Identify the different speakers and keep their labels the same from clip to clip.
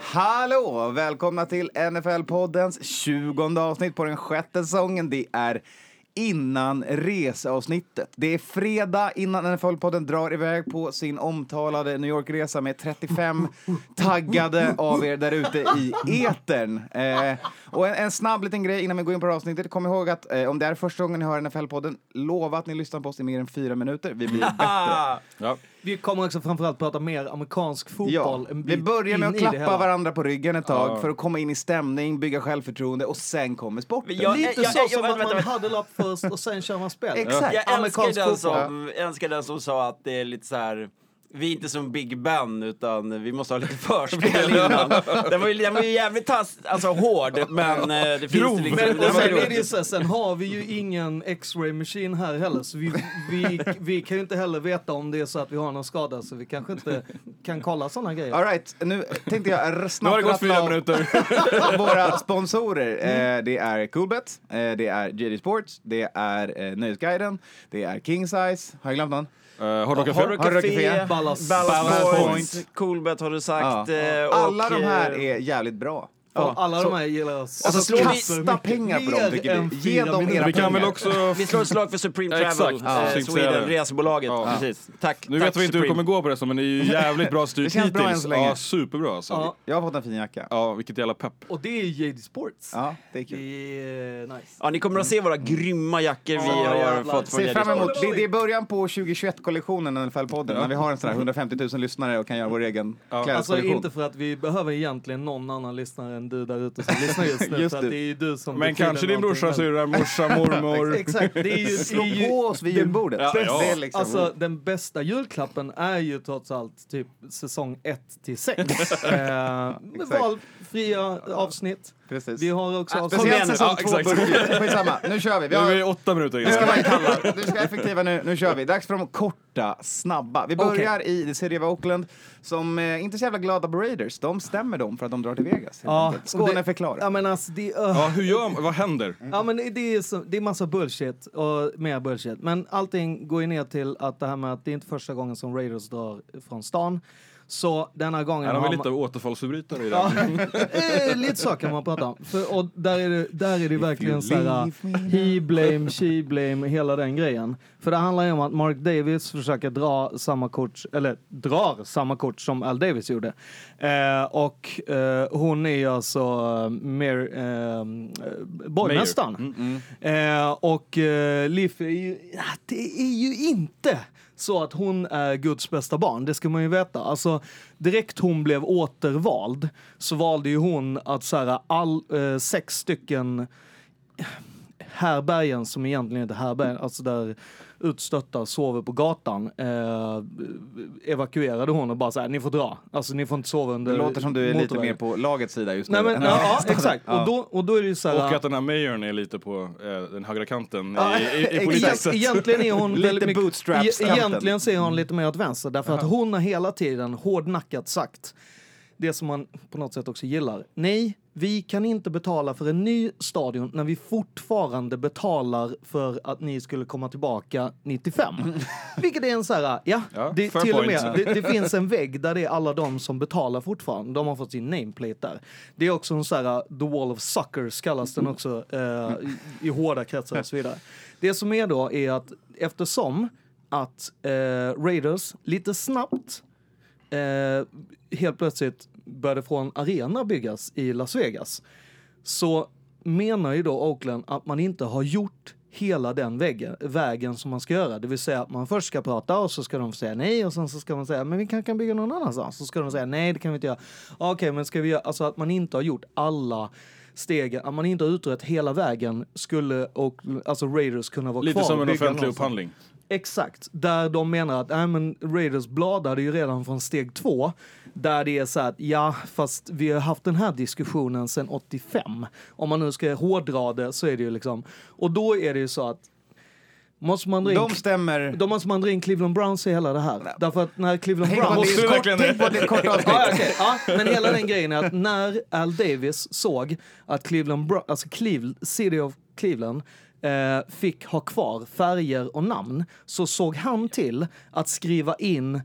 Speaker 1: Hallå! Välkomna till NFL-poddens 20 avsnitt på den sjätte säsongen. Det är innan reseavsnittet. Det är fredag innan NFL-podden drar iväg på sin omtalade New York-resa med 35 taggade av er där ute i etern. Eh, och en, en snabb liten grej innan vi går in på det här avsnittet. Kom ihåg att eh, om det är första gången ni hör NFL-podden, lova att ni lyssnar på oss i mer än fyra minuter. Vi blir bättre.
Speaker 2: Ah! Vi kommer också framförallt prata mer amerikansk fotboll
Speaker 1: Ja,
Speaker 2: en
Speaker 1: vi
Speaker 2: bit
Speaker 1: börjar med att
Speaker 2: in i det
Speaker 1: klappa
Speaker 2: hela.
Speaker 1: varandra på ryggen ett tag för att komma in i stämning, bygga självförtroende och sen kommer sporten.
Speaker 3: Jag-
Speaker 2: Lite
Speaker 3: jag-
Speaker 2: så
Speaker 3: jag-
Speaker 2: som
Speaker 3: vänta,
Speaker 2: att man
Speaker 3: vänta.
Speaker 2: huddle up först och sen kör man spel.
Speaker 1: Exakt.
Speaker 3: Jag älskar
Speaker 2: Amerikansk
Speaker 3: den,
Speaker 2: fotboll.
Speaker 3: som, jag älskar den som sa att det är lite så här... Vi är inte som Big Ben, utan vi måste ha lite förspel innan. Den var ju, den var ju jävligt tass, alltså hård, men eh, det finns
Speaker 2: Grov.
Speaker 3: det liksom...
Speaker 2: Men,
Speaker 3: den
Speaker 2: och
Speaker 3: var
Speaker 2: sen,
Speaker 3: grov.
Speaker 2: är det ju så, här, sen har vi ju ingen X-ray maskin här heller så vi, vi, vi kan ju inte heller veta om det är så att vi har någon skada så vi kanske inte kan kolla sådana grejer.
Speaker 1: All right, nu tänkte jag r-
Speaker 4: Nu har
Speaker 1: snabbt
Speaker 4: det gått
Speaker 1: rattla
Speaker 4: fyra
Speaker 1: av
Speaker 4: minuter. Mm.
Speaker 1: våra sponsorer. Eh, det är Coolbet, eh, det är JD Sports, det är eh, Nöjesguiden, det är King Size. Har jag glömt någon?
Speaker 4: Uh, Hard Rock
Speaker 1: Har-
Speaker 4: Café.
Speaker 1: har- Rocky Fia.
Speaker 2: Ballast.
Speaker 1: Ballast
Speaker 3: Ballast
Speaker 1: Point.
Speaker 3: Point, Coolbet har du sagt.
Speaker 1: Ja.
Speaker 3: eh, Och,
Speaker 1: Alla de här
Speaker 3: eh,
Speaker 1: är jävligt bra.
Speaker 2: Ja, alla
Speaker 1: så-
Speaker 2: de här gillar oss.
Speaker 1: Alltså,
Speaker 3: slår vi-
Speaker 1: kasta pengar på dem,
Speaker 2: Mer
Speaker 1: tycker
Speaker 2: än
Speaker 1: vi. Ge
Speaker 2: fyra
Speaker 1: dem
Speaker 2: minuter.
Speaker 1: era
Speaker 4: Vi kan väl
Speaker 1: pengar.
Speaker 4: också...
Speaker 3: Vi slår ett slag för Supreme
Speaker 4: Exakt.
Speaker 3: Travel,
Speaker 4: Ja,
Speaker 3: eh,
Speaker 4: Supreme
Speaker 3: Sweden,
Speaker 4: Travel.
Speaker 3: resebolaget.
Speaker 4: Ja.
Speaker 3: Precis. Tack,
Speaker 4: Nu
Speaker 3: tack
Speaker 4: vet vi inte
Speaker 3: Supreme.
Speaker 4: hur det kommer gå på det, men det är ju jävligt bra styrt
Speaker 1: Det känns bra än så länge.
Speaker 4: Ja, superbra alltså.
Speaker 2: Ja,
Speaker 4: Ja.
Speaker 1: Jag har fått en fin jacka.
Speaker 4: vilket jävla pepp.
Speaker 2: och det är JD Sports.
Speaker 1: Ja, det är
Speaker 2: Det
Speaker 1: kul.
Speaker 2: är nice.
Speaker 3: Ja, ni kommer att se våra grymma jackor vi
Speaker 2: Ja,
Speaker 3: har
Speaker 2: jävlar.
Speaker 3: fått från
Speaker 1: Se
Speaker 3: Jerry
Speaker 1: fram emot,
Speaker 2: Sports.
Speaker 1: det, det är början på 2021-kollektionen NFL-podden, när vi har en sån här 150 000 lyssnare och kan göra vår egen
Speaker 2: Alltså
Speaker 1: klädeskollektion.
Speaker 2: inte för att vi behöver egentligen någon annan lyssnare än du där ute som lyssnar just nu.
Speaker 1: Just
Speaker 2: för att
Speaker 1: det.
Speaker 2: det är ju du som
Speaker 4: Men
Speaker 2: betyder
Speaker 4: kanske din
Speaker 2: någonting,
Speaker 4: brorsa,
Speaker 2: men-
Speaker 4: syrra, morsa, mormor.
Speaker 2: Exakt, det är ju...
Speaker 1: Slå
Speaker 2: det är ju
Speaker 1: på oss vid julbordet.
Speaker 4: Ja, ja.
Speaker 1: Det är liksom,
Speaker 2: Alltså den bästa julklappen är ju trots allt typ säsong 1 till 6. eh, med
Speaker 1: Exakt.
Speaker 2: valfria avsnitt.
Speaker 1: precis. Ah,
Speaker 2: Vi har också avsnitt.
Speaker 3: kom igen
Speaker 1: Speciellt
Speaker 3: nu.
Speaker 1: säsong
Speaker 4: Ja,
Speaker 1: två
Speaker 4: exakt.
Speaker 1: börjar. Skitsamma, nu kör vi. vi
Speaker 4: Nu är vi
Speaker 1: har,
Speaker 4: åtta minuter
Speaker 1: nu ska
Speaker 4: gamla.
Speaker 1: man kalla. Du ska vara effektiva nu. Nu kör vi. Dags för de korta, snabba. Vi börjar i det seriösa Oakland som eh, inte är så jävla glada på Raiders. De stämmer dem för att de drar till Vegas. helt
Speaker 2: Ja,
Speaker 1: enkelt. Skåne
Speaker 2: det- Ja
Speaker 1: förklara.
Speaker 2: men alltså det, öh.
Speaker 4: Ja, hur gör man? Vad händer?
Speaker 2: ja, men det, är så, det är massa bullshit och mer bullshit. Men allting går ju ner till att det här med att det är inte första gången som Raiders drar från stan. Så denna gången
Speaker 4: Ja, de är
Speaker 2: har
Speaker 4: lite
Speaker 2: man...
Speaker 4: av återfallsförbrytare i
Speaker 2: Ja,
Speaker 4: den.
Speaker 2: eh, lite så kan man prata om. För, och där är det, där är det verkligen så här, he blame, she blame, hela den grejen. För det handlar ju om att Mark Davis försöker dra samma kort, eller drar samma kort som Al Davis gjorde. Eh, och eh, hon är ju alltså eh, mer eh, borgmästaren. Eh, och eh, Liff är ju, ja, det är ju inte så att hon är Guds bästa barn, det ska man ju veta. Alltså, direkt hon blev återvald så valde ju hon att så här, all, eh, sex stycken härbärgen som egentligen inte är härbärgen, alltså där utstötta sover på gatan, eh, evakuerade hon och bara så här, ni får dra. Alltså ni får inte sova under
Speaker 1: Det låter som du är lite
Speaker 2: motorvägen."
Speaker 1: mer på lagets sida just nu.
Speaker 2: Nej men,
Speaker 1: än-
Speaker 2: ja, ja, exakt. Och då, och då är det ju så här...
Speaker 4: Och att den här Mayern är lite på eh, den högra kanten i,
Speaker 2: Ja,
Speaker 4: i, i
Speaker 2: Egen-
Speaker 4: polissättet.
Speaker 2: eh, Egentligen är hon
Speaker 1: Lite
Speaker 2: väldigt mycket-
Speaker 1: bootstraps-skämten.
Speaker 2: e- Egentligen ser hon lite mer åt vänster därför att hon har hela tiden hårdnackat sagt det som man på något sätt också gillar. Nej, vi kan inte betala för en ny stadion när vi fortfarande betalar för att ni skulle komma tillbaka 95. Vilket är en så här, ja,
Speaker 4: Ja,
Speaker 2: det,
Speaker 4: fair
Speaker 2: till och
Speaker 4: point.
Speaker 2: med, det, det finns en vägg där det är alla de som betalar fortfarande. De har fått sin nameplate där. Det är också en så här, the wall of suckers kallas den också eh, i, i hårda kretsar och så vidare. Det som är då är att eftersom att eh, Raiders lite snabbt eh, helt plötsligt började få en arena byggas i Las Vegas så menar ju då Oakland att man inte har gjort hela den väggen, vägen som man ska göra. Det vill säga att man först ska prata och så ska de säga nej och sen så ska man säga men vi kanske kan bygga någon annanstans. Så ska de säga nej det kan vi inte göra. Ah, Okej men ska vi göra, alltså att man inte har gjort alla stegen, att man inte har utrett hela vägen skulle och alltså Raiders kunna vara
Speaker 4: Lite
Speaker 2: kvar
Speaker 4: som
Speaker 2: och
Speaker 4: en
Speaker 2: bygga
Speaker 4: offentlig
Speaker 2: någonstans.
Speaker 4: upphandling.
Speaker 2: Exakt, där de menar att äh, men Raiders bladade ju redan från steg två. Där det är så här att ja, fast vi har haft den här diskussionen sedan 85. Om man nu ska hårdra det så är det ju liksom. Och då är det ju så att måste man dra in,
Speaker 1: De stämmer...
Speaker 2: då måste man dra in Cleveland Browns i hela det här. Därför att när Cleveland
Speaker 1: Tänk på att
Speaker 2: Browns...
Speaker 1: det är
Speaker 4: Måste
Speaker 1: ett kort-
Speaker 4: verkligen-
Speaker 1: tänk på att det är ett kort avsnitt.
Speaker 2: Ja, ja, okej. ja, men hela den grejen är att när Al Davis såg att Cleveland, Bro- alltså Cleveland, City of Cleveland eh, fick ha kvar färger och namn så såg han till att skriva in eh,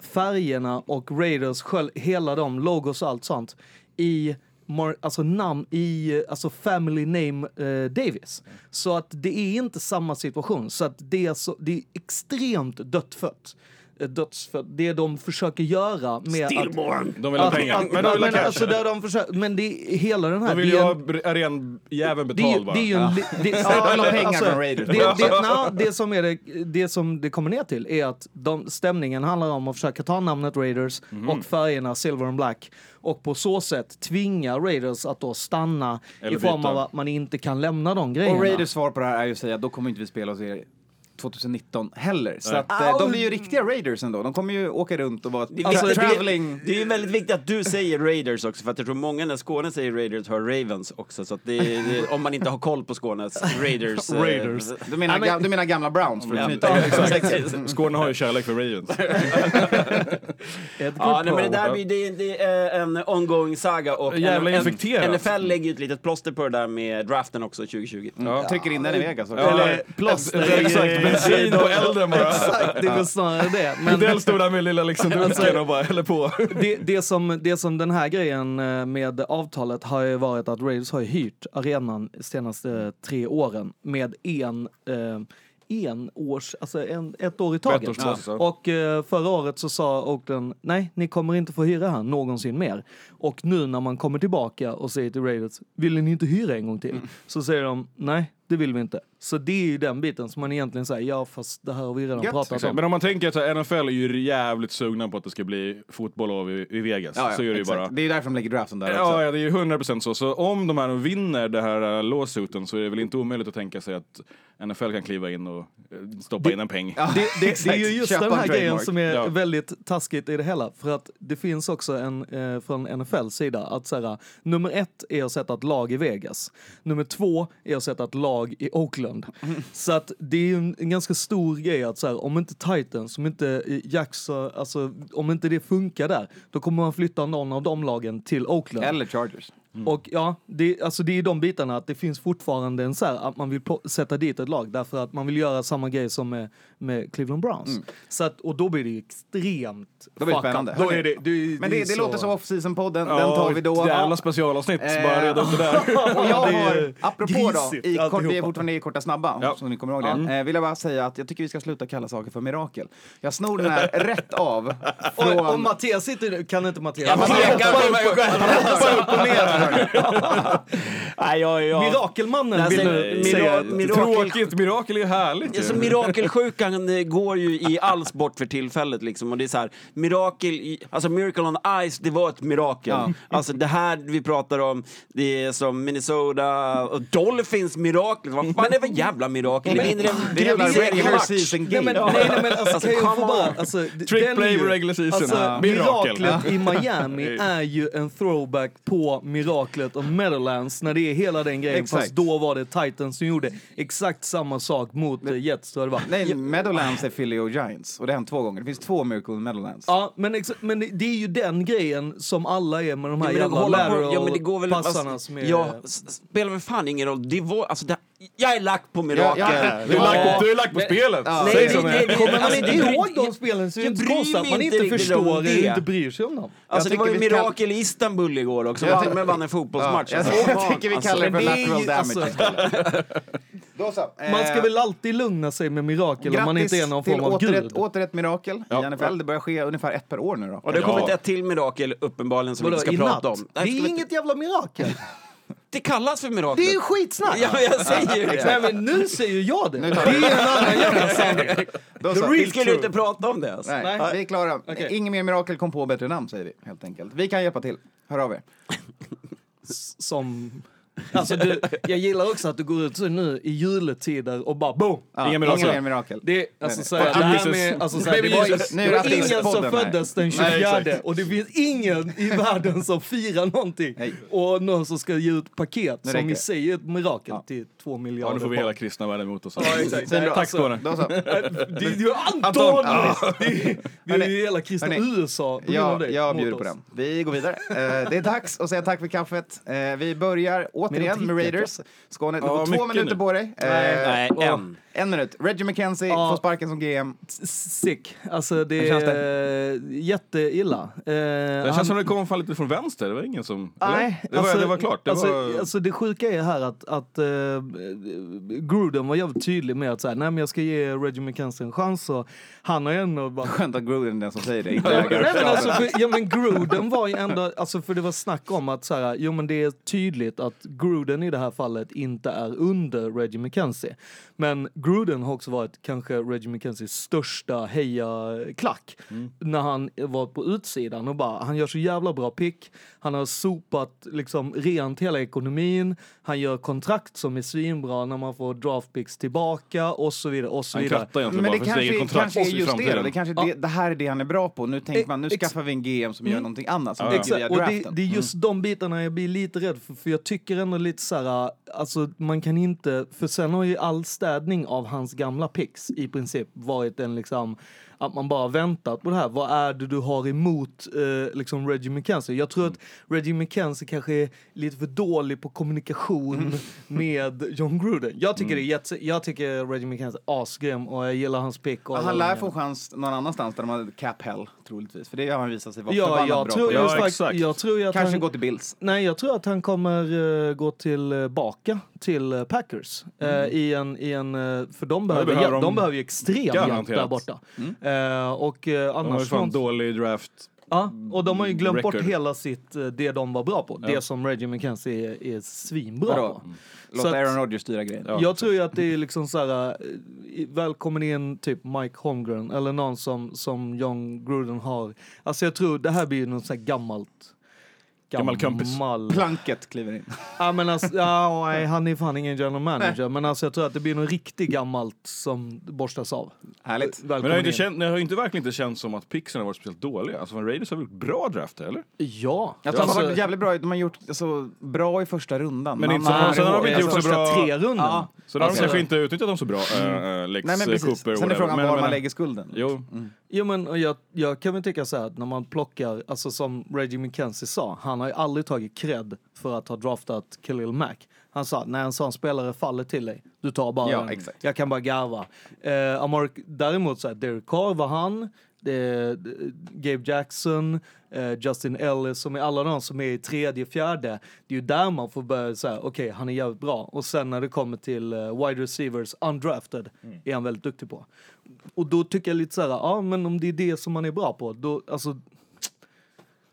Speaker 2: färgerna och Raiders, sköl- hela de, logos och allt sånt i mar- Alltså namn i, eh, alltså family name eh, Davis. Så att det är inte samma situation. Så att det är, så, det är extremt dödfött. Eh, Dödsfött. Det de försöker göra med att...
Speaker 4: De vill ha
Speaker 2: Att-
Speaker 4: pengar.
Speaker 2: att-
Speaker 4: Men de vill ha
Speaker 2: men,
Speaker 4: cash.
Speaker 2: alltså, där de försöker, men det är hela den här...
Speaker 4: De vill
Speaker 2: det
Speaker 4: ju
Speaker 2: är
Speaker 4: ha
Speaker 2: en-
Speaker 4: br- arenjäveln
Speaker 2: det är ju,
Speaker 4: betald bara.
Speaker 2: det är ju en... li-
Speaker 1: De
Speaker 2: Det,
Speaker 1: vill ha
Speaker 2: eller,
Speaker 1: pengar från Raiders.
Speaker 2: Det, det, na, det, som är det, det som det kommer ner till är att de, stämningen handlar om att försöka ta namnet Raiders
Speaker 4: Mhm.
Speaker 2: och färgerna silver and black och på så sätt tvinga Raiders att då stanna
Speaker 4: Eller
Speaker 2: i form
Speaker 4: byta.
Speaker 2: av att man inte kan lämna de grejerna.
Speaker 1: Och Raiders svar på det här är ju att säga då kommer inte vi spela oss i 2019 heller. Så
Speaker 4: Nej.
Speaker 1: att, eh, de blir ju riktiga Raiders ändå. De kommer ju åka runt och vara
Speaker 3: Det är,
Speaker 1: alltså,
Speaker 3: viktigt-
Speaker 1: traveling.
Speaker 3: det, det är ju väldigt viktigt att du säger Raiders också, för att jag tror många när Skåne säger Raiders hör Ravens också. Så att det, är- det, om man inte har koll på Skånes Raiders. eh,
Speaker 2: Raiders.
Speaker 1: Du, menar,
Speaker 2: men-
Speaker 1: ga- du menar gamla Browns för att
Speaker 3: Ja,
Speaker 1: knyta
Speaker 3: ja,
Speaker 1: ihop.
Speaker 3: exakt.
Speaker 4: Skåne har ju kärlek för Ravens.
Speaker 2: Edgar
Speaker 3: Ja, nej, men det
Speaker 2: Poe.
Speaker 3: där blir, det, det är en ongoing saga och
Speaker 4: Jävla
Speaker 3: en,
Speaker 4: infekterat.
Speaker 3: en, NFL lägger ju ett litet plåster på det där med draften också 2020.
Speaker 1: Ja. Trycker in den i Vegas också.
Speaker 2: Eller plåster.
Speaker 4: Exakt, bensin på elden bara.
Speaker 2: Exakt, det är väl snarare det. Men,
Speaker 4: Odell stod där med lilla liksom dunken och bara häller på.
Speaker 2: det, det, som, det som den här grejen eh, med avtalet har ju varit att Raiders har ju hyrt arenan de senaste tre åren med en eh, en års, alltså en, ett år i taget.
Speaker 4: Ettårsklass, ja.
Speaker 2: Och eh, förra året så sa Oakland, nej ni kommer inte få hyra här någonsin mer. Och nu när man kommer tillbaka och säger till Raiders, vill ni inte hyra en gång till? Så säger de, nej det vill vi inte. Så det är ju den biten som man egentligen säger, ja fast det här har vi redan pratat om.
Speaker 4: Men om man tänker att så här, NFL är ju jävligt sugna på att det ska bli fotboll av i i Vegas.
Speaker 1: Ja, ja,
Speaker 4: så är det ju
Speaker 1: exakt.
Speaker 4: bara.
Speaker 1: Det är ju därför de lägger draften där också.
Speaker 4: Ja, ja, det är ju 100% så. Så om de här vinner det här äh, lawsuiten så är det väl inte omöjligt att tänka sig att NFL kan kliva in och eh, stoppa in en peng.
Speaker 2: Det, det, det är ju just
Speaker 1: Köpa
Speaker 2: den här
Speaker 1: en
Speaker 2: grejen
Speaker 1: trademark.
Speaker 2: som är
Speaker 4: Ja.
Speaker 2: väldigt taskigt i det hela. För att det finns också en, eh, från NFLs sida, att så här, nummer ett är att sätta ett lag i Vegas. Nummer två är att sätta ett lag i Oakland. Så att det är ju en, en ganska stor grej att så här, om inte Titans, om inte eh, Jacks, eh, alltså om inte det funkar där, då kommer man flytta någon av de lagen till Oakland.
Speaker 1: Eller Chargers.
Speaker 2: Och ja, det, alltså det är de bitarna att det finns fortfarande en så här att man vill po- sätta dit ett lag därför att man vill göra samma grej som med, med Cleveland Browns. Så att, och då blir det ju extremt
Speaker 1: Mm. Då blir det
Speaker 2: fuck up.
Speaker 1: spännande.
Speaker 2: Då är det, det,
Speaker 1: Men det, det,
Speaker 2: är så-
Speaker 1: låter som off-season-podden.
Speaker 4: Ja,
Speaker 1: den tar vi då.
Speaker 4: Jävla specialavsnitt,
Speaker 1: Eh,
Speaker 4: bara reda upp det där.
Speaker 1: Och jag
Speaker 2: Det är
Speaker 1: har, apropå då,
Speaker 2: grisigt
Speaker 1: i kort, vi är
Speaker 2: alltihopa. Mm.
Speaker 1: fortfarande i korta snabba,
Speaker 4: Ja.
Speaker 1: så ni kommer ihåg det. Eh, vill jag bara säga att jag tycker vi ska sluta kalla saker för mirakel. Jag snor den här rätt av
Speaker 2: Oj,
Speaker 1: från...
Speaker 2: och Mattias sitter nu, kan inte Mattias?
Speaker 3: Jag pekar på mig Nej, jag, jag...
Speaker 2: Mirakelmannen
Speaker 3: Nej,
Speaker 2: vill
Speaker 3: alltså,
Speaker 2: nu
Speaker 3: mira-
Speaker 2: säga.
Speaker 3: mirakel-
Speaker 4: Tråkigt, mirakel är ju härligt
Speaker 3: Alltså,
Speaker 4: ju.
Speaker 3: mirakelsjukan eh, går ju i all sport för tillfället. Liksom. Och det är så här, mirakel i, alltså Miracle on Ice, det var ett mirakel.
Speaker 1: Ja.
Speaker 3: Alltså, det här vi pratar om, det är som Minnesota och Dolphins mirakel. Vad fan är det för jävla mirakel?
Speaker 1: Men-
Speaker 3: Vi vinner en-
Speaker 1: Det är jävla
Speaker 3: vi vinner en
Speaker 1: regular
Speaker 3: match.
Speaker 1: season
Speaker 2: Nej
Speaker 1: game.
Speaker 2: men, nej, nej, men alltså,
Speaker 3: Alltså,
Speaker 2: kan jag
Speaker 3: come
Speaker 2: få bara,
Speaker 3: on.
Speaker 2: alltså, d-
Speaker 4: Trick
Speaker 2: den
Speaker 4: play
Speaker 2: ju-
Speaker 4: regular season.
Speaker 2: Alltså,
Speaker 4: Ja.
Speaker 2: miraklet
Speaker 4: Mirakel.
Speaker 2: i Miami är ju en throwback på miraklet och Meadowlands när det är hela den grejen.
Speaker 1: Exakt.
Speaker 2: Fast då var det Titans som gjorde exakt samma sak mot eh, Jets. tror jag det var.
Speaker 1: Nej, Meadowlands är Philly och Giants. Och det har hänt två gånger. Det finns två Miracle in Meadowlands.
Speaker 2: Ja, men, exa- men det- det är ju den grejen som alla är med de här
Speaker 3: Ja, men
Speaker 2: jävla
Speaker 3: hålla på- ja, men det går väl-
Speaker 2: lateral-passarna
Speaker 3: alltså,
Speaker 2: som är...
Speaker 3: Ja, s- s- spelar väl fan ingen roll. Det var, alltså, det, jag är lack på mirakel.
Speaker 1: Ja, ja,
Speaker 4: Du är
Speaker 1: Ja.
Speaker 4: lack på- du är lack på spelet.
Speaker 3: Nej,
Speaker 4: Säg
Speaker 3: det-
Speaker 4: som det är.
Speaker 3: det-
Speaker 2: Kommer man
Speaker 3: alltså,
Speaker 2: inte
Speaker 3: det-
Speaker 2: ihåg de spelen så är det
Speaker 3: jag
Speaker 2: inte
Speaker 3: bryr
Speaker 2: konstigt att
Speaker 3: mig
Speaker 2: man
Speaker 3: inte
Speaker 2: inte
Speaker 3: riktigt om
Speaker 2: förstår
Speaker 3: det.
Speaker 2: eller inte bryr sig om dem.
Speaker 3: Alltså, det
Speaker 1: tycker
Speaker 3: var ju
Speaker 1: vi kan-
Speaker 3: mirakel i Istanbul igår också.
Speaker 1: Jag
Speaker 3: Vann-
Speaker 1: tycker-
Speaker 3: Men vann en fotbollsmatch.
Speaker 1: Ja,
Speaker 3: alltså.
Speaker 1: jag, jag tycker vi kallar det för
Speaker 2: Men det är ju-
Speaker 1: lateral damage
Speaker 2: alltså-
Speaker 1: istället. Då så. Eh,
Speaker 2: Man ska väl alltid lugna sig med mirakel om man inte är någon
Speaker 1: till
Speaker 2: form av
Speaker 1: åter
Speaker 2: gud.
Speaker 1: ett, åter ett mirakel i NFL. Det börjar ske ungefär ett per år nu då.
Speaker 3: Och det har
Speaker 4: Ja.
Speaker 3: kommit ett till mirakel uppenbarligen som vi
Speaker 2: Vadå,
Speaker 3: inte ska
Speaker 2: i
Speaker 3: prata
Speaker 2: natt?
Speaker 3: om.
Speaker 2: Det är inget jävla mirakel.
Speaker 3: Det kallas för miraklet.
Speaker 2: Det är ju skitsnack!
Speaker 3: Ja, men jag säger ju det.
Speaker 2: Nej men nu säger ju jag det.
Speaker 1: Nu
Speaker 2: Det
Speaker 1: tar vi-
Speaker 2: är en annan jävla sanning.
Speaker 1: Då
Speaker 3: The
Speaker 1: så.
Speaker 3: real skulle inte prata om det. Alltså.
Speaker 1: Nej,
Speaker 2: Nej.
Speaker 1: vi är klara.
Speaker 2: Okej.
Speaker 1: Inget mer mirakel kom på bättre namn säger vi helt enkelt. Vi kan hjälpa till. Hör av er.
Speaker 2: Som... Alltså du, jag gillar också att du går ut så nu i juletider och bara boom!
Speaker 1: Ja,
Speaker 4: Inga mirakel.
Speaker 1: Inga mer mirakel.
Speaker 2: Det, alltså, så
Speaker 4: Fuck
Speaker 2: det här
Speaker 4: Jesus.
Speaker 2: med, alltså, så det
Speaker 1: Baby
Speaker 2: var,
Speaker 1: Jesus. Nu är
Speaker 2: det var
Speaker 1: det
Speaker 2: ingen som
Speaker 1: Atlantpodden här.
Speaker 2: föddes den
Speaker 1: Nej,
Speaker 2: 24
Speaker 1: exakt.
Speaker 2: och det finns ingen i världen som firar någonting.
Speaker 1: Nej.
Speaker 2: Och någon som ska ge ut paket
Speaker 1: Nu
Speaker 2: som
Speaker 1: räcker
Speaker 2: i
Speaker 1: det.
Speaker 2: sig är ett mirakel till två
Speaker 4: Ja,
Speaker 2: miljarder
Speaker 4: nu får vi
Speaker 2: barn.
Speaker 4: hela kristna världen emot oss.
Speaker 2: Ja, exakt. Nej,
Speaker 4: Tack
Speaker 2: alltså,
Speaker 4: Skåne.
Speaker 1: Då så.
Speaker 2: Det är ju Anton!
Speaker 4: Anton!
Speaker 2: Det är- Vi är
Speaker 1: Hörni,
Speaker 2: ju hela kristna
Speaker 1: hörni.
Speaker 2: USA på grund av
Speaker 1: Jag,
Speaker 2: dig
Speaker 1: jag
Speaker 2: mot
Speaker 1: bjuder
Speaker 2: oss.
Speaker 1: på den. Vi går vidare. Eh, det är dags att säga tack för kaffet. Eh, vi börjar återigen med
Speaker 2: dricker jag
Speaker 1: Raiders. Skåne, du
Speaker 4: Ja,
Speaker 1: får två
Speaker 4: mycket
Speaker 1: minuter
Speaker 4: nu.
Speaker 1: på dig. Eh,
Speaker 3: Nej,
Speaker 2: Ja.
Speaker 3: en.
Speaker 1: En minut. Reggie McKenzie
Speaker 2: Ja.
Speaker 1: får sparken som GM.
Speaker 2: Sick. Alltså det
Speaker 1: Hur känns
Speaker 2: är jätteilla. Eh,
Speaker 4: Det känns
Speaker 2: han-
Speaker 4: som det kom fan lite från vänster. Det var ingen som...
Speaker 2: Nej,
Speaker 4: eller? det, var, det var klart. Det
Speaker 2: alltså,
Speaker 4: var,
Speaker 2: alltså det sjuka är här att, att eh, Gruden var jävligt tydlig med att så här, nej men jag ska ge Reggie McKenzie en chans och han har ju ändå bara...
Speaker 1: Skönt att Gruden är den som säger det.
Speaker 2: Nej
Speaker 1: Inte
Speaker 2: men alltså, för, ja, men Gruden var ju ändå, alltså för det var snack om att så här, jo men det är tydligt att Gruden i det här fallet inte är under Reggie McKenzie. Men Gruden har också varit kanske Reggie McKenzies största hejaklack. När han var på utsidan och bara, han gör så jävla bra pick, han har sopat liksom rent hela ekonomin, han gör kontrakt som är svinbra när man får draftpicks tillbaka och så vidare och så
Speaker 4: han
Speaker 2: vidare.
Speaker 4: krattar egentligen
Speaker 1: Men det
Speaker 4: bara för sitt
Speaker 1: kanske,
Speaker 4: eget kontrakt
Speaker 1: kanske är
Speaker 4: i
Speaker 1: just det. då.
Speaker 4: framtiden.
Speaker 1: Det, kanske är det, det här är det han är bra på. Nu tänker man, nu
Speaker 2: ex-
Speaker 1: skaffar vi en GM som gör någonting annat. Som
Speaker 4: Ja.
Speaker 1: ja.
Speaker 2: Exakt,
Speaker 1: via
Speaker 2: och det,
Speaker 1: draften. Mm.
Speaker 2: det är just de bitarna jag blir lite rädd för, för jag tycker ändå lite så här, alltså man kan inte, för sen har ju all städning av hans gamla picks i princip varit en liksom, att man bara väntat på det här, vad är det du har emot eh, liksom Reggie McKenzie? Jag
Speaker 1: Mm.
Speaker 2: tror att Reggie McKenzie kanske är lite för dålig på
Speaker 1: Mm.
Speaker 2: kommunikation med John Gruden. Jag tycker det är jätte, jag tycker Reggie McKenzie är asgrym och jag gillar hans pick. Och
Speaker 1: Ja,
Speaker 2: alla
Speaker 1: han lär
Speaker 2: de
Speaker 1: få en chans någon annanstans där de hade cap hell, troligtvis. För det har han visat sig vara
Speaker 2: Ja,
Speaker 1: förbannat
Speaker 2: jag
Speaker 1: bra
Speaker 2: tror,
Speaker 1: på.
Speaker 4: Ja,
Speaker 2: just faktiskt,
Speaker 4: exakt.
Speaker 2: jag tror ju att
Speaker 1: Kanske
Speaker 2: han,
Speaker 1: gå till Bills.
Speaker 2: Nej, jag tror att han kommer eh, gå tillbaka till eh, Packers. eh, i en, i en, eh, för de behöver,
Speaker 4: Mm. behöver
Speaker 2: hjälp, de,
Speaker 4: de
Speaker 2: behöver ju extrem hjälp
Speaker 4: garanterat. Mm.
Speaker 2: där borta. Eh, och eh,
Speaker 4: De har ju
Speaker 2: annars...
Speaker 4: fan
Speaker 2: någon-
Speaker 4: dålig draft.
Speaker 2: ja, och de har ju glömt bort
Speaker 4: record.
Speaker 2: hela sitt, eh, det de var bra på. Det som Reggie McKenzie är, är svinbra
Speaker 1: Bra.
Speaker 2: på.
Speaker 1: Låt
Speaker 2: Så att-
Speaker 1: Aaron Rodgers styra grejen.
Speaker 4: Mm. Ja.
Speaker 2: Jag tror ju att det är liksom så här, eh, i- välkommen in typ Mike Holmgren eller någon som, som John Gruden har. Alltså jag tror det här blir ju något så här gammalt.
Speaker 4: Gammal kompis.
Speaker 2: gammal-
Speaker 1: Planket kliver in.
Speaker 2: Ja, men alltså, ja, nej, han är fan ingen general manager, men alltså, jag tror att det blir något riktigt gammalt som borstas av.
Speaker 1: Härligt.
Speaker 4: Men det har, ju inte
Speaker 2: in.
Speaker 4: känt, det har ju inte verkligen inte känts som att picksen har varit speciellt dåliga. Alltså, men Raiders har väl gjort bra drafter, eller?
Speaker 2: Ja.
Speaker 1: Jag tror de har
Speaker 2: Alltså,
Speaker 1: varit jävligt bra. De har gjort alltså, bra i första rundan.
Speaker 4: Men
Speaker 1: Man-
Speaker 4: inte så-
Speaker 1: man-
Speaker 4: sen har de
Speaker 2: det är
Speaker 4: inte gjort så
Speaker 2: första
Speaker 4: bra-
Speaker 2: tre runden.
Speaker 1: Ja.
Speaker 4: Så då har de
Speaker 2: Alltså-
Speaker 4: kanske inte utnyttjat dem så bra, eh, eh, Lex
Speaker 1: Mm. Nej, men precis.
Speaker 4: Cooper
Speaker 1: Sen är frågan
Speaker 4: whatever.
Speaker 1: var
Speaker 4: Men-
Speaker 1: man
Speaker 4: men-
Speaker 1: lägger Mm. skulden.
Speaker 4: Jo,
Speaker 2: Jo, men och jag, jag kan väl tycka så här att när man plockar, alltså som Reggie McKenzie sa, han har ju aldrig tagit cred för att ha draftat Khalil Mack. Han sa, när en sån spelare faller till dig, du tar bara
Speaker 1: Ja,
Speaker 2: den.
Speaker 1: exakt.
Speaker 2: Jag kan bara garva. Eh, Amar, däremot så här, Derek Carr var han, eh, Gabe Jackson, eh, Justin Ellis, som är alla de som är i tredje, fjärde. Det är ju där man får börja säga, okej, han är jävligt bra. Och sen när det kommer till eh, wide receivers, undrafted, är han väldigt duktig på. Och då tycker jag lite så här, ja men om det är det som man är bra på, då alltså...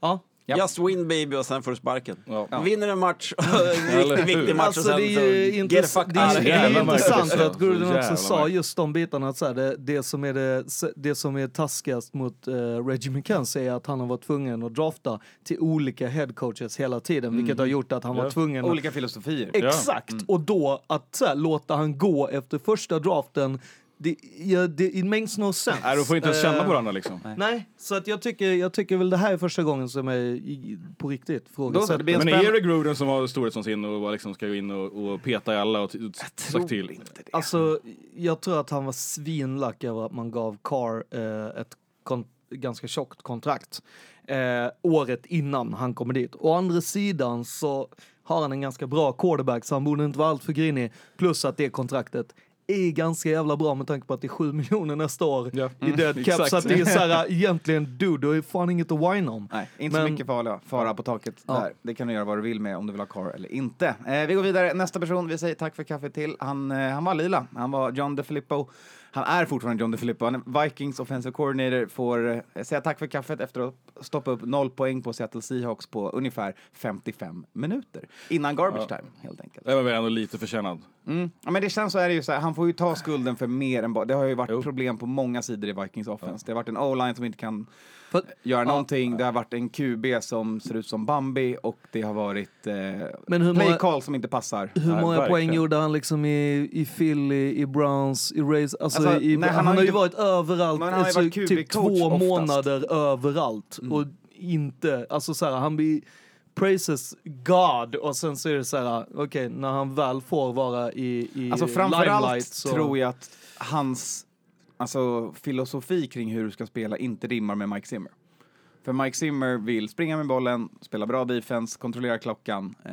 Speaker 2: Ja.
Speaker 1: Ja.
Speaker 3: Just win baby och sen får du sparken.
Speaker 4: Ja.
Speaker 3: Du Vinner en match, en
Speaker 4: Eller hur?
Speaker 3: riktigt viktig match och
Speaker 2: Alltså
Speaker 3: sen
Speaker 2: det är
Speaker 3: så
Speaker 2: ju
Speaker 3: get the
Speaker 2: intress-
Speaker 3: fuck
Speaker 2: det är,
Speaker 3: out.
Speaker 2: det är ju
Speaker 4: Jävla märkligt.
Speaker 2: intressant att Gurden också
Speaker 4: Jävla
Speaker 2: sa
Speaker 4: märkligt.
Speaker 2: just de bitarna att så här, det, det, som är det, det som är taskigast mot eh, Reggie McKenzie är att han har varit tvungen att drafta till olika headcoaches hela tiden, vilket har gjort att han var tvungen att
Speaker 1: Olika filosofier.
Speaker 2: Exakt! Och då att så här, låta han gå efter första draften, det, ja, det it makes no sense.
Speaker 4: Nej, de får inte ens
Speaker 2: Eh,
Speaker 4: känna på varandra liksom.
Speaker 2: Nej, så att jag, tycker, jag tycker väl det här är första gången som jag i- på riktigt
Speaker 1: Då så, det
Speaker 2: frågasätter.
Speaker 1: blir en
Speaker 4: Men är
Speaker 1: spännande...
Speaker 4: det Gruden som har storhet som sin och bara liksom ska gå in och, och peta i alla och t- sagt till?
Speaker 2: Alltså, jag tror att han var svinlack över att man gav Carr eh, ett kon- ganska tjockt kontrakt eh, året innan han kommer dit. Å andra sidan så har han en ganska bra quarterback så han borde inte vara allt för grinig. Plus att det kontraktet är ganska jävla bra med tanke på att det är 7 miljoner nästa år
Speaker 4: Ja. Mm,
Speaker 2: i dead cap.
Speaker 4: exakt.
Speaker 2: Så att det är så här, egentligen du, du har ju fan inget att whine om.
Speaker 1: Nej, inte så
Speaker 2: Men-
Speaker 1: mycket farliga. Fara på taket
Speaker 2: Ja.
Speaker 1: där. Det kan du göra vad du vill med om du vill ha car eller inte. Eh, vi går vidare. Nästa person vi säger tack för kaffet till. Han, eh, han var lila. Han var John DeFilippo. Han är fortfarande John DeFilippo. Han är Vikings offensive coordinator. Får eh, säga tack för kaffet efter att stoppa upp noll poäng på Seattle Seahawks på ungefär 55 minuter. Innan garbage time, helt enkelt.
Speaker 4: Det var väl ändå lite förtjänad.
Speaker 1: Mm. Ja, men det känns så är det ju så här, han får ju ta skulden för mer än bara, det har ju varit
Speaker 4: Jo.
Speaker 1: problem på många sidor i Vikings offense. Det har varit en o-line som inte kan
Speaker 2: För-
Speaker 1: göra någonting, det har varit en QB som ser ut som Bambi och det har varit eh,
Speaker 2: Men hur
Speaker 1: play
Speaker 2: många-
Speaker 1: call som inte passar.
Speaker 2: Hur
Speaker 4: Nej,
Speaker 2: många
Speaker 4: verkligen.
Speaker 2: poäng gjorde han liksom i, i Philly, i Browns, i Rays? Alltså,
Speaker 1: Alltså,
Speaker 2: i,
Speaker 1: nej,
Speaker 2: han, har ju varit överallt,
Speaker 1: Men han har ju
Speaker 2: alltså,
Speaker 1: varit
Speaker 2: typ två
Speaker 1: QB-coach oftast. Mm.
Speaker 2: månader överallt. Och inte, alltså så här, han blir praises God och sen så är det så här, okej, när han väl får vara i, i
Speaker 1: Alltså
Speaker 2: limelight
Speaker 1: framförallt
Speaker 2: så...
Speaker 1: tror jag att hans alltså, filosofi kring hur du ska spela inte rimmar med Mike Zimmer. För Mike Zimmer vill springa med bollen, spela bra defense, kontrollera klockan eh,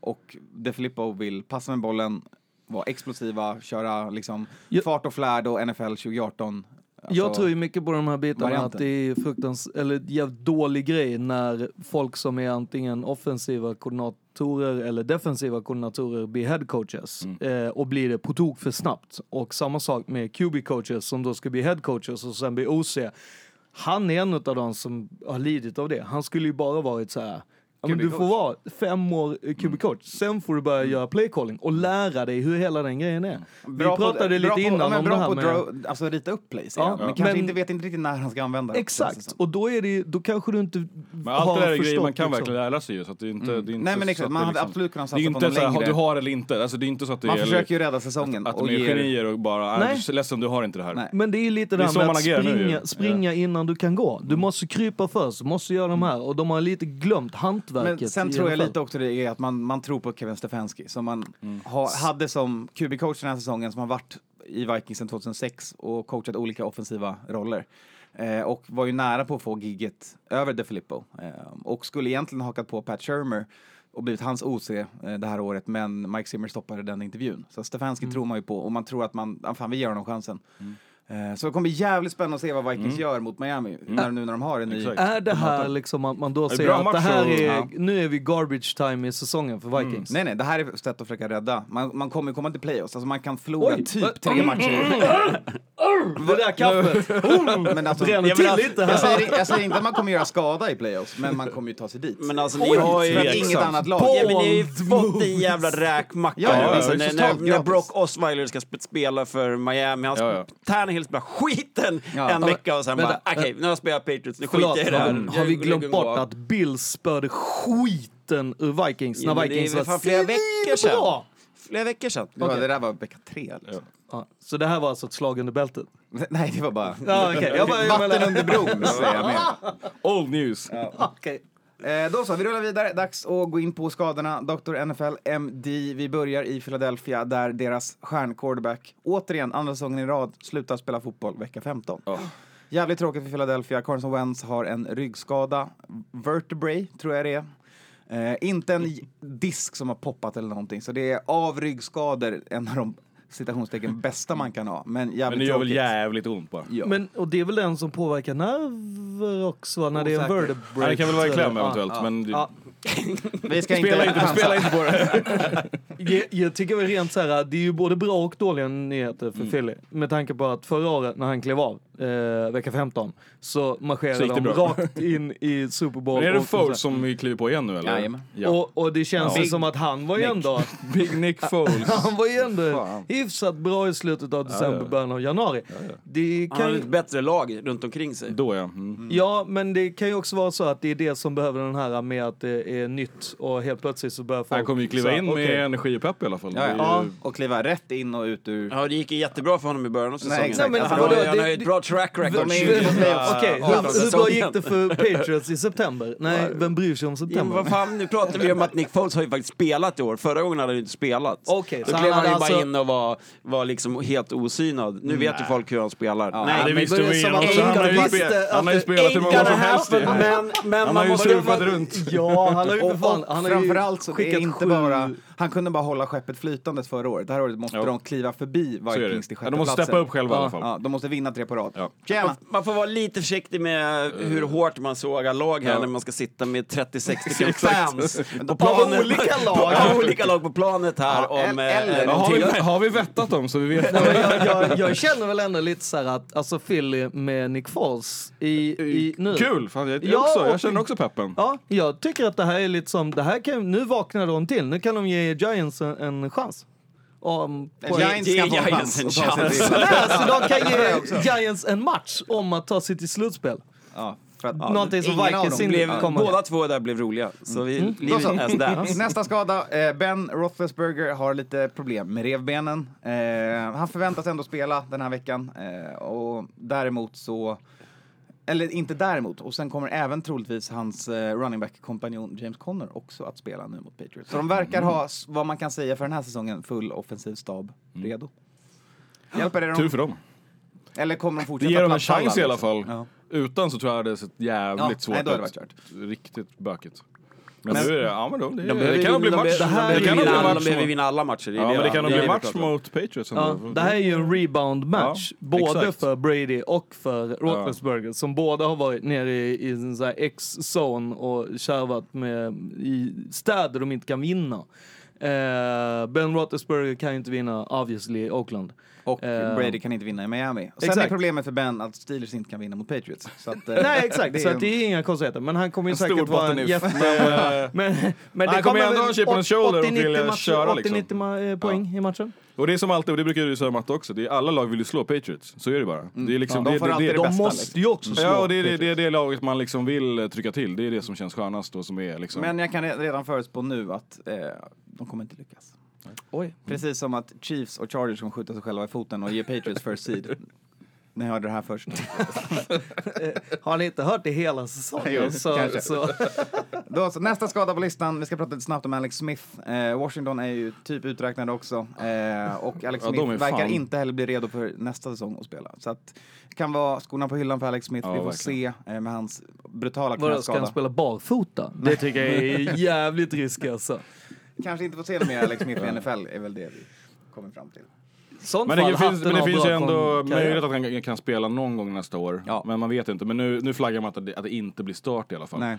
Speaker 1: och DeFilippo vill passa med bollen, vara explosiva, köra liksom
Speaker 2: Jag-
Speaker 1: fart och flärd och NFL 2018. Alltså,
Speaker 2: Jag tror ju mycket på de här bitarna
Speaker 1: varianten.
Speaker 2: att det är fruktans eller jävligt dålig grej när folk som är antingen offensiva koordinatorer eller defensiva koordinatorer blir head coaches
Speaker 1: Mm.
Speaker 2: eh, och blir det på tok för snabbt. Och samma sak med QB coaches som då ska bli head coaches och sen bli OC. Han är en av de som har lidit av det. Han skulle ju bara varit så här Ja, men du får vara fem år eh,
Speaker 1: Mm.
Speaker 2: QB coach, sen får du börja göra play calling och lära dig hur hela den grejen är. Vi
Speaker 1: Mm. bra på-
Speaker 2: pratade
Speaker 1: bra
Speaker 2: lite
Speaker 1: på-
Speaker 2: innan
Speaker 1: ja, men
Speaker 2: om
Speaker 1: bra
Speaker 2: det här
Speaker 1: på
Speaker 2: med...
Speaker 1: draw- Alltså rita upp plays,
Speaker 2: Ja,
Speaker 1: ja, men
Speaker 2: ja.
Speaker 1: kanske
Speaker 2: Men-
Speaker 1: inte vet inte riktigt när han ska använda det. känns det
Speaker 2: Exakt,
Speaker 1: som.
Speaker 2: och då, är det, ju- då kanske du inte
Speaker 4: Men allt det där är grejer
Speaker 2: förstått,
Speaker 4: man kan
Speaker 2: liksom.
Speaker 4: verkligen lära sig ju. Så att det är inte, det är inte
Speaker 1: Nej, men
Speaker 4: så
Speaker 1: exakt.
Speaker 4: att
Speaker 1: Man
Speaker 4: det är
Speaker 1: hade absolut kunnat satsa
Speaker 4: Det är
Speaker 1: på
Speaker 4: inte
Speaker 1: någon
Speaker 4: så här,
Speaker 1: längre.
Speaker 4: du har eller inte. Alltså det är inte så att det
Speaker 1: Man
Speaker 4: gäller
Speaker 1: försöker ju rädda säsongen
Speaker 4: att
Speaker 1: och
Speaker 4: de är
Speaker 1: ger-
Speaker 4: genier och bara, nej,
Speaker 2: Nej.
Speaker 4: du är ledsen du har inte det här.
Speaker 1: Nej.
Speaker 2: Men det är lite
Speaker 4: Det är
Speaker 2: det
Speaker 4: så
Speaker 2: där med
Speaker 4: man
Speaker 2: att
Speaker 4: agerar nu ju.
Speaker 2: springa, springa innan du kan gå. Du måste krypa först, du måste göra de här. Och de har lite glömt hantverket.
Speaker 1: Men sen
Speaker 2: i
Speaker 1: tror jag
Speaker 2: NFL.
Speaker 1: lite också det är att man, man tror på Kevin Stefanski som man ha, hade som QB-coach den här säsongen som har varit i Vikings sedan 2006 och coachat olika offensiva roller. Eh, och var ju nära på att få gigget över DeFilippo eh, och skulle egentligen hakat på Pat Shermer och blivit hans OC eh, det här året men Mike Zimmer stoppade den intervjun. Så Stefanski tror man ju på och man tror att man, ah, fan vi ger honom chansen. Eh, Så det kommer bli jävligt spännande att se vad Vikings gör mot Miami när, nu när de har en ny...
Speaker 4: Exakt.
Speaker 2: Är det här liksom att man då
Speaker 4: är
Speaker 2: säger
Speaker 4: bra
Speaker 2: att det
Speaker 4: match
Speaker 2: här
Speaker 4: och-
Speaker 2: är,
Speaker 4: ja.
Speaker 2: nu är vi garbage time i säsongen för Vikings?
Speaker 1: Nej, nej, det här är ett sätt att försöka rädda. Man, man kommer ju komma till playoffs, alltså man kan förlora
Speaker 2: Oj, Mm. va-
Speaker 1: typ tre matcher.
Speaker 2: Det där kaffet!
Speaker 1: Men alltså,
Speaker 2: Bränner
Speaker 1: jag,
Speaker 2: till
Speaker 3: alltså-
Speaker 2: lite här.
Speaker 1: jag, säger, jag säger inte att man kommer göra skada i playoffs, men man kommer ju ta sig dit.
Speaker 3: Men alltså ni har
Speaker 1: För att
Speaker 3: ju...
Speaker 1: inget annat lag.
Speaker 3: Ja, men
Speaker 1: Ja,
Speaker 3: ni har ju fått en jävla räkmacka
Speaker 1: Ja,
Speaker 3: nu.
Speaker 1: ja,
Speaker 3: alltså,
Speaker 1: ja,
Speaker 3: när,
Speaker 1: totalt
Speaker 3: när, när
Speaker 1: gratis.
Speaker 3: Brock Osweiler ska sp- spela för Miami, han
Speaker 4: Ja, ja.
Speaker 3: Tannehill spelar skiten
Speaker 1: Ja.
Speaker 3: en vecka och sen
Speaker 2: Vänta,
Speaker 3: bara okej, nu har jag spelat Patriots, nu
Speaker 2: Förlåt,
Speaker 3: skiter jag i det här.
Speaker 2: har, har vi
Speaker 3: Jag-
Speaker 2: glömt
Speaker 3: jag-
Speaker 2: bort att Bills spörde skiten ur Vikings
Speaker 3: Ja,
Speaker 2: när
Speaker 3: men det är
Speaker 2: Vikings
Speaker 3: väl
Speaker 2: var
Speaker 3: fan flera veckor
Speaker 2: svinbra.
Speaker 3: sedan. Flera veckor sedan.
Speaker 1: Det, var, det där var vecka tre. Liksom.
Speaker 2: Ja, så det här var alltså ett slag under bältet?
Speaker 1: Nej, det var bara...
Speaker 2: Ja, okej. Jag bara- jag
Speaker 1: Vatten
Speaker 2: menar-
Speaker 1: under bron, säger jag med.
Speaker 4: Old news!
Speaker 2: Okej.
Speaker 1: Eh, då så, vi rullar vidare. Dags att gå in på skadorna. Dr. NFL MD. Vi börjar i Philadelphia där deras stjärnquarterback återigen, andra säsongen i rad, slutar spela fotboll vecka 15.
Speaker 4: Oh.
Speaker 1: Jävligt tråkigt för Philadelphia. Carson Wentz har en ryggskada. Vertebrae, tror jag det är. Eh, inte en j- disk som har poppat eller någonting. Så det är av ryggskador en av de citationstecken bästa man kan ha. Men jävligt
Speaker 4: Men det gör väl
Speaker 1: tråkigt.
Speaker 4: jävligt ont bara.
Speaker 1: Ja.
Speaker 2: Men, och det är väl den som påverkar nerver också, va? när det är en
Speaker 1: Osäker.
Speaker 4: Nej,
Speaker 2: vertebrae.
Speaker 4: det kan väl vara i kläm
Speaker 2: Ja.
Speaker 4: eventuellt, men det,
Speaker 2: Ja.
Speaker 1: Vi ska
Speaker 4: spela,
Speaker 1: inte
Speaker 4: inte, spela inte på det.
Speaker 2: Jag, jag tycker väl rent så här, det är ju både bra och dåliga nyheter för
Speaker 4: Mm.
Speaker 2: Philly. Med tanke på att förra året när han klev av, eh, vecka 15, så
Speaker 4: Så
Speaker 2: marscherade
Speaker 4: gick det
Speaker 2: de
Speaker 4: bra.
Speaker 2: rakt in i Super Bowl.
Speaker 4: Men är det
Speaker 2: och-
Speaker 4: Foles som vi kliver på igen nu eller?
Speaker 1: Jajamän.
Speaker 4: Ja.
Speaker 2: och, och det känns ju
Speaker 1: Big
Speaker 2: som att han var ju ändå...
Speaker 4: Big Nick Foles.
Speaker 2: Han var ju ändå
Speaker 1: Fan.
Speaker 2: hyfsat bra i slutet av december,
Speaker 4: ja.
Speaker 2: början av januari. Det
Speaker 3: Han har
Speaker 2: kan,
Speaker 3: ett bättre lag runt omkring sig.
Speaker 4: Då ja. Mm.
Speaker 2: Ja, men det kan ju också vara så att det är det som behöver den här med att det är nytt och helt plötsligt så börjar folk...
Speaker 4: Han kommer ju
Speaker 2: så
Speaker 4: kliva
Speaker 2: här,
Speaker 4: in med
Speaker 2: okej.
Speaker 4: energi och pepp i alla fall.
Speaker 1: Ja,
Speaker 4: Det är
Speaker 1: ja.
Speaker 4: ju-
Speaker 1: Och kliva rätt in och ut ur...
Speaker 3: Ja, det gick ju jättebra för honom i början av säsongen.
Speaker 1: exakt.
Speaker 2: Nej, men
Speaker 3: han, har,
Speaker 2: vadå,
Speaker 3: han har
Speaker 2: det-
Speaker 3: ju ett bra track record.
Speaker 1: De är ju inte med oss.
Speaker 2: Okej,
Speaker 1: Ja,
Speaker 2: hur, hur bra gick det för Patriots i september? Nej, vem bryr sig
Speaker 3: Ja,
Speaker 2: om
Speaker 3: men
Speaker 2: september?
Speaker 3: vad fan, nu pratar vi om att Nick Foles har ju faktiskt spelat i år. Förra gången hade han ju inte spelat.
Speaker 2: Okej,
Speaker 3: Då
Speaker 2: så
Speaker 3: klev
Speaker 2: han
Speaker 3: han ju
Speaker 2: hade
Speaker 3: bara
Speaker 2: alltså-
Speaker 3: in och var, var liksom helt osynad. Nu vet ju folk hur han spelar.
Speaker 4: Nej, det
Speaker 2: men
Speaker 4: visste
Speaker 2: det är
Speaker 4: vi
Speaker 2: som
Speaker 4: innan
Speaker 2: att
Speaker 4: också. Han har ju
Speaker 2: ingen
Speaker 4: spe-
Speaker 2: visste
Speaker 4: han har ju
Speaker 2: att
Speaker 4: spelat hur många gånger som helst. ju.
Speaker 3: men, men
Speaker 4: Han har
Speaker 3: man
Speaker 4: ju
Speaker 3: måste...
Speaker 4: surfat runt.
Speaker 2: Ja, han har ju för
Speaker 1: Och,
Speaker 2: fan...
Speaker 1: och
Speaker 2: Han har ju
Speaker 1: framförallt så är
Speaker 2: skickat
Speaker 1: inte
Speaker 2: sju-
Speaker 1: bara... Han kunde bara hålla skeppet flytandes förra året. Det här året måste
Speaker 4: Ja.
Speaker 1: de kliva förbi
Speaker 4: Så är det.
Speaker 1: Vikings till
Speaker 4: Ja,
Speaker 1: sjätteplatsen.
Speaker 4: de måste steppa upp själva i alla
Speaker 1: Ja,
Speaker 4: fall.
Speaker 1: ja, de måste vinna tre på rad.
Speaker 4: Ja.
Speaker 1: Tjena!
Speaker 3: Man får vara lite försiktig med hur hårt man sågar lag här när man ska sitta med 30-60 stycken
Speaker 4: Exakt.
Speaker 3: fans.
Speaker 1: På
Speaker 3: planen-
Speaker 1: olika lag.
Speaker 3: Av olika lag på planet här.
Speaker 1: Ja,
Speaker 3: om, eh,
Speaker 1: el- eller-
Speaker 4: Ja,
Speaker 3: om
Speaker 4: har,
Speaker 3: tio-
Speaker 4: vi, har vi vettat dem så vi vet?
Speaker 2: Nej, men jag, jag, jag känner väl ändå lite så här att, alltså Philly med Nick Foles i, i nu.
Speaker 4: Eh, Kul! Fan, jag, jag,
Speaker 2: Ja,
Speaker 4: också, jag
Speaker 2: och-
Speaker 4: känner också peppen.
Speaker 2: Ja, jag tycker att det här är lite som, det här kan, nu vaknar de till, nu kan de ge Giants en, en chans. Om, på en,
Speaker 1: Giants kan få en chans.
Speaker 3: Giants en
Speaker 1: att ta sig
Speaker 3: chans.
Speaker 1: till-
Speaker 2: Nej, alltså de kan ge Giants en match om att ta sig till slutspel.
Speaker 1: Ja, för att-
Speaker 2: Någonting som
Speaker 1: ingen av dem
Speaker 2: Vikings
Speaker 1: blir-
Speaker 2: inte
Speaker 3: blev,
Speaker 2: kommer.
Speaker 3: båda två där blev roliga. Så vi
Speaker 1: Mm. Då
Speaker 3: leave
Speaker 1: så.
Speaker 3: it as that.
Speaker 1: Nästa skada. Eh, Ben Roethlisberger har lite problem med revbenen. Eh, han förväntas ändå spela den här veckan. Eh, och däremot så... Eller inte däremot. Och sen kommer även troligtvis hans eh, running back-kompanjon James Conner också att spela nu mot Patriots. Så de verkar ha, s- vad man kan säga för den här säsongen, full offensiv stab redo. Hjälper det
Speaker 4: Mm. Tur
Speaker 1: dem?
Speaker 4: för dem.
Speaker 1: Eller kommer de fortsätta
Speaker 4: Det ger dem en
Speaker 1: plattfalla,
Speaker 4: chans i alla
Speaker 1: liksom?
Speaker 4: fall.
Speaker 1: Ja.
Speaker 4: Utan så tror jag det hade sett jävligt
Speaker 1: Ja,
Speaker 4: svårt
Speaker 1: nej, då hade det
Speaker 4: ut.
Speaker 1: varit
Speaker 4: Riktigt bökigt. Men, nu är det, ja men då, det,
Speaker 3: behöver
Speaker 4: det kan nog bli
Speaker 3: vinna-
Speaker 4: match.
Speaker 3: De,
Speaker 2: här
Speaker 4: det
Speaker 3: behöver
Speaker 4: kan nog
Speaker 3: vinna
Speaker 4: bli
Speaker 3: alla-
Speaker 4: match.
Speaker 3: de behöver
Speaker 4: mot-
Speaker 3: vinna alla matcher. Det är
Speaker 4: Ja men det kan nog bli
Speaker 3: vi
Speaker 4: match
Speaker 3: pratar om.
Speaker 4: mot Patriots
Speaker 2: Ja,
Speaker 4: ändå.
Speaker 2: det här är ju en rebound match,
Speaker 4: Mm, Ja,
Speaker 2: både
Speaker 4: exakt.
Speaker 2: för Brady och för Roethlisberger, som båda har varit nere i, i en sån här X-zone och kärvat med, i städer de inte kan vinna. Eh, ben Roethlisberger kan ju inte vinna, obviously, i Oakland.
Speaker 1: Och
Speaker 2: Eh,
Speaker 1: Brady kan inte vinna i Miami. Och sen
Speaker 2: exakt.
Speaker 1: är problemet för Ben att Steelers inte kan vinna mot Patriots. Så att, eh,
Speaker 2: Nej, exakt.
Speaker 1: det
Speaker 2: så
Speaker 1: är-
Speaker 2: att det är inga konstigheter. Men han kommer ju
Speaker 4: stor
Speaker 2: säkert vara en
Speaker 4: bottennyff.
Speaker 2: jätte...
Speaker 4: eh,
Speaker 2: men, men
Speaker 4: Han kommer ändå ha en chip on his shoulder och vilja
Speaker 2: 80-90
Speaker 4: köra, liksom.
Speaker 2: 80-90 ma- eh, poäng i matchen.
Speaker 4: Och det är som alltid, och det brukar du säga Matte också, det är, alla lag vill ju slå Patriots. Så är det bara. Det är liksom,
Speaker 1: Ja, de
Speaker 4: det,
Speaker 1: får
Speaker 4: det,
Speaker 1: alltid
Speaker 4: det,
Speaker 1: det bästa, liksom.
Speaker 2: ju också
Speaker 4: Ja, och det är det, det, är det laget man liksom vill eh, trycka till. Det är det som känns skönast och som är liksom...
Speaker 1: Men jag kan re- redan förutspå nu att eh, de kommer inte lyckas.
Speaker 4: Mm.
Speaker 2: Oj.
Speaker 1: Precis som att Chiefs och Chargers kommer skjuta sig själva i foten och ge Patriots first seed. Ni hörde det här först.
Speaker 2: Har ni inte hört det hela säsongen? så,
Speaker 1: kanske.
Speaker 2: så.
Speaker 1: Då, så, nästa skada på listan, vi ska prata lite snabbt om Alex Smith. Eh, Washington är ju typ uträknade också. Eh, och Alex
Speaker 4: Ja, de
Speaker 1: Smith
Speaker 4: är
Speaker 1: verkar
Speaker 4: fan-
Speaker 1: inte heller bli redo för nästa säsong att spela. Så att, det kan vara skorna på hyllan för Alex Smith,
Speaker 4: Ja,
Speaker 1: vi får
Speaker 4: verkligen.
Speaker 1: se eh, med hans brutala
Speaker 2: Vadå, ska han
Speaker 1: knäskada.
Speaker 2: spela barfota? Det tycker jag är jävligt riskigt alltså.
Speaker 1: Kanske inte får se det mer Alex Smith i NFL, är väl det vi kommer fram till.
Speaker 2: Sånt
Speaker 4: Men det
Speaker 2: fall,
Speaker 4: finns,
Speaker 2: hatten
Speaker 4: men det
Speaker 2: av
Speaker 4: finns ju
Speaker 2: bra
Speaker 4: ändå
Speaker 2: karriär.
Speaker 4: möjlighet att han kan spela någon gång nästa år.
Speaker 1: Ja.
Speaker 4: Men man vet inte. Men nu, nu flaggar man att det, att det inte blir start i alla fall.
Speaker 1: Nej.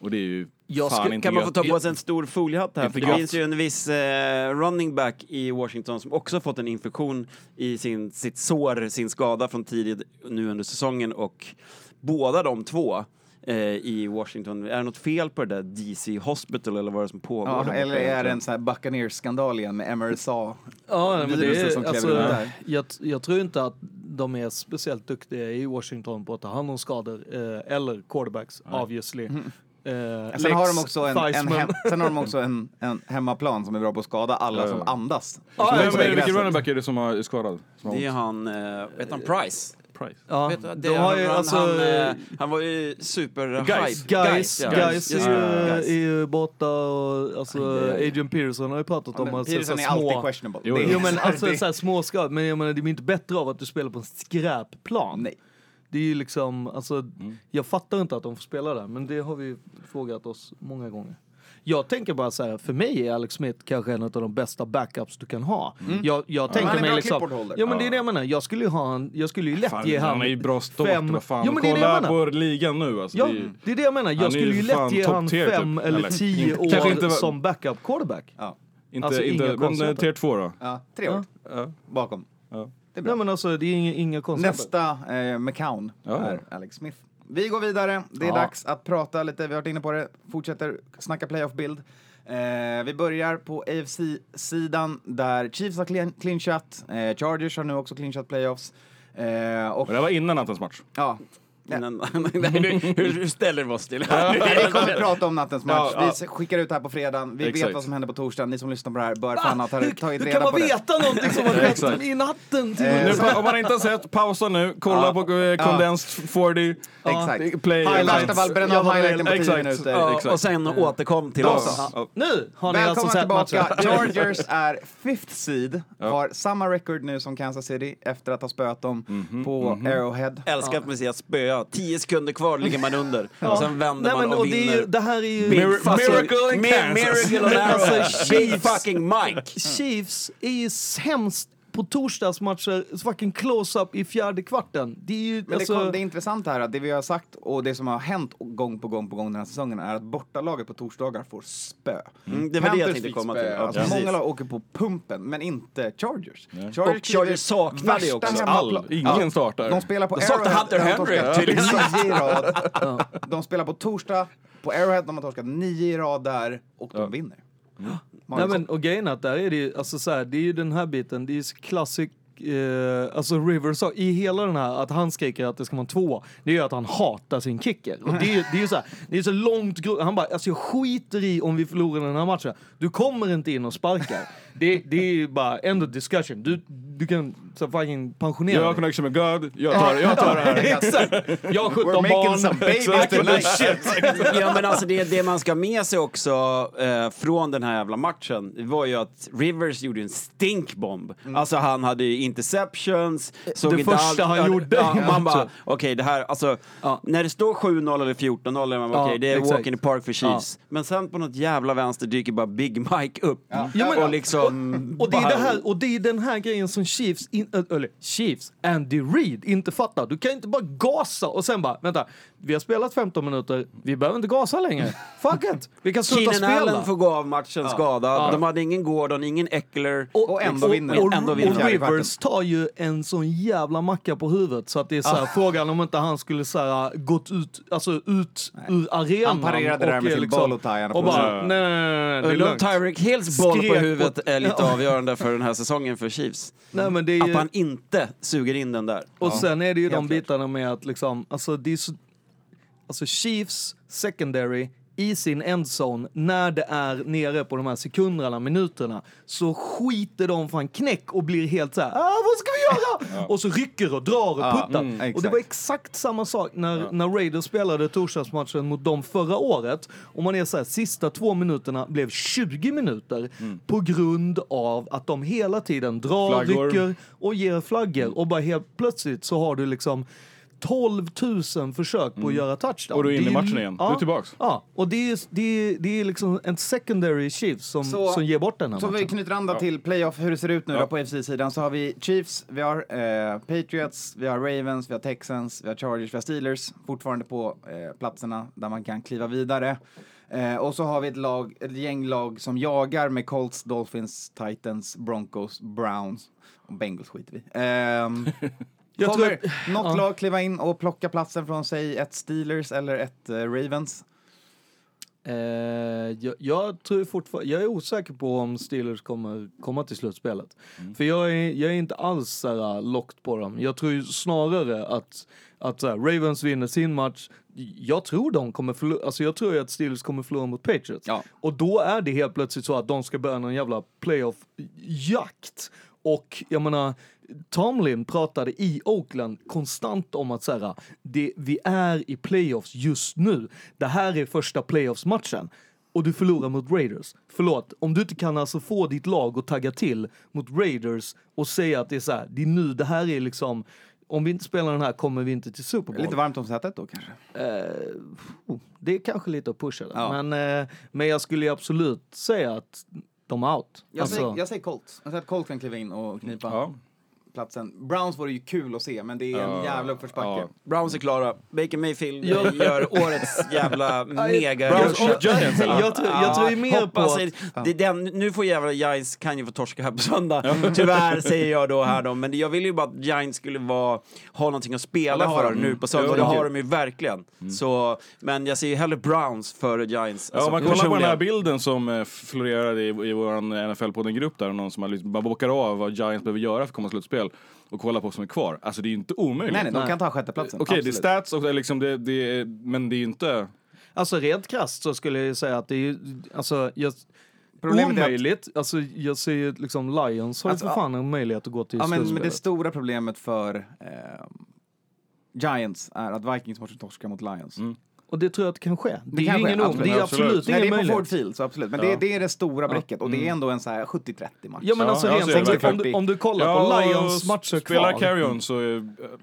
Speaker 4: Och det är ju
Speaker 2: Jag
Speaker 4: fan
Speaker 2: skulle-
Speaker 4: inte
Speaker 3: Kan man
Speaker 4: gött.
Speaker 3: få ta på sig en stor foliehatt här? För det
Speaker 4: gött.
Speaker 3: finns ju en viss eh, running back i Washington som också fått en infektion i sin, sitt sår, sin skada från tidigt nu under säsongen och båda de två eh, i Washington. Är det något fel på det där DC Hospital eller vad är det som pågår? där
Speaker 1: Ja,
Speaker 3: borta
Speaker 1: eller är det
Speaker 3: egentligen?
Speaker 1: en sån här Buccaneers-skandal igen med MRSA?
Speaker 2: Ja, men det
Speaker 1: viruset som
Speaker 2: är,
Speaker 1: klev
Speaker 2: alltså,
Speaker 1: in där.
Speaker 2: jag, jag tror inte att de är speciellt duktiga i Washington på att ta hand om skador eh, eller quarterbacks, obviously.
Speaker 4: Mm.
Speaker 2: Eh,
Speaker 1: Sen har
Speaker 2: Lex
Speaker 1: de också en, en,
Speaker 2: Theismann.
Speaker 1: hem, sen har de också en, en hemmaplan som är bra på att skada alla som andas.
Speaker 2: Ja,
Speaker 1: Som
Speaker 2: ja,
Speaker 1: också
Speaker 4: Vem är det,
Speaker 1: är
Speaker 4: vilken
Speaker 1: gräset.
Speaker 4: running back är det som har är skadad? Som har
Speaker 3: Det är
Speaker 4: ont?
Speaker 3: han, eh, vet han Price?
Speaker 4: Price.
Speaker 2: Ja,
Speaker 3: Vet du,
Speaker 2: de
Speaker 3: det,
Speaker 2: har
Speaker 3: han,
Speaker 2: ju
Speaker 3: han,
Speaker 2: alltså...
Speaker 3: han, eh, han var ju super
Speaker 4: Guys.
Speaker 3: hype.
Speaker 2: Guys,
Speaker 3: ja.
Speaker 2: guys,
Speaker 3: Just
Speaker 2: är, ju,
Speaker 3: det, Guys. eh,
Speaker 2: är ju borta och alltså, Adrian Peterson har ju pratat om
Speaker 1: Men
Speaker 2: att så, så,
Speaker 1: Peterson är
Speaker 2: små...
Speaker 1: alltid questionable.
Speaker 4: Jo,
Speaker 1: Det är-
Speaker 2: Jo men alltså så här, små skador, men jag menar det blir inte bättre av att du spelar på en skräpplan.
Speaker 1: Nej.
Speaker 2: Det är ju liksom, alltså,
Speaker 4: Mm.
Speaker 2: jag fattar inte att de får spela där, men det har vi ju frågat oss många gånger. Jag tänker bara så här, för mig är Alex Smith kanske en av de bästa backups du kan ha.
Speaker 4: Mm.
Speaker 2: Jag, jag
Speaker 1: han
Speaker 2: tänker
Speaker 1: är
Speaker 2: mig
Speaker 1: bra
Speaker 2: liksom,
Speaker 1: clipboard-hållare.
Speaker 2: ja men det är det jag menar, jag skulle ju ha en, jag skulle ju lätt
Speaker 4: Fan,
Speaker 2: ge han,
Speaker 4: han är ju bra start.
Speaker 2: fem-
Speaker 4: Vad fan.
Speaker 2: Jo, men det är det jag
Speaker 4: Kolla
Speaker 2: menar.
Speaker 4: på ligan nu alltså.
Speaker 2: Ja,
Speaker 4: Det är ju-
Speaker 2: det är det jag menar.
Speaker 4: Han
Speaker 2: Jag
Speaker 4: är
Speaker 2: skulle
Speaker 4: ju
Speaker 2: ju
Speaker 4: fan
Speaker 2: lätt ge
Speaker 4: top
Speaker 2: han
Speaker 4: tier, typ.
Speaker 2: fem eller
Speaker 4: Eller,
Speaker 2: tio
Speaker 4: inte- kanske
Speaker 2: år
Speaker 4: inte-
Speaker 2: som backup quarterback.
Speaker 1: Ja,
Speaker 4: Inte,
Speaker 2: Alltså, inga
Speaker 4: inte, men eh,
Speaker 2: konstigheter.
Speaker 4: tier 2 då?
Speaker 1: ja, tre år bakom. Det är bra.
Speaker 2: Nej men alltså, det är inga, inga konstigheter.
Speaker 1: Nästa eh, McCown
Speaker 4: Ja.
Speaker 1: är Alex Smith. Vi går vidare. Det är
Speaker 2: Ja.
Speaker 1: dags att prata lite. Vi har varit inne på det. Fortsätter snacka playoff-bild. Eh, vi börjar på AFC-sidan där Chiefs har clin- clinchat. Eh, Chargers har nu också clinchat playoffs. Eh, och,
Speaker 4: Och det här var innan nattens match.
Speaker 1: ja.
Speaker 3: Innan, nej, nu, hur, hur ställer vi oss till det
Speaker 1: Nej, Vi
Speaker 3: här?
Speaker 1: kommer prata om nattens match.
Speaker 4: Ja, ja.
Speaker 1: Vi skickar ut det här på fredagen. Vi vet
Speaker 4: Exakt.
Speaker 1: vad som händer på torsdagen. Ni som lyssnar på det här bör fan ha
Speaker 2: Ah,
Speaker 1: tagit tagit
Speaker 2: hur
Speaker 1: reda
Speaker 2: kan man
Speaker 1: på det. Eh,
Speaker 2: veta någonting som har skett
Speaker 4: Exakt.
Speaker 2: i natten? Till
Speaker 4: Nu, om man inte har sett, pausa nu, kolla
Speaker 1: Ja.
Speaker 4: på eh, Condensed 40.
Speaker 1: Exakt.
Speaker 4: Play.
Speaker 1: I värsta
Speaker 4: highlights.
Speaker 1: fall bränna av
Speaker 2: Jag var med.
Speaker 1: highlighten på 10
Speaker 4: Exakt.
Speaker 1: minuter.
Speaker 4: Ja.
Speaker 3: Ja, Eh, och
Speaker 2: Mm.
Speaker 3: sen återkom till oss.
Speaker 4: Ja.
Speaker 2: Nu har ni alltså
Speaker 1: Välkomna
Speaker 2: sett
Speaker 1: tillbaka!
Speaker 2: matchen.
Speaker 1: Chargers är fifth seed, har samma record nu som Kansas City efter att ha spöat dem på Arrowhead.
Speaker 3: Älskar att man säger spöa ja, tio sekunder kvar ligger man under. Och sen vänder
Speaker 2: Nej, men,
Speaker 3: man
Speaker 2: och
Speaker 3: och
Speaker 2: det,
Speaker 3: vinner.
Speaker 2: är ju, det här är ju...
Speaker 3: Big
Speaker 4: Mir-
Speaker 3: fucking-
Speaker 4: Miracle in
Speaker 3: Mi-
Speaker 4: Kansas.
Speaker 3: Miracle on
Speaker 2: Alltså,
Speaker 3: Arrowhead. Big fucking Mike.
Speaker 2: Chiefs är ju sämst på torsdagsmatcher, fucking close-up i fjärde kvarten. Det är ju...
Speaker 1: Men
Speaker 2: alltså,
Speaker 1: det, kom, det är intressant här att det vi har sagt och det som har hänt gång på gång på gång den här säsongen är att bortalaget på torsdagar får spö.
Speaker 3: Mm, det var det jag
Speaker 1: Panthers
Speaker 3: tänkte
Speaker 1: fick
Speaker 3: komma
Speaker 1: spö.
Speaker 3: till. Ja,
Speaker 1: alltså,
Speaker 3: precis.
Speaker 1: Många lag åker på pumpen, men inte Chargers.
Speaker 3: Och Chargers saknar det
Speaker 1: värsta
Speaker 3: också.
Speaker 1: hemmaplan-
Speaker 4: All- ingen startar.
Speaker 1: De spelar på
Speaker 3: De saknar
Speaker 1: Arrowhead,
Speaker 3: Hunter
Speaker 1: där de
Speaker 3: Henry,
Speaker 1: torskar
Speaker 3: tydligen.
Speaker 1: nio i rad. De spelar på torsdag, på Arrowhead, de har torskat nio i rad där och de vinner.
Speaker 2: Nej, men, och grejen är att där är det ju, alltså så här, det är ju den här biten, det är ju classic Eh, alltså Rivers sa i hela den här att han skriker att det ska vara en tvåa, det är ju att han hatar sin kicker. Och det är ju det är ju så här, det är så långt gro- han bara alltså jag skiter i om vi förlorar den här matchen. Du kommer inte in och sparkar. det, det är ju bara end of discussion. Du, du kan så här, fucking pensionera
Speaker 4: Jag har
Speaker 2: dig.
Speaker 4: connection med God, jag tar, jag tar det här.
Speaker 2: Exakt! Jag har 17
Speaker 1: We're making some
Speaker 2: barn.
Speaker 1: babies tonight!
Speaker 3: ja, men alltså det, det man ska ha med sig också eh, från den här jävla matchen det var ju att Rivers gjorde en stinkbomb. Alltså han hade ju interceptions. Såg
Speaker 2: Mm. Eh, Det
Speaker 3: inte
Speaker 2: första han
Speaker 3: ja,
Speaker 2: gjorde
Speaker 3: Ja,
Speaker 2: i
Speaker 3: man bara,
Speaker 2: matchen.
Speaker 3: okej det här, alltså
Speaker 2: Ja.
Speaker 3: när det står 7-0 eller 14-0, är man bara,
Speaker 2: Ja,
Speaker 3: okej det är
Speaker 2: exakt.
Speaker 3: walk in the park för Chiefs. Men sen på något jävla vänster dyker bara Big Mike upp.
Speaker 2: Ja, men-
Speaker 3: och liksom...
Speaker 2: Och det, är
Speaker 3: bara-
Speaker 2: det här, och det är den här grejen som Chiefs, in, ö- eller Chiefs, Andy Reid inte fattar. Du kan inte bara gasa och sen bara, vänta, vi har spelat 15 minuter, vi behöver inte gasa längre. Fuck it, vi kan sluta
Speaker 3: Keenan
Speaker 2: spela.
Speaker 3: Allen får gå av matchen skadad. De hade ingen Gordon, ingen Eckler.
Speaker 1: Och ändå vinner.
Speaker 2: Och,
Speaker 3: Ändå
Speaker 2: och,
Speaker 3: vinner.
Speaker 2: och Rivers tar ju en sån jävla macka på huvudet så att det är så här, frågan om inte han skulle så här, gått ut, alltså ut ur arenan.
Speaker 1: Han parerade
Speaker 2: och
Speaker 1: där med
Speaker 2: är
Speaker 1: sin boll och tie, han
Speaker 2: Och bara,
Speaker 1: applåderar.
Speaker 2: nej, nej, nej, nej, det är
Speaker 3: Undra om
Speaker 2: lugnt.
Speaker 3: Tyreek Hills boll på
Speaker 2: Skrek
Speaker 3: huvudet
Speaker 2: åt-
Speaker 3: är lite
Speaker 2: Ja.
Speaker 3: avgörande för den här säsongen för Chiefs.
Speaker 2: Nej, men det är
Speaker 3: Att
Speaker 2: ju-
Speaker 3: han inte suger in den där.
Speaker 2: Och sen är det ju de
Speaker 1: helt klart.
Speaker 2: bitarna med att liksom, alltså det är så, alltså Chiefs secondary i sin endzone när det är nere på de här sekunderna, minuterna så skiter de fan knäck och blir helt så här, ah, vad ska vi göra? Och så rycker och drar och
Speaker 1: Ja,
Speaker 2: puttar.
Speaker 1: mm,
Speaker 2: och det
Speaker 1: exakt.
Speaker 2: var exakt samma sak när, när Raiders spelade torsdagsmatchen mot dem förra året. Och man är så här, sista två minuterna blev 20 minuter
Speaker 4: Mm.
Speaker 2: på grund av att de hela tiden drar,
Speaker 4: Flaggor. Mm.
Speaker 2: rycker, och ger flaggor och bara helt plötsligt så har du liksom 12 000 försök på att göra touchdown.
Speaker 4: Mm. Och du är inne i
Speaker 2: Det ju-
Speaker 4: matchen igen.
Speaker 2: Ja,
Speaker 4: Du är tillbaks.
Speaker 2: Ja, och det är, ju- det är, det är liksom en secondary Chiefs som,
Speaker 1: Så-
Speaker 2: som ger bort den här
Speaker 1: Så vi
Speaker 2: matchen.
Speaker 1: knyter an då till playoff, hur det ser ut nu då på FC-sidan. Så har vi Chiefs, vi har eh, Patriots, vi har Ravens, vi har Texans, vi har Chargers, vi har Steelers. Fortfarande på eh, platserna där man kan kliva vidare. Eh, och så har vi ett, lag, ett gäng lag som jagar med Colts, Dolphins, Titans, Broncos, Browns. Och Bengals skiter vi ehm,
Speaker 2: Jag
Speaker 1: Kommer
Speaker 2: tror
Speaker 1: något
Speaker 2: ja.
Speaker 1: lag kliva in och plocka platsen från, säg, ett Steelers eller ett eh, Ravens?
Speaker 2: Eh, jag, jag tror fortfarande, jag är osäker på om Steelers kommer komma till slutspelet. För jag är, jag är inte alls så här uh, locked på dem. Jag tror ju snarare att, att så här, Ravens vinner sin match. Jag tror de kommer förlora, alltså jag tror ju att Steelers kommer förlora mot Patriots.
Speaker 1: Ja.
Speaker 2: Och då är det helt plötsligt så att de ska börja någon jävla playoff-jakt. Och jag menar, Tomlin pratade i Oakland konstant om att så här, det, vi är i playoffs just nu. Det här är första playoffs-matchen. Och du förlorar mot Raiders. Förlåt, om du inte kan alltså få ditt lag att tagga till mot Raiders och säga att det är så här, det är nu, det här är liksom, om vi inte spelar den här kommer vi inte till Super Bowl. Eh, oh,
Speaker 1: Lite varmt om sätet då kanske?
Speaker 2: Det är kanske lite att pusha det.
Speaker 1: Ja.
Speaker 2: Men, eh, men jag skulle ju absolut säga att de är out.
Speaker 1: Jag,
Speaker 2: Alltså,
Speaker 1: säger, jag säger Colts. Jag säger att Colts kan kliva in och knipa
Speaker 4: Ja.
Speaker 1: platsen. Browns vore ju kul att se, men det är en jävla uppförsbacke.
Speaker 4: ja.
Speaker 3: Browns är klara. Baker Mayfield gör årets jävla mega...
Speaker 4: Browns och Giants.
Speaker 2: jag, tror, jag tror ju mer på
Speaker 3: hoppas-
Speaker 2: att,
Speaker 3: det, den, nu får jävla Giants kan ju få torska här på söndag. Tyvärr säger jag då här då, men jag ville ju bara att Giants skulle vara, ha någonting att
Speaker 1: Ja,
Speaker 3: spela
Speaker 1: det har
Speaker 3: för
Speaker 1: de.
Speaker 3: nu på söndag.
Speaker 4: Jo,
Speaker 3: Det
Speaker 4: det har
Speaker 3: har
Speaker 4: de.
Speaker 3: de ju verkligen.
Speaker 2: Mm.
Speaker 3: Så, men jag ser ju hellre Browns före Giants.
Speaker 4: Ja,
Speaker 3: alltså,
Speaker 4: om man kollar på den
Speaker 3: personligen.
Speaker 4: här bilden som eh, florerade i, i vår nfl podden grupp där, och någon som har, lyft- man bockar av vad Giants behöver göra för att komma till slutspel och kollar på vad som är kvar. Alltså det är ju inte omöjligt.
Speaker 1: Nej, nej, de kan ta sjätteplatsen.
Speaker 4: Okej, det är
Speaker 1: absolut.
Speaker 4: stats, och det är liksom det, det är, men det är ju inte...
Speaker 2: alltså rent krasst så skulle jag ju säga att det är ju, alltså, jag,
Speaker 1: Problemet är att-
Speaker 2: omöjligt. Alltså jag ser ju liksom Lions har ju
Speaker 1: Alltså,
Speaker 2: för fan en möjlighet att gå till
Speaker 1: Ja, men, men det
Speaker 2: slutspelet.
Speaker 1: stora
Speaker 4: Mm.
Speaker 1: problemet för ehm, Giants är att Vikings måste torska mot Lions.
Speaker 2: Och det tror jag att det kan ske. Det, är
Speaker 1: kan
Speaker 2: ju
Speaker 1: ske,
Speaker 2: ingen, o-
Speaker 1: absolut.
Speaker 2: det är absolut,
Speaker 4: Absolut.
Speaker 1: Nej,
Speaker 2: ingen
Speaker 1: det är på Ford
Speaker 2: möjlighet.
Speaker 1: Field, så absolut. Men det, det är det stora bräcket och det är ändå en så här 70-30 match.
Speaker 2: Ja men
Speaker 4: Mm. Ja,
Speaker 2: alltså
Speaker 4: jag ser det
Speaker 2: rent tekniskt, om, du-
Speaker 1: verkligen.
Speaker 2: om du kollar
Speaker 4: och
Speaker 2: på Lions matcher kvar.
Speaker 4: Spelar
Speaker 2: Mm.
Speaker 4: Carrion så... eh,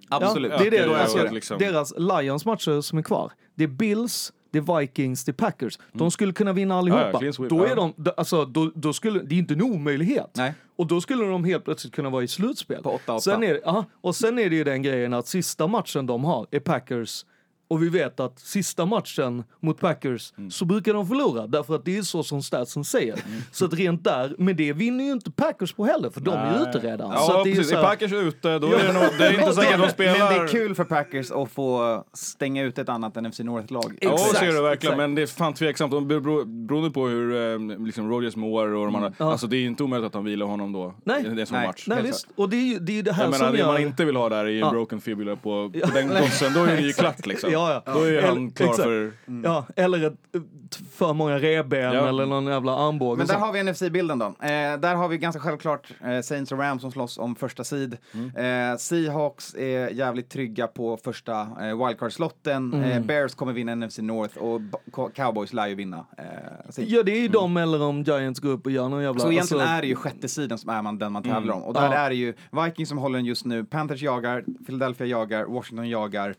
Speaker 1: absolut.
Speaker 2: Ja, det är det
Speaker 4: Ja,
Speaker 2: jag
Speaker 4: det är
Speaker 2: ser
Speaker 4: det,
Speaker 2: det.
Speaker 4: liksom.
Speaker 2: Deras Lions matcher som är kvar, det är Bills, det är Vikings, det är Packers. De skulle kunna vinna
Speaker 4: Mm. Ja, ja,
Speaker 2: allihopa.
Speaker 4: clean sweep,
Speaker 2: då
Speaker 4: ja.
Speaker 2: är de, d- alltså, då, då skulle, det är inte en omöjlighet.
Speaker 1: Nej.
Speaker 2: Och då skulle de helt plötsligt kunna vara i slutspel.
Speaker 1: På åtta, åtta.
Speaker 2: Sen är, det- ja, och sen är det ju den grejen att sista matchen de har är Packers. Och vi vet att sista matchen mot Packers
Speaker 4: Mm.
Speaker 2: så brukar de förlora därför att det är så som statsen säger. Så att rent där, men det vinner ju inte Packers på heller för de är ju ute redan.
Speaker 4: Ja,
Speaker 2: så att det är ju
Speaker 4: precis.
Speaker 2: så
Speaker 4: Är
Speaker 2: här-
Speaker 4: Packers ute, då är det nog... Det är inte
Speaker 1: Men-
Speaker 4: säkert de
Speaker 1: Men
Speaker 4: spelar...
Speaker 1: det är kul för Packers att få stänga ut ett annat NFC North-lag.
Speaker 4: Ja,
Speaker 2: Exakt,
Speaker 4: så är det verkligen.
Speaker 2: exakt.
Speaker 4: Men det är fan tveksamt. De bero- bero- Beroende på hur eh, liksom Rogers mår och de andra.
Speaker 2: Ja.
Speaker 4: Alltså det är inte omöjligt att de vilar honom då.
Speaker 2: Nej.
Speaker 4: Det är en sån
Speaker 1: Nej.
Speaker 4: match.
Speaker 2: Nej,
Speaker 1: Helt
Speaker 2: visst. Och det är ju det, är ju det här
Speaker 4: Jag menar,
Speaker 2: som
Speaker 4: det
Speaker 2: gör...
Speaker 4: man inte vill ha där är ju
Speaker 2: Ja.
Speaker 4: broken fibula på, på den klossen. Då är det ju klart liksom.
Speaker 2: Ja, ja.
Speaker 4: Då är
Speaker 2: Eller-
Speaker 4: han klar
Speaker 2: exakt.
Speaker 4: för...
Speaker 2: Ja, eller ett, ett för många revben
Speaker 4: Ja.
Speaker 2: eller någon jävla armbåge.
Speaker 1: Men
Speaker 2: och
Speaker 1: där
Speaker 2: sånt.
Speaker 1: har vi NFC-bilden då. Eh, där har vi ganska självklart eh, Saints och Rams som slåss om första seed. Eh, Seahawks är jävligt trygga på första eh, wildcard-slotten. Eh, Bears kommer vinna NFC North och b- co- Cowboys lär ju vinna eh, sin.
Speaker 2: Ja, det är ju dem eller om Giants går upp och gör någon jävla...
Speaker 1: Så egentligen
Speaker 2: alltså-
Speaker 1: är det ju sjätte sidan som är man, den man tävlar
Speaker 4: Mm.
Speaker 1: om. Och där
Speaker 2: Ja.
Speaker 1: är det ju Vikings som håller den just nu, Panthers jagar, Philadelphia jagar, Washington jagar,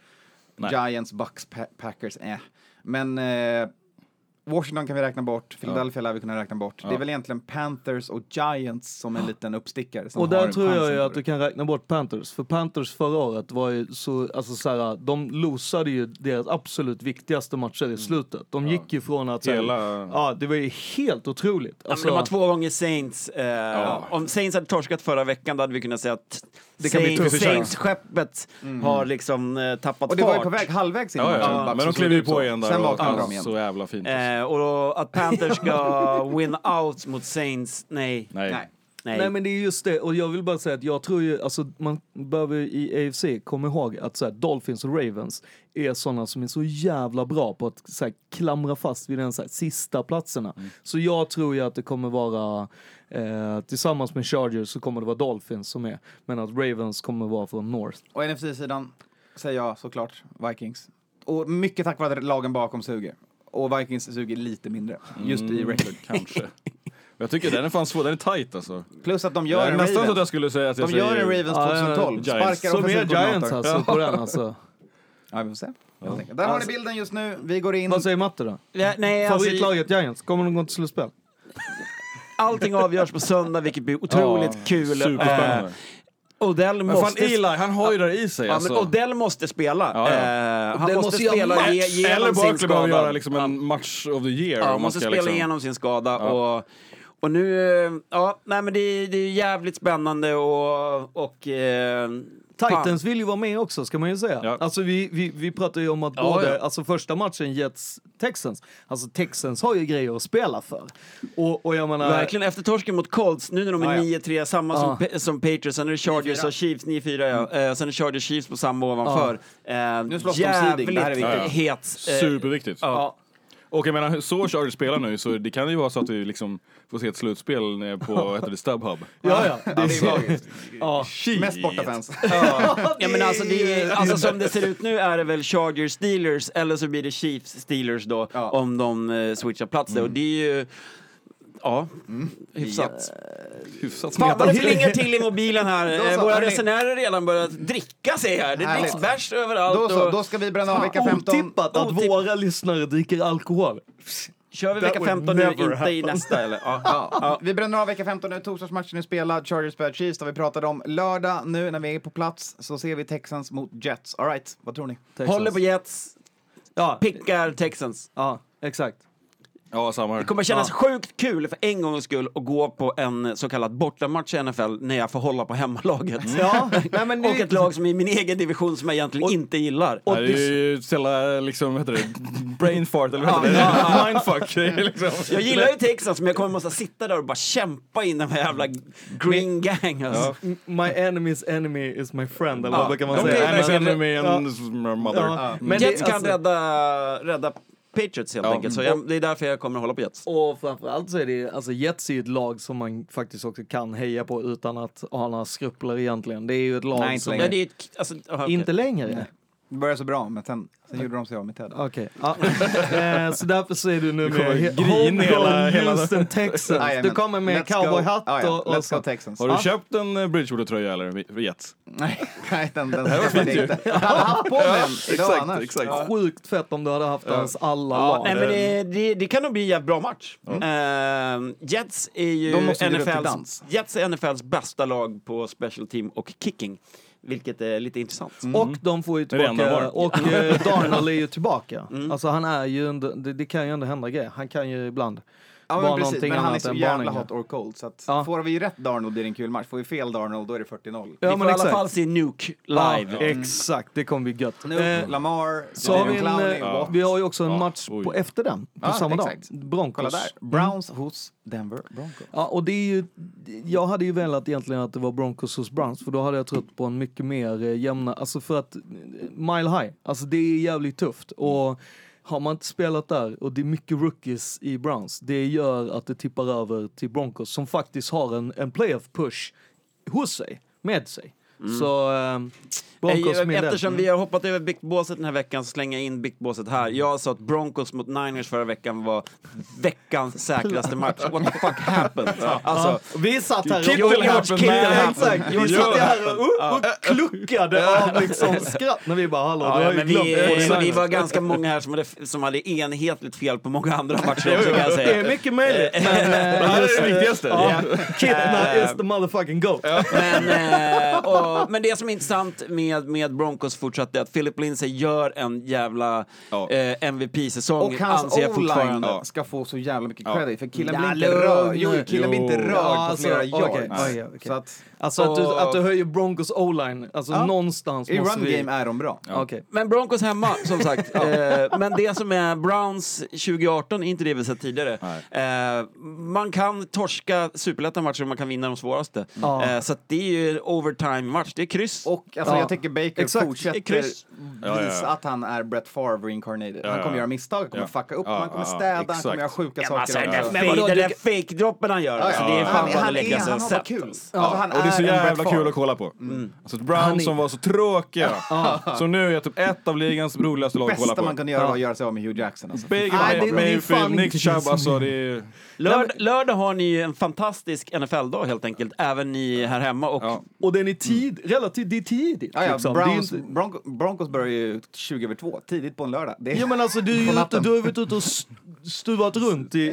Speaker 1: Giants, Bucks, pa Packers, eh. Men eh, Washington kan vi räkna bort, Philadelphia lär vi kunna räkna bort. Det är väl egentligen Panthers och Giants som en liten uppstickare. Som
Speaker 2: Och
Speaker 1: har
Speaker 2: där
Speaker 1: en
Speaker 2: tror
Speaker 1: chans
Speaker 2: jag ju
Speaker 1: på
Speaker 2: att
Speaker 1: det.
Speaker 2: du kan räkna bort Panthers. För Panthers förra året var ju så, alltså så här, de losade ju deras absolut viktigaste matcher i slutet. De gick ju från att... så här-
Speaker 4: Mm. Hela-
Speaker 2: Ja, det var ju helt otroligt.
Speaker 3: Ja, men
Speaker 2: Alltså,
Speaker 3: de har två gånger Saints. Eh, Om Saints hade torskat förra veckan då hade vi kunnat säga att
Speaker 2: kan bli
Speaker 3: Saints-
Speaker 2: tufft.
Speaker 3: Saints-skeppet
Speaker 4: Mm.
Speaker 3: har liksom eh, tappat
Speaker 1: Och det var ju
Speaker 3: fart.
Speaker 1: på väg halvvägs in i
Speaker 4: Ja, ja,
Speaker 1: matchen,
Speaker 4: ja.
Speaker 1: Bucks
Speaker 4: Men de
Speaker 1: som
Speaker 4: klev
Speaker 1: såg
Speaker 4: ju
Speaker 1: ut så.
Speaker 4: på igen där.
Speaker 1: Sen
Speaker 4: och-
Speaker 1: vaknade de
Speaker 4: alltså,
Speaker 1: igen.
Speaker 4: Så jävla fint.
Speaker 3: Eh, och då, att Panthers ska win out mot Saints, nej.
Speaker 4: Nej.
Speaker 1: Nej.
Speaker 3: nej.
Speaker 2: Nej men det är just det, och jag vill bara säga att jag tror ju, alltså man behöver ju i AFC komma ihåg att så här, Dolphins och Ravens är sådana som är så jävla bra på att så här, klamra fast vid den så här, sista platserna. Så jag tror ju att det kommer vara, eh, tillsammans med Chargers så kommer det vara Dolphins som är, men att Ravens kommer vara från North.
Speaker 1: Och NFC-sidan säger jag såklart Vikings. Och mycket tack vare att lagen bakom suger. Och Vikings suger lite mindre, just
Speaker 2: Mm.
Speaker 1: i record.
Speaker 4: Kanske. Jag tycker den är fan svår. Den är tight alltså.
Speaker 1: Plus att de
Speaker 4: Det
Speaker 1: gör
Speaker 4: är
Speaker 1: en
Speaker 4: nästan så att jag
Speaker 1: Ravens.
Speaker 4: skulle säga att jag
Speaker 1: De gör en
Speaker 4: säger...
Speaker 1: Ravens
Speaker 2: Ja, ja, ja.
Speaker 1: 2012.
Speaker 4: Giants.
Speaker 1: Sparkar
Speaker 2: Som är
Speaker 1: offensivkoordinator.
Speaker 2: Giants alltså, på den alltså.
Speaker 1: Ja, vi får se. helt enkelt. Där har ni bilden just nu. Vi går in.
Speaker 2: Vad säger Matte då?
Speaker 3: Ja, nej alltså,
Speaker 2: Favoritlaget Giants, kommer de gå till slutspel?
Speaker 3: allting avgörs på söndag vilket blir otroligt kul.
Speaker 4: Superspännande.
Speaker 3: Eh, Odell
Speaker 4: men fan
Speaker 3: måste...
Speaker 4: Eli, han har ju det i sig
Speaker 3: Ja,
Speaker 4: alltså.
Speaker 3: men Odell måste spela.
Speaker 4: Ja, ja.
Speaker 3: Eh, han
Speaker 2: Odell
Speaker 3: måste
Speaker 2: måste göra
Speaker 3: spela
Speaker 2: match.
Speaker 3: ge, genom
Speaker 4: Eller
Speaker 3: sin
Speaker 4: Barkley
Speaker 3: skada.
Speaker 4: behöver göra liksom en match of the year.
Speaker 3: Ja,
Speaker 4: om man
Speaker 3: måste
Speaker 4: ska
Speaker 3: spela
Speaker 4: liksom...
Speaker 3: igenom sin skada. Och, och nu, eh, ja, nej men det, är- det är jävligt spännande och... och eh,
Speaker 2: Titans vill ju vara med också, ska man ju säga.
Speaker 4: Ja.
Speaker 2: Alltså vi, vi, vi pratar ju om att
Speaker 3: Ja,
Speaker 2: både,
Speaker 3: ja.
Speaker 2: alltså första matchen Jets-Texans, alltså Texans har ju grejer att spela för. Och, och jag menar...
Speaker 3: Fan, verkligen, efter torsken mot Colts, nu när de är
Speaker 1: Ja, ja.
Speaker 3: 9-3, samma
Speaker 2: Ja. Mm.
Speaker 3: som, Pa- som Patriots, sen är det Chargers
Speaker 1: 9-4.
Speaker 3: och Chiefs, 9-4 ja. Eh, sen är det Chargers Chiefs på samma ovanför. Eh,
Speaker 1: Nu slåss de om seeding,
Speaker 3: jävligt
Speaker 1: det här är viktigt.
Speaker 4: Ja, ja.
Speaker 3: het. eh,
Speaker 4: Superviktigt.
Speaker 3: ja.
Speaker 4: Och jag menar, så Chargers spelar nu så det kan ju vara så att vi liksom får se ett slutspel eh, på, vad heter det, StubHub.
Speaker 2: Ja, ja.
Speaker 1: Ja, det är magiskt.
Speaker 2: ja.
Speaker 1: Mest bortafans.
Speaker 3: Ja, men alltså, det är, alltså som det ser ut nu är det väl Chargers Steelers eller så blir det Chiefs Steelers då
Speaker 1: Ja.
Speaker 3: om de eh, switchar plats där. Och det är ju... Ja,
Speaker 1: Mm.
Speaker 3: hyfsat.
Speaker 4: Hyfsat
Speaker 3: Fan vad det
Speaker 4: smetat.
Speaker 3: plingar till i mobilen
Speaker 1: Då
Speaker 3: här. Eh,
Speaker 1: så,
Speaker 3: Våra
Speaker 1: hörni.
Speaker 3: resenärer har redan börjat dricka sig här. Det dricks
Speaker 1: Härligt.
Speaker 3: bärs överallt.
Speaker 1: Då så,
Speaker 3: och
Speaker 1: då ska vi bränna av vecka 15.
Speaker 2: Otippat alltså. att
Speaker 3: Otippat.
Speaker 2: våra lyssnare dricker alkohol.
Speaker 3: Kör vi
Speaker 2: That
Speaker 3: vecka
Speaker 2: would
Speaker 3: 15 nu,
Speaker 2: never
Speaker 3: inte i
Speaker 2: happen.
Speaker 3: nästa eller? Ja.
Speaker 1: Ja, vi bränner av vecka 15 nu. Torsdagsmatchen är spelad. Chargers spöar Chiefs, där vi pratade om. Lördag nu när vi är på plats så ser vi Texans mot Jets. All right, vad tror ni?
Speaker 3: Håller på Jets,
Speaker 2: Ja,
Speaker 3: pickar Texans.
Speaker 2: ja exakt.
Speaker 4: Ja, samma här.
Speaker 3: Det kommer kännas sjukt kul för en gångs skull att gå på en så kallad bortamatch i NFL när jag får hålla på hemmalaget.
Speaker 2: Ja, nej, men det-
Speaker 3: Och ett lag som är i min egen division som jag egentligen inte gillar.
Speaker 4: Nej, det är ju sällan liksom, vad heter det, brain fart eller vad heter det? Mindfuck. Det är liksom.
Speaker 3: jag gillar ju Texas men jag kommer måste sitta där och bara kämpa in den här jävla green gang alltså.
Speaker 2: My enemy's enemy is my friend, eller
Speaker 3: Ja,
Speaker 2: vad brukar man
Speaker 3: de kan ju
Speaker 2: säga?
Speaker 4: Nej,
Speaker 3: verkligen-
Speaker 4: men sen med
Speaker 2: Ja.
Speaker 4: en s- mother.
Speaker 2: Ja, men
Speaker 3: Jets
Speaker 2: det-
Speaker 3: kan
Speaker 2: alltså-
Speaker 3: rädda, rädda Patriots helt enkelt, så jag, det är därför jag kommer att hålla på Jets.
Speaker 2: Och framförallt så är det, alltså Jets är ju ett lag som man faktiskt också kan heja på utan att ha några skrupler egentligen. Det är ju ett lag
Speaker 1: Nej, inte
Speaker 2: som...
Speaker 1: längre.
Speaker 3: Ja, det är ett, alltså, aha, okej.
Speaker 2: Inte längre?
Speaker 1: Det började så bra, men sen, sen gjorde de sig av med Ted.
Speaker 2: Okej. Ja. Eh, så därför säger du nu
Speaker 4: kommer
Speaker 2: med
Speaker 4: grin hela- hela-
Speaker 2: Houston, Texas.
Speaker 1: Jajamän.
Speaker 2: Du kommer med
Speaker 1: Let's go. Ah,
Speaker 2: cowboyhatt
Speaker 1: ja.
Speaker 2: och, och
Speaker 1: Let's go
Speaker 2: så.
Speaker 1: Texans.
Speaker 4: Har du
Speaker 1: Ah,
Speaker 4: köpt en eh, Bridgewater-tröja eller Jets?
Speaker 1: Nej, nej, den, den träffade jag inte. Jag hade haft på mig den idag annars. Ja.
Speaker 2: Sjukt fett om du hade haft hans alla
Speaker 3: Ja,
Speaker 2: lag.
Speaker 3: nej, men det, det, det kan nog bli en jävligt bra match. Eh, Jets är ju
Speaker 1: De måste bjuda upp till
Speaker 3: NFLs,
Speaker 1: dans.
Speaker 3: Jets är NFLs bästa lag på special team och kicking, vilket är lite intressant.
Speaker 2: Och
Speaker 1: Mm.
Speaker 2: de får ju
Speaker 4: Det är det enda
Speaker 2: tillbaka,
Speaker 4: jag har.
Speaker 2: och eh, Darnold är ju tillbaka.
Speaker 1: Mm.
Speaker 2: Alltså han är ju, en, det, det kan ju ändå hända grejer. Han kan ju ibland
Speaker 1: Ja,
Speaker 2: vara
Speaker 1: men precis.
Speaker 2: någonting
Speaker 1: Men han är
Speaker 2: annat
Speaker 1: så
Speaker 2: än
Speaker 1: jävla
Speaker 2: Barninger.
Speaker 1: hot or cold. Så att
Speaker 2: Ja.
Speaker 1: får vi rätt Darnold blir det en kul match. Får vi fel Darnold då är det 40-0.
Speaker 2: Ja,
Speaker 3: Vi
Speaker 2: men
Speaker 3: får i alla
Speaker 2: exakt.
Speaker 3: fall se Nuke
Speaker 2: Ja,
Speaker 3: live.
Speaker 2: Exakt, det kommer bli gött.
Speaker 1: Nu,
Speaker 2: Eh,
Speaker 1: Lamar,
Speaker 2: så har
Speaker 1: Jadavion
Speaker 2: vi, en,
Speaker 1: Clowney,
Speaker 2: eh,
Speaker 1: Watt.
Speaker 2: vi har ju också en match
Speaker 4: oj.
Speaker 2: på efter den, på
Speaker 1: Ja,
Speaker 2: samma
Speaker 1: exakt.
Speaker 2: dag.
Speaker 1: Kolla
Speaker 2: Broncos. Mm.
Speaker 1: där. Browns hos Denver Broncos.
Speaker 2: Ja, och det är ju, jag hade ju velat egentligen att det var Broncos hos Browns, för då hade jag trott på en mycket mer eh, jämna, alltså för att eh, mile high, alltså det är jävligt tufft. Och har man inte spelat där, och det är mycket rookies i Browns, det gör att det tippar över till Broncos som faktiskt har en, en playoff push hos sig, med sig. Så eh,
Speaker 3: Eh,
Speaker 2: Broncos med Mm. det.
Speaker 3: Eftersom vi har hoppat över biktbåset den här veckan så slänger jag in biktbåset här. Jag sa att Broncos mot Niners förra veckan var veckans säkraste match. What the fuck happened? Alltså,
Speaker 2: Vi satt här
Speaker 3: Kittel happened, man.
Speaker 2: Exakt,
Speaker 3: Kittel
Speaker 2: vi satt här och, och, och kluckade av liksom skratt när vi bara hallå, du
Speaker 3: Ja,
Speaker 2: har ju
Speaker 3: men
Speaker 2: glömt
Speaker 3: vi, eh,
Speaker 2: det.
Speaker 3: vi var ganska många här som hade, som hade enhetligt fel på många andra matcher också kan jag
Speaker 2: Det
Speaker 3: säga.
Speaker 2: är mycket möjligt, men...
Speaker 4: Det
Speaker 2: eh,
Speaker 4: här
Speaker 2: just,
Speaker 4: är det
Speaker 2: eh,
Speaker 4: viktigaste.
Speaker 2: Ja, Kitna
Speaker 3: Eh,
Speaker 2: is the motherfucking goat.
Speaker 3: Men, eh, och, men det som är intressant med, med Broncos fortsatt är att Philip Lindsay gör en jävla
Speaker 4: Ja.
Speaker 3: eh, MVP-säsong,
Speaker 1: Och hans
Speaker 3: anser jag
Speaker 1: o-line
Speaker 3: fortfarande.
Speaker 1: ska få så jävla mycket credit för killen
Speaker 2: Ja,
Speaker 1: blir inte
Speaker 2: lugn.
Speaker 1: rörd. Jo, killen blir inte
Speaker 4: Jo.
Speaker 1: rörd
Speaker 2: Ja,
Speaker 1: på
Speaker 2: alltså,
Speaker 1: flera
Speaker 2: okej.
Speaker 1: yards.
Speaker 2: Okej, okej.
Speaker 1: Så att
Speaker 2: Alltså att du,
Speaker 3: Och-
Speaker 2: att du höjer Broncos o-line, alltså
Speaker 1: Ja.
Speaker 2: någonstans
Speaker 1: i
Speaker 2: måste
Speaker 1: run
Speaker 2: vi...
Speaker 1: game är de bra.
Speaker 2: Ja. Okej.
Speaker 3: Men Broncos hemma, som sagt. eh, men det som är Browns 2018 är inte det vi sett tidigare. Eh, man kan torska superlätta matcher och man kan vinna de svåraste.
Speaker 2: Ja.
Speaker 3: Eh, så att det är ju overtime-match. Det är kryss.
Speaker 1: Och alltså,
Speaker 2: Ja.
Speaker 1: jag tycker Baker
Speaker 2: Exakt.
Speaker 1: fortsätter
Speaker 3: Kryss.
Speaker 1: visa
Speaker 4: Ja, ja, ja.
Speaker 1: att han är Brett Favre reincarnated.
Speaker 4: Ja,
Speaker 1: Han
Speaker 4: ja,
Speaker 1: kommer
Speaker 4: ja.
Speaker 1: göra misstag, han kommer
Speaker 4: Ja.
Speaker 1: fucka upp,
Speaker 4: Ja,
Speaker 1: han kommer
Speaker 4: ja, ja.
Speaker 1: städa, han
Speaker 4: Exakt.
Speaker 1: kommer göra sjuka
Speaker 3: Ja, men alltså,
Speaker 1: saker.
Speaker 3: den
Speaker 1: han
Speaker 3: där
Speaker 1: gör.
Speaker 3: fake-
Speaker 2: Men vadå,
Speaker 3: den
Speaker 2: du-
Speaker 3: där fake-droppen han gör, alltså, det är
Speaker 4: ja.
Speaker 3: fan bara att
Speaker 1: han, är-
Speaker 3: leka sig
Speaker 1: han var
Speaker 3: sett,
Speaker 1: kul.
Speaker 3: alltså.
Speaker 1: Alltså, han
Speaker 4: Och det är så
Speaker 1: en Brett
Speaker 4: jävla kul
Speaker 1: Favre.
Speaker 4: att kolla på. Mm. Alltså ett
Speaker 2: Han är-
Speaker 4: Browns som var så tråkiga, som nu är typ ett av ligans roligaste lag att kolla
Speaker 1: bästa man
Speaker 4: på.
Speaker 1: kunde göra var
Speaker 2: Ja.
Speaker 1: att göra sig av med Hugh Jackson. Alltså.
Speaker 2: Nej, det- det
Speaker 4: Baker,
Speaker 2: är fan
Speaker 4: Mayfield,
Speaker 2: inte
Speaker 4: Nick Chubb,
Speaker 2: som-
Speaker 4: alltså det är...
Speaker 3: Lörd, lördag har ni ju en fantastisk NFL-dag helt enkelt, även ni här hemma. Och
Speaker 4: Ja.
Speaker 2: Och den är tid, relativt, det är tidigt.
Speaker 1: Ja, ja,
Speaker 2: liksom. Det är
Speaker 1: Browns,
Speaker 2: inte-
Speaker 1: Bronco, Broncos börjar ju 20 över 2, tidigt på en lördag. Det är,
Speaker 2: Jo men alltså du, är
Speaker 1: På
Speaker 2: ju ute,
Speaker 1: natten.
Speaker 2: du har ju varit ute och s- stuvat runt i, i,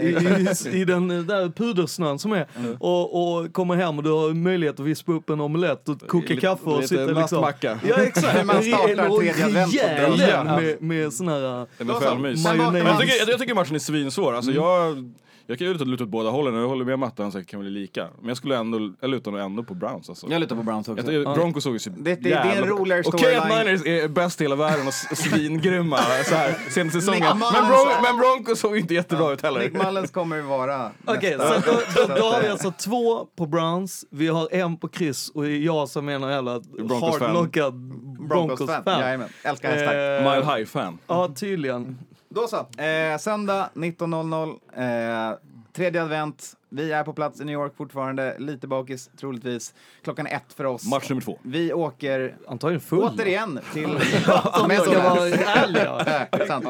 Speaker 2: i, i den eh, där pudersnön som är
Speaker 1: Mm.
Speaker 2: och, och kommer hem och du har möjlighet att vispa upp en omelett och koka
Speaker 4: Lite-
Speaker 2: kaffe och
Speaker 4: lite
Speaker 2: sitta liksom...
Speaker 4: nattmacka.
Speaker 2: Ja exakt!
Speaker 1: Hur man startar
Speaker 2: En rejäl
Speaker 1: tredje advent och drar
Speaker 2: jävel
Speaker 4: igen.
Speaker 2: med, med sån här... eh,
Speaker 4: Det var fan mys.
Speaker 2: Majonnäs.
Speaker 4: Alltså, Men Jag tycker, jag, jag tycker matchen är svinsvår. Alltså
Speaker 1: Mm.
Speaker 4: jag, jag kan ju luta luta åt båda hållen och jag håller med Matte, han säkert kan bli lika. Men jag skulle ändå, jag lutar nog ändå på Browns alltså.
Speaker 1: Jag lutar på Browns också.
Speaker 4: Jag tycker Broncos såg ju så
Speaker 1: det- det är en
Speaker 4: jävla-
Speaker 1: roligare
Speaker 4: Okej att
Speaker 1: storyline.
Speaker 4: Niners är bäst i hela världen och s- svingrymma så här senaste säsongen.
Speaker 1: Mullins-
Speaker 4: Men, Bron- men Broncos såg ju inte jättebra ut
Speaker 1: Nick
Speaker 4: heller.
Speaker 1: Mullens kommer ju vara
Speaker 2: Okej,
Speaker 1: nästa.
Speaker 2: så då, då, då har vi alltså två på Browns, vi har en på Chris och jag som är en jävla
Speaker 4: Broncos-fan.
Speaker 2: hardknockad
Speaker 1: Broncos-fan.
Speaker 2: Broncos-fan.
Speaker 1: Jajamän, älskar
Speaker 4: Eh,
Speaker 1: hästar.
Speaker 4: Mile High-fan.
Speaker 2: Eh, Ja, tydligen.
Speaker 1: Då så. Eh, söndag 19.00. Eh, tredje advent. Vi är på plats i New York fortfarande. Lite bakis, troligtvis. Klockan är ett för oss.
Speaker 4: Match nummer två.
Speaker 1: Vi åker
Speaker 2: Antagligen full.
Speaker 1: återigen till...
Speaker 2: Om
Speaker 1: Med
Speaker 2: jag ska
Speaker 1: sådär.
Speaker 2: vara ärlig. ja.
Speaker 1: Eh, sant.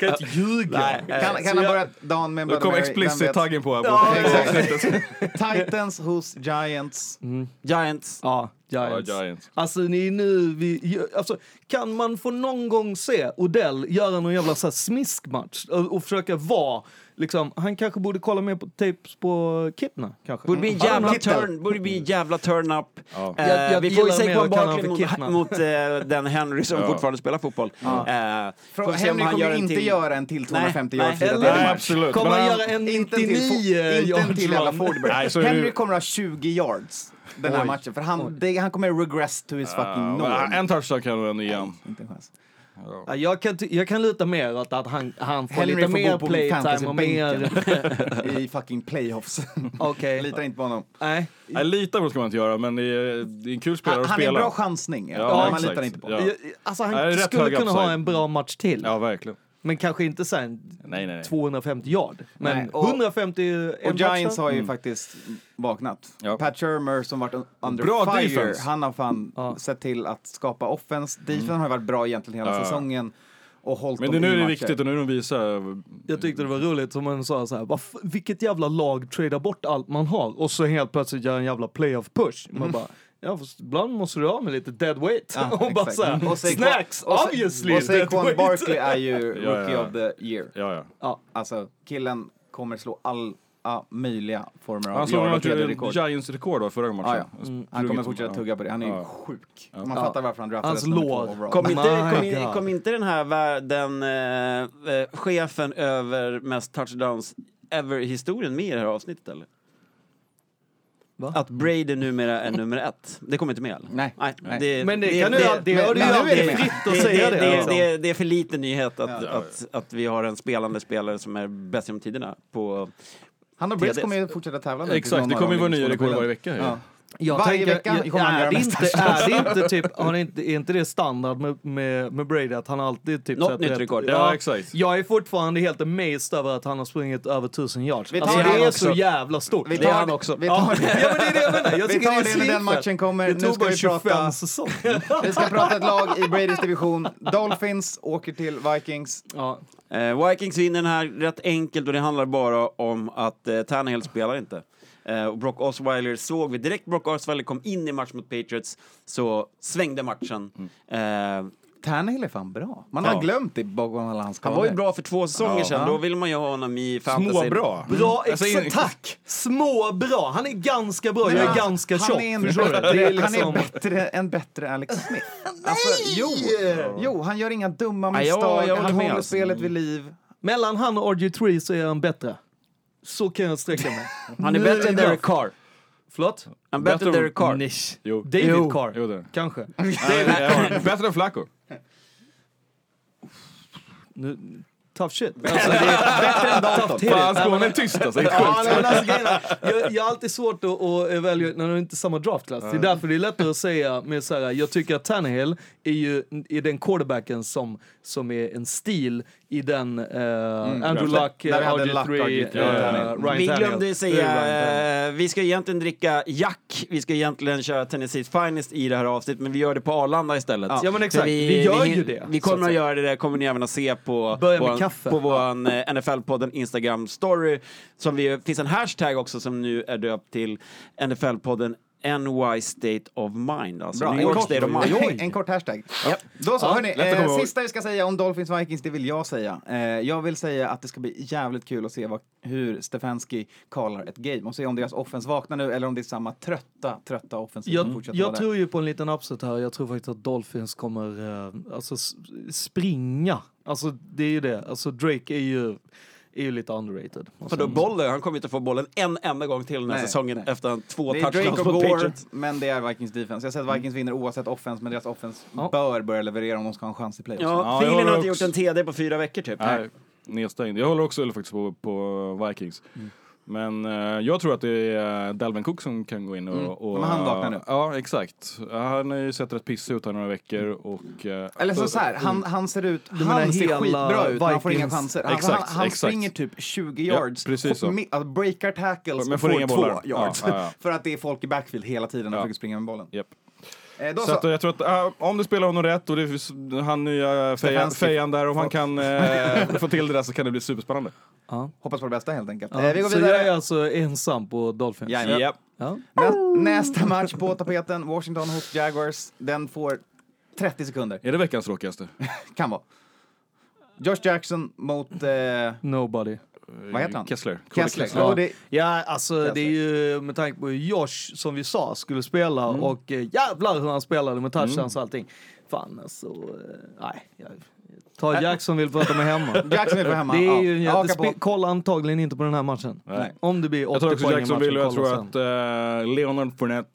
Speaker 2: Kan inte ljuga. eh,
Speaker 1: Kan, kan ha börjat dagen med en
Speaker 4: Då
Speaker 1: Bloody
Speaker 4: kom
Speaker 1: Mary, vem
Speaker 4: explicit
Speaker 1: vet?
Speaker 4: taggen på här.
Speaker 1: Ja,
Speaker 4: på-
Speaker 1: exakt. Titans hos Giants.
Speaker 3: Mm. Giants.
Speaker 2: Ja, Giants.
Speaker 4: Ja, Giants.
Speaker 2: Alltså, ni är nu, vi, alltså, kan man få någon gång se Odell göra någon jävla så här smiskmatch och, och försöka vara... Liksom, han kanske borde kolla mer på tapes på Kidna. Kanske.
Speaker 3: Borde bli en
Speaker 2: Ja,
Speaker 3: jävla
Speaker 2: men titta.
Speaker 3: turn, borde bli en jävla turn up.
Speaker 4: Ja.
Speaker 3: Eh,
Speaker 2: Jag- jag
Speaker 3: vi får ju
Speaker 2: gillar
Speaker 3: se
Speaker 2: mer
Speaker 3: på
Speaker 2: att kalla honom
Speaker 3: mot,
Speaker 2: för Kitna.
Speaker 3: mot eh, den Henry som
Speaker 4: Ja.
Speaker 3: fortfarande spelar fotboll. Eh, får
Speaker 1: Från
Speaker 3: vi se om
Speaker 1: Henry
Speaker 3: han
Speaker 1: kommer
Speaker 3: en
Speaker 1: inte
Speaker 3: till-
Speaker 1: göra en till 250
Speaker 3: Nej,
Speaker 1: yards
Speaker 3: nej.
Speaker 1: fyra
Speaker 2: Eller-
Speaker 1: delar
Speaker 4: Nej,
Speaker 1: match.
Speaker 4: absolut.
Speaker 2: Kommer
Speaker 4: Men
Speaker 2: han
Speaker 4: han-
Speaker 2: göra en
Speaker 1: Inte en till,
Speaker 2: 99
Speaker 1: fo- inte en
Speaker 2: yards
Speaker 1: till alla
Speaker 2: run?
Speaker 4: Nej,
Speaker 1: Fordberg.
Speaker 4: så är det ju-
Speaker 1: Henry kommer ha 20 yards den här matchen. För han, det, han kommer regress to his fucking
Speaker 4: Ja,
Speaker 1: norm.
Speaker 4: En touchdown kan du ändå ge honom.
Speaker 1: Inte en chans.
Speaker 2: Ja, jag, kan, ty- jag kan luta mer åt att han, han får
Speaker 1: Henry
Speaker 2: lite
Speaker 1: får
Speaker 2: mer
Speaker 1: bo på
Speaker 2: playtime och mer...
Speaker 1: fantasybänken i fucking playoffs.
Speaker 2: Okej.
Speaker 1: Litar inte på honom.
Speaker 2: Nej.
Speaker 4: Nej, lita på det ska man inte göra, men det är, det är en kul spelare
Speaker 1: Han,
Speaker 4: att
Speaker 1: han är en
Speaker 4: spela.
Speaker 1: bra chansning, ja,
Speaker 4: Ja,
Speaker 1: men man
Speaker 4: exakt.
Speaker 1: litar inte på
Speaker 4: Ja.
Speaker 1: honom.
Speaker 2: Jag- Alltså, han
Speaker 4: Nej, det är rätt
Speaker 2: skulle
Speaker 4: hög
Speaker 2: kunna ha
Speaker 4: upside.
Speaker 2: en bra match till.
Speaker 4: Ja, verkligen.
Speaker 2: Men kanske inte så här
Speaker 4: Nej, nej, nej.
Speaker 2: 250 yard. Men
Speaker 1: Nej, och-
Speaker 2: 150 en
Speaker 1: Och Giants
Speaker 2: touchdown.
Speaker 1: har ju faktiskt vaknat.
Speaker 4: Mm. Ja.
Speaker 1: Pat Shermer som varit un- under
Speaker 4: Bra
Speaker 1: fire,
Speaker 4: defense. Mm.
Speaker 1: han har fan
Speaker 2: Ja.
Speaker 1: sett till att skapa offense. Defense har ju varit bra egentligen hela
Speaker 4: Ja.
Speaker 1: säsongen och hållit
Speaker 4: Men det,
Speaker 1: dem
Speaker 4: nu
Speaker 1: i
Speaker 4: är det
Speaker 1: matcher.
Speaker 4: viktigt och nu är de visar...
Speaker 2: Jag tyckte det var roligt som man sa så här, "Vad f- vilket jävla lag tradar bort allt man har och så helt plötsligt gör en jävla playoff push. Man bara, ja fast ibland måste du av med lite dead weight.
Speaker 1: Ja,
Speaker 2: och bara
Speaker 1: exakt.
Speaker 2: så här,
Speaker 1: Och Saquon-
Speaker 2: snacks
Speaker 1: och Sa-
Speaker 2: obviously
Speaker 1: Och
Speaker 2: dead
Speaker 1: Saquon
Speaker 2: weight.
Speaker 1: Barkley är ju
Speaker 4: Ja, ja,
Speaker 1: rookie
Speaker 4: ja.
Speaker 1: of the year.
Speaker 4: Ja, ja.
Speaker 2: Ja,
Speaker 1: Alltså, killen kommer slå alla möjliga former av
Speaker 4: Han slog
Speaker 1: yard
Speaker 4: något
Speaker 1: och rekords.
Speaker 4: Giants rekord då, förra matchen. Mm.
Speaker 1: Ah, ja. Han kommer
Speaker 4: Plugget-
Speaker 1: fortsätta
Speaker 4: ja.
Speaker 1: tugga på det. Han är ju
Speaker 4: Ja.
Speaker 1: sjuk. Man fattar varför han draftades
Speaker 2: Hans
Speaker 1: nummer
Speaker 2: lår.
Speaker 1: två overall.
Speaker 3: Kom inte, kom,
Speaker 2: My
Speaker 3: in,
Speaker 2: God.
Speaker 3: kom inte den här världen, eh, eh, chefen över mest touchdowns ever i historien med i det här avsnittet eller?
Speaker 2: Va?
Speaker 3: Att Brady numera är nummer ett. Det kommer inte med eller?
Speaker 1: Nej. Nej.
Speaker 3: det,
Speaker 2: Men det kan du ju all- det
Speaker 3: men-
Speaker 2: har du
Speaker 3: men
Speaker 1: ju
Speaker 3: nu
Speaker 1: alltid
Speaker 3: är det
Speaker 1: fritt
Speaker 3: med.
Speaker 2: att säga det,
Speaker 3: Det,
Speaker 2: liksom.
Speaker 3: det, det är för lite nyhet att,
Speaker 1: Ja.
Speaker 3: att, att vi har en spelande spelare som är bäst genom tiderna på
Speaker 1: Han och Breeze
Speaker 3: TDs.
Speaker 1: kommer ju fortsätta tävla nu.
Speaker 4: Exakt,
Speaker 1: tills någon
Speaker 4: det
Speaker 1: av
Speaker 4: kommer ju
Speaker 1: dem
Speaker 4: vara nya
Speaker 1: vinner
Speaker 4: rekord
Speaker 1: skolan.
Speaker 4: varje vecka. ju.
Speaker 1: Ja.
Speaker 2: Jag
Speaker 1: Varje
Speaker 2: tänker-
Speaker 1: vecka
Speaker 2: jag-
Speaker 1: kommer han
Speaker 2: är
Speaker 1: göra
Speaker 2: det
Speaker 1: mest
Speaker 2: inte, är det inte typ, har det inte, är inte det standard med, med, med Brady att han alltid typ
Speaker 3: Något
Speaker 2: sätter
Speaker 3: nytt
Speaker 2: ett-
Speaker 3: rekord.
Speaker 4: Ja, exakt.
Speaker 2: Jag är fortfarande helt amazed över att han har sprungit över 1000 yards.
Speaker 1: Vi tar
Speaker 2: Alltså, det
Speaker 1: han
Speaker 2: är
Speaker 1: också.
Speaker 2: så jävla stort.
Speaker 1: Vi
Speaker 3: Det är
Speaker 1: tar
Speaker 3: han
Speaker 1: det-
Speaker 3: också.
Speaker 1: Vi
Speaker 2: Ja,
Speaker 1: tar
Speaker 2: ja,
Speaker 1: det.
Speaker 2: men det är det jag menar. Jag
Speaker 1: Vi
Speaker 2: tycker
Speaker 1: tar
Speaker 2: det
Speaker 1: det när
Speaker 2: är
Speaker 1: den
Speaker 2: svinfett.
Speaker 1: matchen kommer.
Speaker 2: Det
Speaker 1: Nu
Speaker 2: tog
Speaker 1: ska
Speaker 2: bara
Speaker 1: vi prata-
Speaker 2: 25 säsonger.
Speaker 1: Vi ska prata ett lag i Bradys division. Dolphins åker till Vikings.
Speaker 2: ja.
Speaker 3: Eh, Vikings vinner den här rätt enkelt och det handlar bara om att eh, Tannehill spelar inte. Eh, och Brock Osweiler såg vi direkt Brock Osweiler kom in i match mot Patriots så svängde matchen. Eh,
Speaker 1: Tannehill är fan bra. Man
Speaker 3: Ja.
Speaker 1: har glömt det bakom alla hans
Speaker 3: han
Speaker 1: skador.
Speaker 3: var ju bra för två säsonger
Speaker 1: Ja.
Speaker 3: sedan, då vill man ju ha honom i fantasy.
Speaker 4: Småbra.
Speaker 1: Mm.
Speaker 2: Bra,
Speaker 4: Alltså, in-
Speaker 2: exakt. Tack! Små bra. Han är ganska bra.
Speaker 1: Men
Speaker 2: jag är
Speaker 1: han-
Speaker 2: ganska
Speaker 1: han
Speaker 2: tjock.
Speaker 1: är en
Speaker 2: Förstår du?
Speaker 1: bättre-
Speaker 2: Det är
Speaker 1: Han
Speaker 2: liksom...
Speaker 1: är bättre än bättre Alex Smith. alltså, jo, jo, han gör inga dumma
Speaker 3: Ja, jag-
Speaker 1: misstag.
Speaker 3: jag håller
Speaker 1: han
Speaker 3: med,
Speaker 1: håller
Speaker 3: alltså.
Speaker 1: spelet vid liv.
Speaker 2: Mellan han och RG3 så är han bättre. Så kan jag sträcka mig.
Speaker 3: Han är
Speaker 2: Nu
Speaker 3: bättre än
Speaker 2: bra.
Speaker 3: Derek Carr.
Speaker 2: Förlåt?
Speaker 3: Han är bättre än
Speaker 4: Bättre-
Speaker 3: Derek Carr.
Speaker 2: Nish.
Speaker 4: Jo.
Speaker 2: David
Speaker 3: Jo.
Speaker 2: Carr.
Speaker 4: Jo, det är det.
Speaker 2: Kanske.
Speaker 4: Ja, Bättre än Flacco.
Speaker 2: Nu, tough shit.
Speaker 1: Alltså, Bättre än Dalton.
Speaker 4: Fan, Skåne är tyst alltså. Inte sjukt.
Speaker 2: Ja, nej, men alltså, grejen är, jag, jag har alltid svårt att, att välja när det inte är samma draftklass. Det är därför det är lättare att säga med så här, jag tycker att Tannehill är ju är den quarterbacken som, som är en stil i den eh,
Speaker 1: Mm,
Speaker 2: Andrew Luck,
Speaker 1: Där vi hade
Speaker 2: RG3,
Speaker 1: Luck, RG3,
Speaker 2: eh,
Speaker 1: Tannehill.
Speaker 2: Ryan
Speaker 3: vi
Speaker 2: Tannehill.
Speaker 3: glömde
Speaker 2: Det är Ryan Tannehill.
Speaker 3: säga, eh, vi ska egentligen dricka Jack, vi ska egentligen köra Tennessee's Finest i det här avsnittet, men vi gör det på Arlanda istället.
Speaker 2: Ja, men exakt.
Speaker 3: För
Speaker 2: Vi gör ju det,
Speaker 3: Vi
Speaker 2: så att
Speaker 3: kommer att
Speaker 2: säga.
Speaker 3: göra det, det kommer ni även att se på
Speaker 2: Börja med
Speaker 3: vår,
Speaker 2: kaffe.
Speaker 3: på eh, vår NFL-podden Instagram-story. Som vi, finns en hashtag också som nu är döpt till NFL-podden NY State of Mind. Alltså
Speaker 1: Bra,
Speaker 3: New
Speaker 1: en,
Speaker 3: York
Speaker 1: kort,
Speaker 3: State of Mind.
Speaker 1: en kort hashtag. Då så, hörni.
Speaker 4: lätt att komma
Speaker 1: Eh,
Speaker 4: ihåg.
Speaker 1: sista vi ska säga om Dolphins Vikings, det vill jag säga. Eh, jag vill säga att det ska bli jävligt kul att se vad, hur Stefanski kallar ett game och se om deras offens vaknar nu eller om det är samma trötta, trötta offensiv som
Speaker 2: Jag,
Speaker 1: fortsätter vara
Speaker 2: jag
Speaker 1: där.
Speaker 2: tror ju på en liten upset här. Jag tror faktiskt att Dolphins kommer eh, alltså, s- springa. Alltså det är ju det. Alltså Drake är ju, är ju lite underrated.
Speaker 3: För då bollen, han kommer inte få bollen en enda gång till den här
Speaker 1: Nej,
Speaker 3: säsongen
Speaker 1: nej.
Speaker 3: efter han två
Speaker 1: Det är
Speaker 3: touchdowns
Speaker 1: Drake och
Speaker 3: mot
Speaker 1: Gore,
Speaker 3: Patriots.
Speaker 1: men det är Vikings defense. Jag säger att Vikings vinner oavsett offens, men deras offens
Speaker 2: Ja.
Speaker 1: bör börja leverera om de ska ha en chans i playoffs.
Speaker 3: Ja,
Speaker 4: jag
Speaker 3: Phelan har
Speaker 4: håller
Speaker 3: inte gjort
Speaker 4: också-
Speaker 3: en TD på fyra veckor typ.
Speaker 4: Nej, nedstängd. Jag håller också faktiskt på, på Vikings.
Speaker 1: Mm.
Speaker 4: Men eh, jag tror att det är eh, Dalvin Cook som kan gå in och... och
Speaker 1: Mm. Men han vaknar nu.
Speaker 4: Ja, exakt. Han har ju sett rätt pissig ut här några veckor och... eh,
Speaker 1: Eller så, så här, han, han ser ut,
Speaker 2: menar
Speaker 1: han ser
Speaker 2: hela
Speaker 1: skitbra ut, men han får inga
Speaker 2: Vikings-
Speaker 1: chanser. Han,
Speaker 4: Exakt,
Speaker 1: han, han
Speaker 4: exakt.
Speaker 1: springer typ 20
Speaker 4: Ja,
Speaker 1: yards,
Speaker 4: precis så.
Speaker 1: och mi- alltså, breakar tackles
Speaker 4: Men
Speaker 1: och
Speaker 4: får
Speaker 1: får
Speaker 4: inga
Speaker 1: två
Speaker 4: bollar.
Speaker 1: yards.
Speaker 4: Ja, ja, ja.
Speaker 1: För att det är folk i backfield hela tiden när
Speaker 4: Ja.
Speaker 1: försöker springa med bollen.
Speaker 4: Japp.
Speaker 1: Eh, då
Speaker 4: Så
Speaker 1: så,
Speaker 4: att, eh, jag tror att eh, om du spelar honom rätt och det finns han nya fejan,
Speaker 1: Stefanski.
Speaker 4: fejan där, om han kan eh, få till det där så kan det bli superspännande.
Speaker 1: hoppas på det bästa helt enkelt.
Speaker 2: Ja.
Speaker 1: Eh, vi går
Speaker 2: Så jag är
Speaker 1: vidare.
Speaker 2: alltså ensam på Dolphins.
Speaker 1: Jajamän.
Speaker 3: Japp.
Speaker 2: Ja.
Speaker 1: Nä, nästa match på tapeten, Washington hos Jaguars. Den får 30 sekunder,
Speaker 4: Är det veckans tråkigaste?
Speaker 1: kan vara. Josh Jackson mot... Eh,
Speaker 2: Nobody.
Speaker 1: Vad heter han?
Speaker 4: Kessler. Cody
Speaker 1: Kessler.
Speaker 4: Kessler.
Speaker 1: Ja.
Speaker 2: Ja,
Speaker 1: Och det-
Speaker 2: ja alltså
Speaker 1: Jag
Speaker 2: det är ju med tanke på hur Josh, som vi sa, skulle spela och eh, jävlar hur han spelade med touchdowns och allting. Fan alltså, eh, nej. Jag, ta Jackson vill prata med hemma.
Speaker 1: Jackson är på hemma.
Speaker 2: Det är
Speaker 1: ja.
Speaker 2: ju en
Speaker 1: Jag hakar
Speaker 2: jätte...
Speaker 1: på.
Speaker 2: spe- Kolla antagligen inte på den här matchen.
Speaker 4: Nej.
Speaker 2: Om det blir
Speaker 4: Jag
Speaker 2: 80
Speaker 4: tror också
Speaker 2: poäng i matchen,
Speaker 4: Jacksonville och jag tror
Speaker 2: kolla sen.
Speaker 4: att eh, Leonard Fournette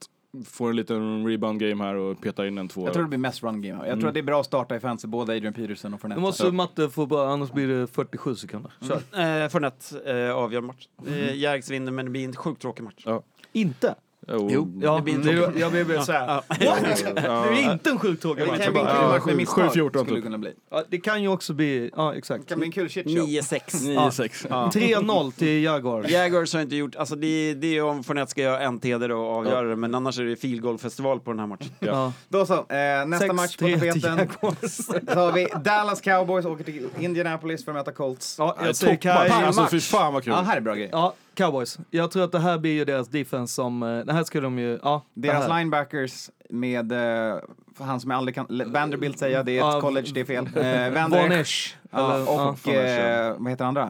Speaker 4: får en liten rebound game här och petar in en två.
Speaker 1: Jag tror det blir mest run game.
Speaker 4: Mm.
Speaker 1: Jag tror att det är bra att starta i fantasy, både Adrian Peterson och
Speaker 2: Nu
Speaker 1: Fournette.
Speaker 2: måste Matte få bara, annars blir det 47 sekunder. Kör.
Speaker 3: Eh, Fornett eh, avgör match. Eh, Jags vinner, men det blir en sjukt tråkig match.
Speaker 4: ja.
Speaker 2: Inte?
Speaker 4: Jo.
Speaker 3: Jo.
Speaker 2: Ja,
Speaker 3: Det blir en
Speaker 2: det- jag blev såhär, what? Du är inte en sjuk tråkig
Speaker 1: Det
Speaker 2: match.
Speaker 1: kan
Speaker 2: Jag
Speaker 1: bli en
Speaker 2: bara,
Speaker 1: kul
Speaker 4: Ja,
Speaker 1: match med
Speaker 4: sju-
Speaker 1: misstag.
Speaker 4: 7-14
Speaker 1: skulle det
Speaker 4: typ.
Speaker 1: kunna bli. Mm.
Speaker 2: Ja, det kan ju också bli, ja exakt.
Speaker 1: Det kan bli en kul shitshow.
Speaker 3: 9-6.
Speaker 4: 9-6.
Speaker 2: 3-0 till Jaguars.
Speaker 3: Jaguars har inte gjort, alltså det, det är om Fournette ska göra en teder och avgöra det, men annars är det field goal festival på den här matchen.
Speaker 2: Ja.
Speaker 1: Då så, eh, nästa
Speaker 2: Sex,
Speaker 1: match på
Speaker 2: tre till
Speaker 1: tapeten.
Speaker 2: Jaguars.
Speaker 1: Så har vi Dallas Cowboys åker till Indianapolis för att möta Colts.
Speaker 2: Ja,
Speaker 4: Nej,
Speaker 2: jag säger
Speaker 4: toppmatch.
Speaker 2: Cowboys.
Speaker 4: Alltså fy fan vad kul.
Speaker 1: Ja, här är bra grej.
Speaker 2: Ja, Cowboys. Jag tror att det här blir ju deras defense som, eh, det här skulle de ju, ja. det
Speaker 1: Deras
Speaker 2: här.
Speaker 1: linebackers med eh, han som jag aldrig kan... Le- Vanderbilt säger jag, det är ett
Speaker 2: Ja,
Speaker 1: college, det är fel. Eh,
Speaker 2: Von
Speaker 1: Vander,
Speaker 2: Esch.
Speaker 1: ja,
Speaker 2: Eller, ja. Mm.
Speaker 1: och eh, vad heter andra?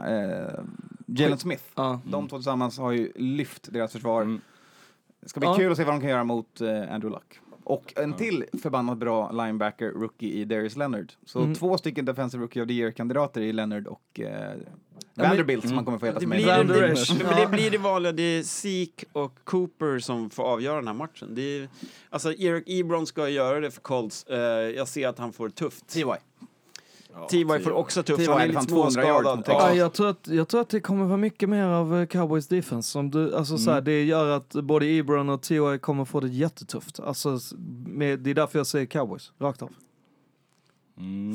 Speaker 1: Eh, Jalen Smith.
Speaker 2: Ja.
Speaker 1: De två tillsammans har ju lyft deras försvar. Det ska bli
Speaker 2: Mm. Ja.
Speaker 1: kul att se vad de kan göra mot eh, Andrew Luck. Och en till förbannat bra linebacker rookie i Darius Leonard. Så
Speaker 2: Mm.
Speaker 1: två stycken Defensive Rookie of the Year-kandidater i Leonard och eh, Vanderbilt
Speaker 2: Mm.
Speaker 1: som man kommer få heta
Speaker 3: Det
Speaker 1: som
Speaker 3: blir,
Speaker 1: en-
Speaker 2: Van Der
Speaker 3: det,
Speaker 2: Esch.
Speaker 3: men det blir det vanliga, det är Zeke och Cooper som får avgöra den här matchen. Det är, alltså Eric Ebron ska göra det för Colts. Eh, jag ser att han får tufft.
Speaker 1: TY.
Speaker 3: T.Y. får också tufft,
Speaker 1: T.Y.
Speaker 3: han är
Speaker 1: fan
Speaker 3: lite
Speaker 1: 200 yard
Speaker 3: småskadad.
Speaker 1: mot Texas.
Speaker 2: Ja,
Speaker 3: Ja.
Speaker 2: jag, tror att, jag tror att det kommer vara mycket mer av eh, Cowboys defense. Som du, alltså, så
Speaker 1: Mm.
Speaker 2: här, det gör att både Ebron och T.O.I. kommer få det jättetufft. Alltså, s- med, det är därför jag säger Cowboys, rakt av.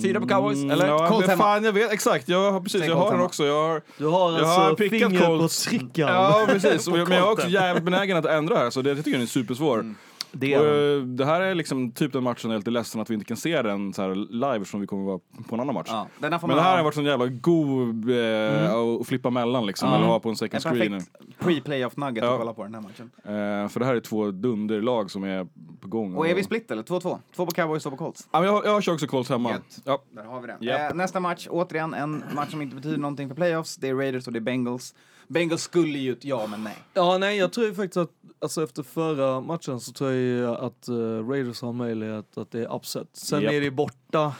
Speaker 3: Fyra på Cowboys, eller?
Speaker 4: Mm, Ja,
Speaker 1: Colts
Speaker 4: men
Speaker 1: hemma.
Speaker 4: fan, jag vet exakt. Jag har, precis,
Speaker 1: Säg
Speaker 4: jag
Speaker 1: Colts
Speaker 4: har den
Speaker 1: hemma.
Speaker 4: också. Jag har,
Speaker 2: Du har
Speaker 4: Jag har
Speaker 2: alltså
Speaker 4: pickat
Speaker 2: fingret på
Speaker 4: Colts.
Speaker 2: strickan.
Speaker 4: ja, precis. Och jag, men jag är också jävligt benägen att ändra här, så det jag tycker jag är supersvår.
Speaker 2: Det
Speaker 4: Och,
Speaker 2: är,
Speaker 4: eh, det här är liksom typ den matchen jag är lite ledsen att vi inte kan se den så här live som vi kommer vara på en annan match.
Speaker 1: Ja, den här får
Speaker 4: Men det
Speaker 1: man
Speaker 4: här har
Speaker 1: ha
Speaker 4: varit sån jävla god eh,
Speaker 2: Mm.
Speaker 4: att flippa mellan liksom, eller ha på en
Speaker 1: en
Speaker 4: second screen.
Speaker 1: perfekt pre-playoff nugget
Speaker 4: Ja.
Speaker 1: att kolla på den här matchen.
Speaker 4: Eh, för det här är två dunderlag som är på gång.
Speaker 1: Och är vi split eller? 2-2. Två på Cowboys, två på Colts.
Speaker 4: ja, men jag, jag kör också Colts hemma.
Speaker 1: Gött.
Speaker 4: Ja.
Speaker 1: Där har vi den.
Speaker 4: Japp.
Speaker 1: Eh, nästa match, återigen en match som inte betyder någonting för playoffs. Det är Raiders och det är Bengals. Bengals skulle ju, ja men nej.
Speaker 2: ja, nej, jag tror ju faktiskt att alltså, efter förra matchen så tror jag ju att eh, Raiders har möjlighet att det är upset. Sen
Speaker 4: Japp.
Speaker 2: är det borta.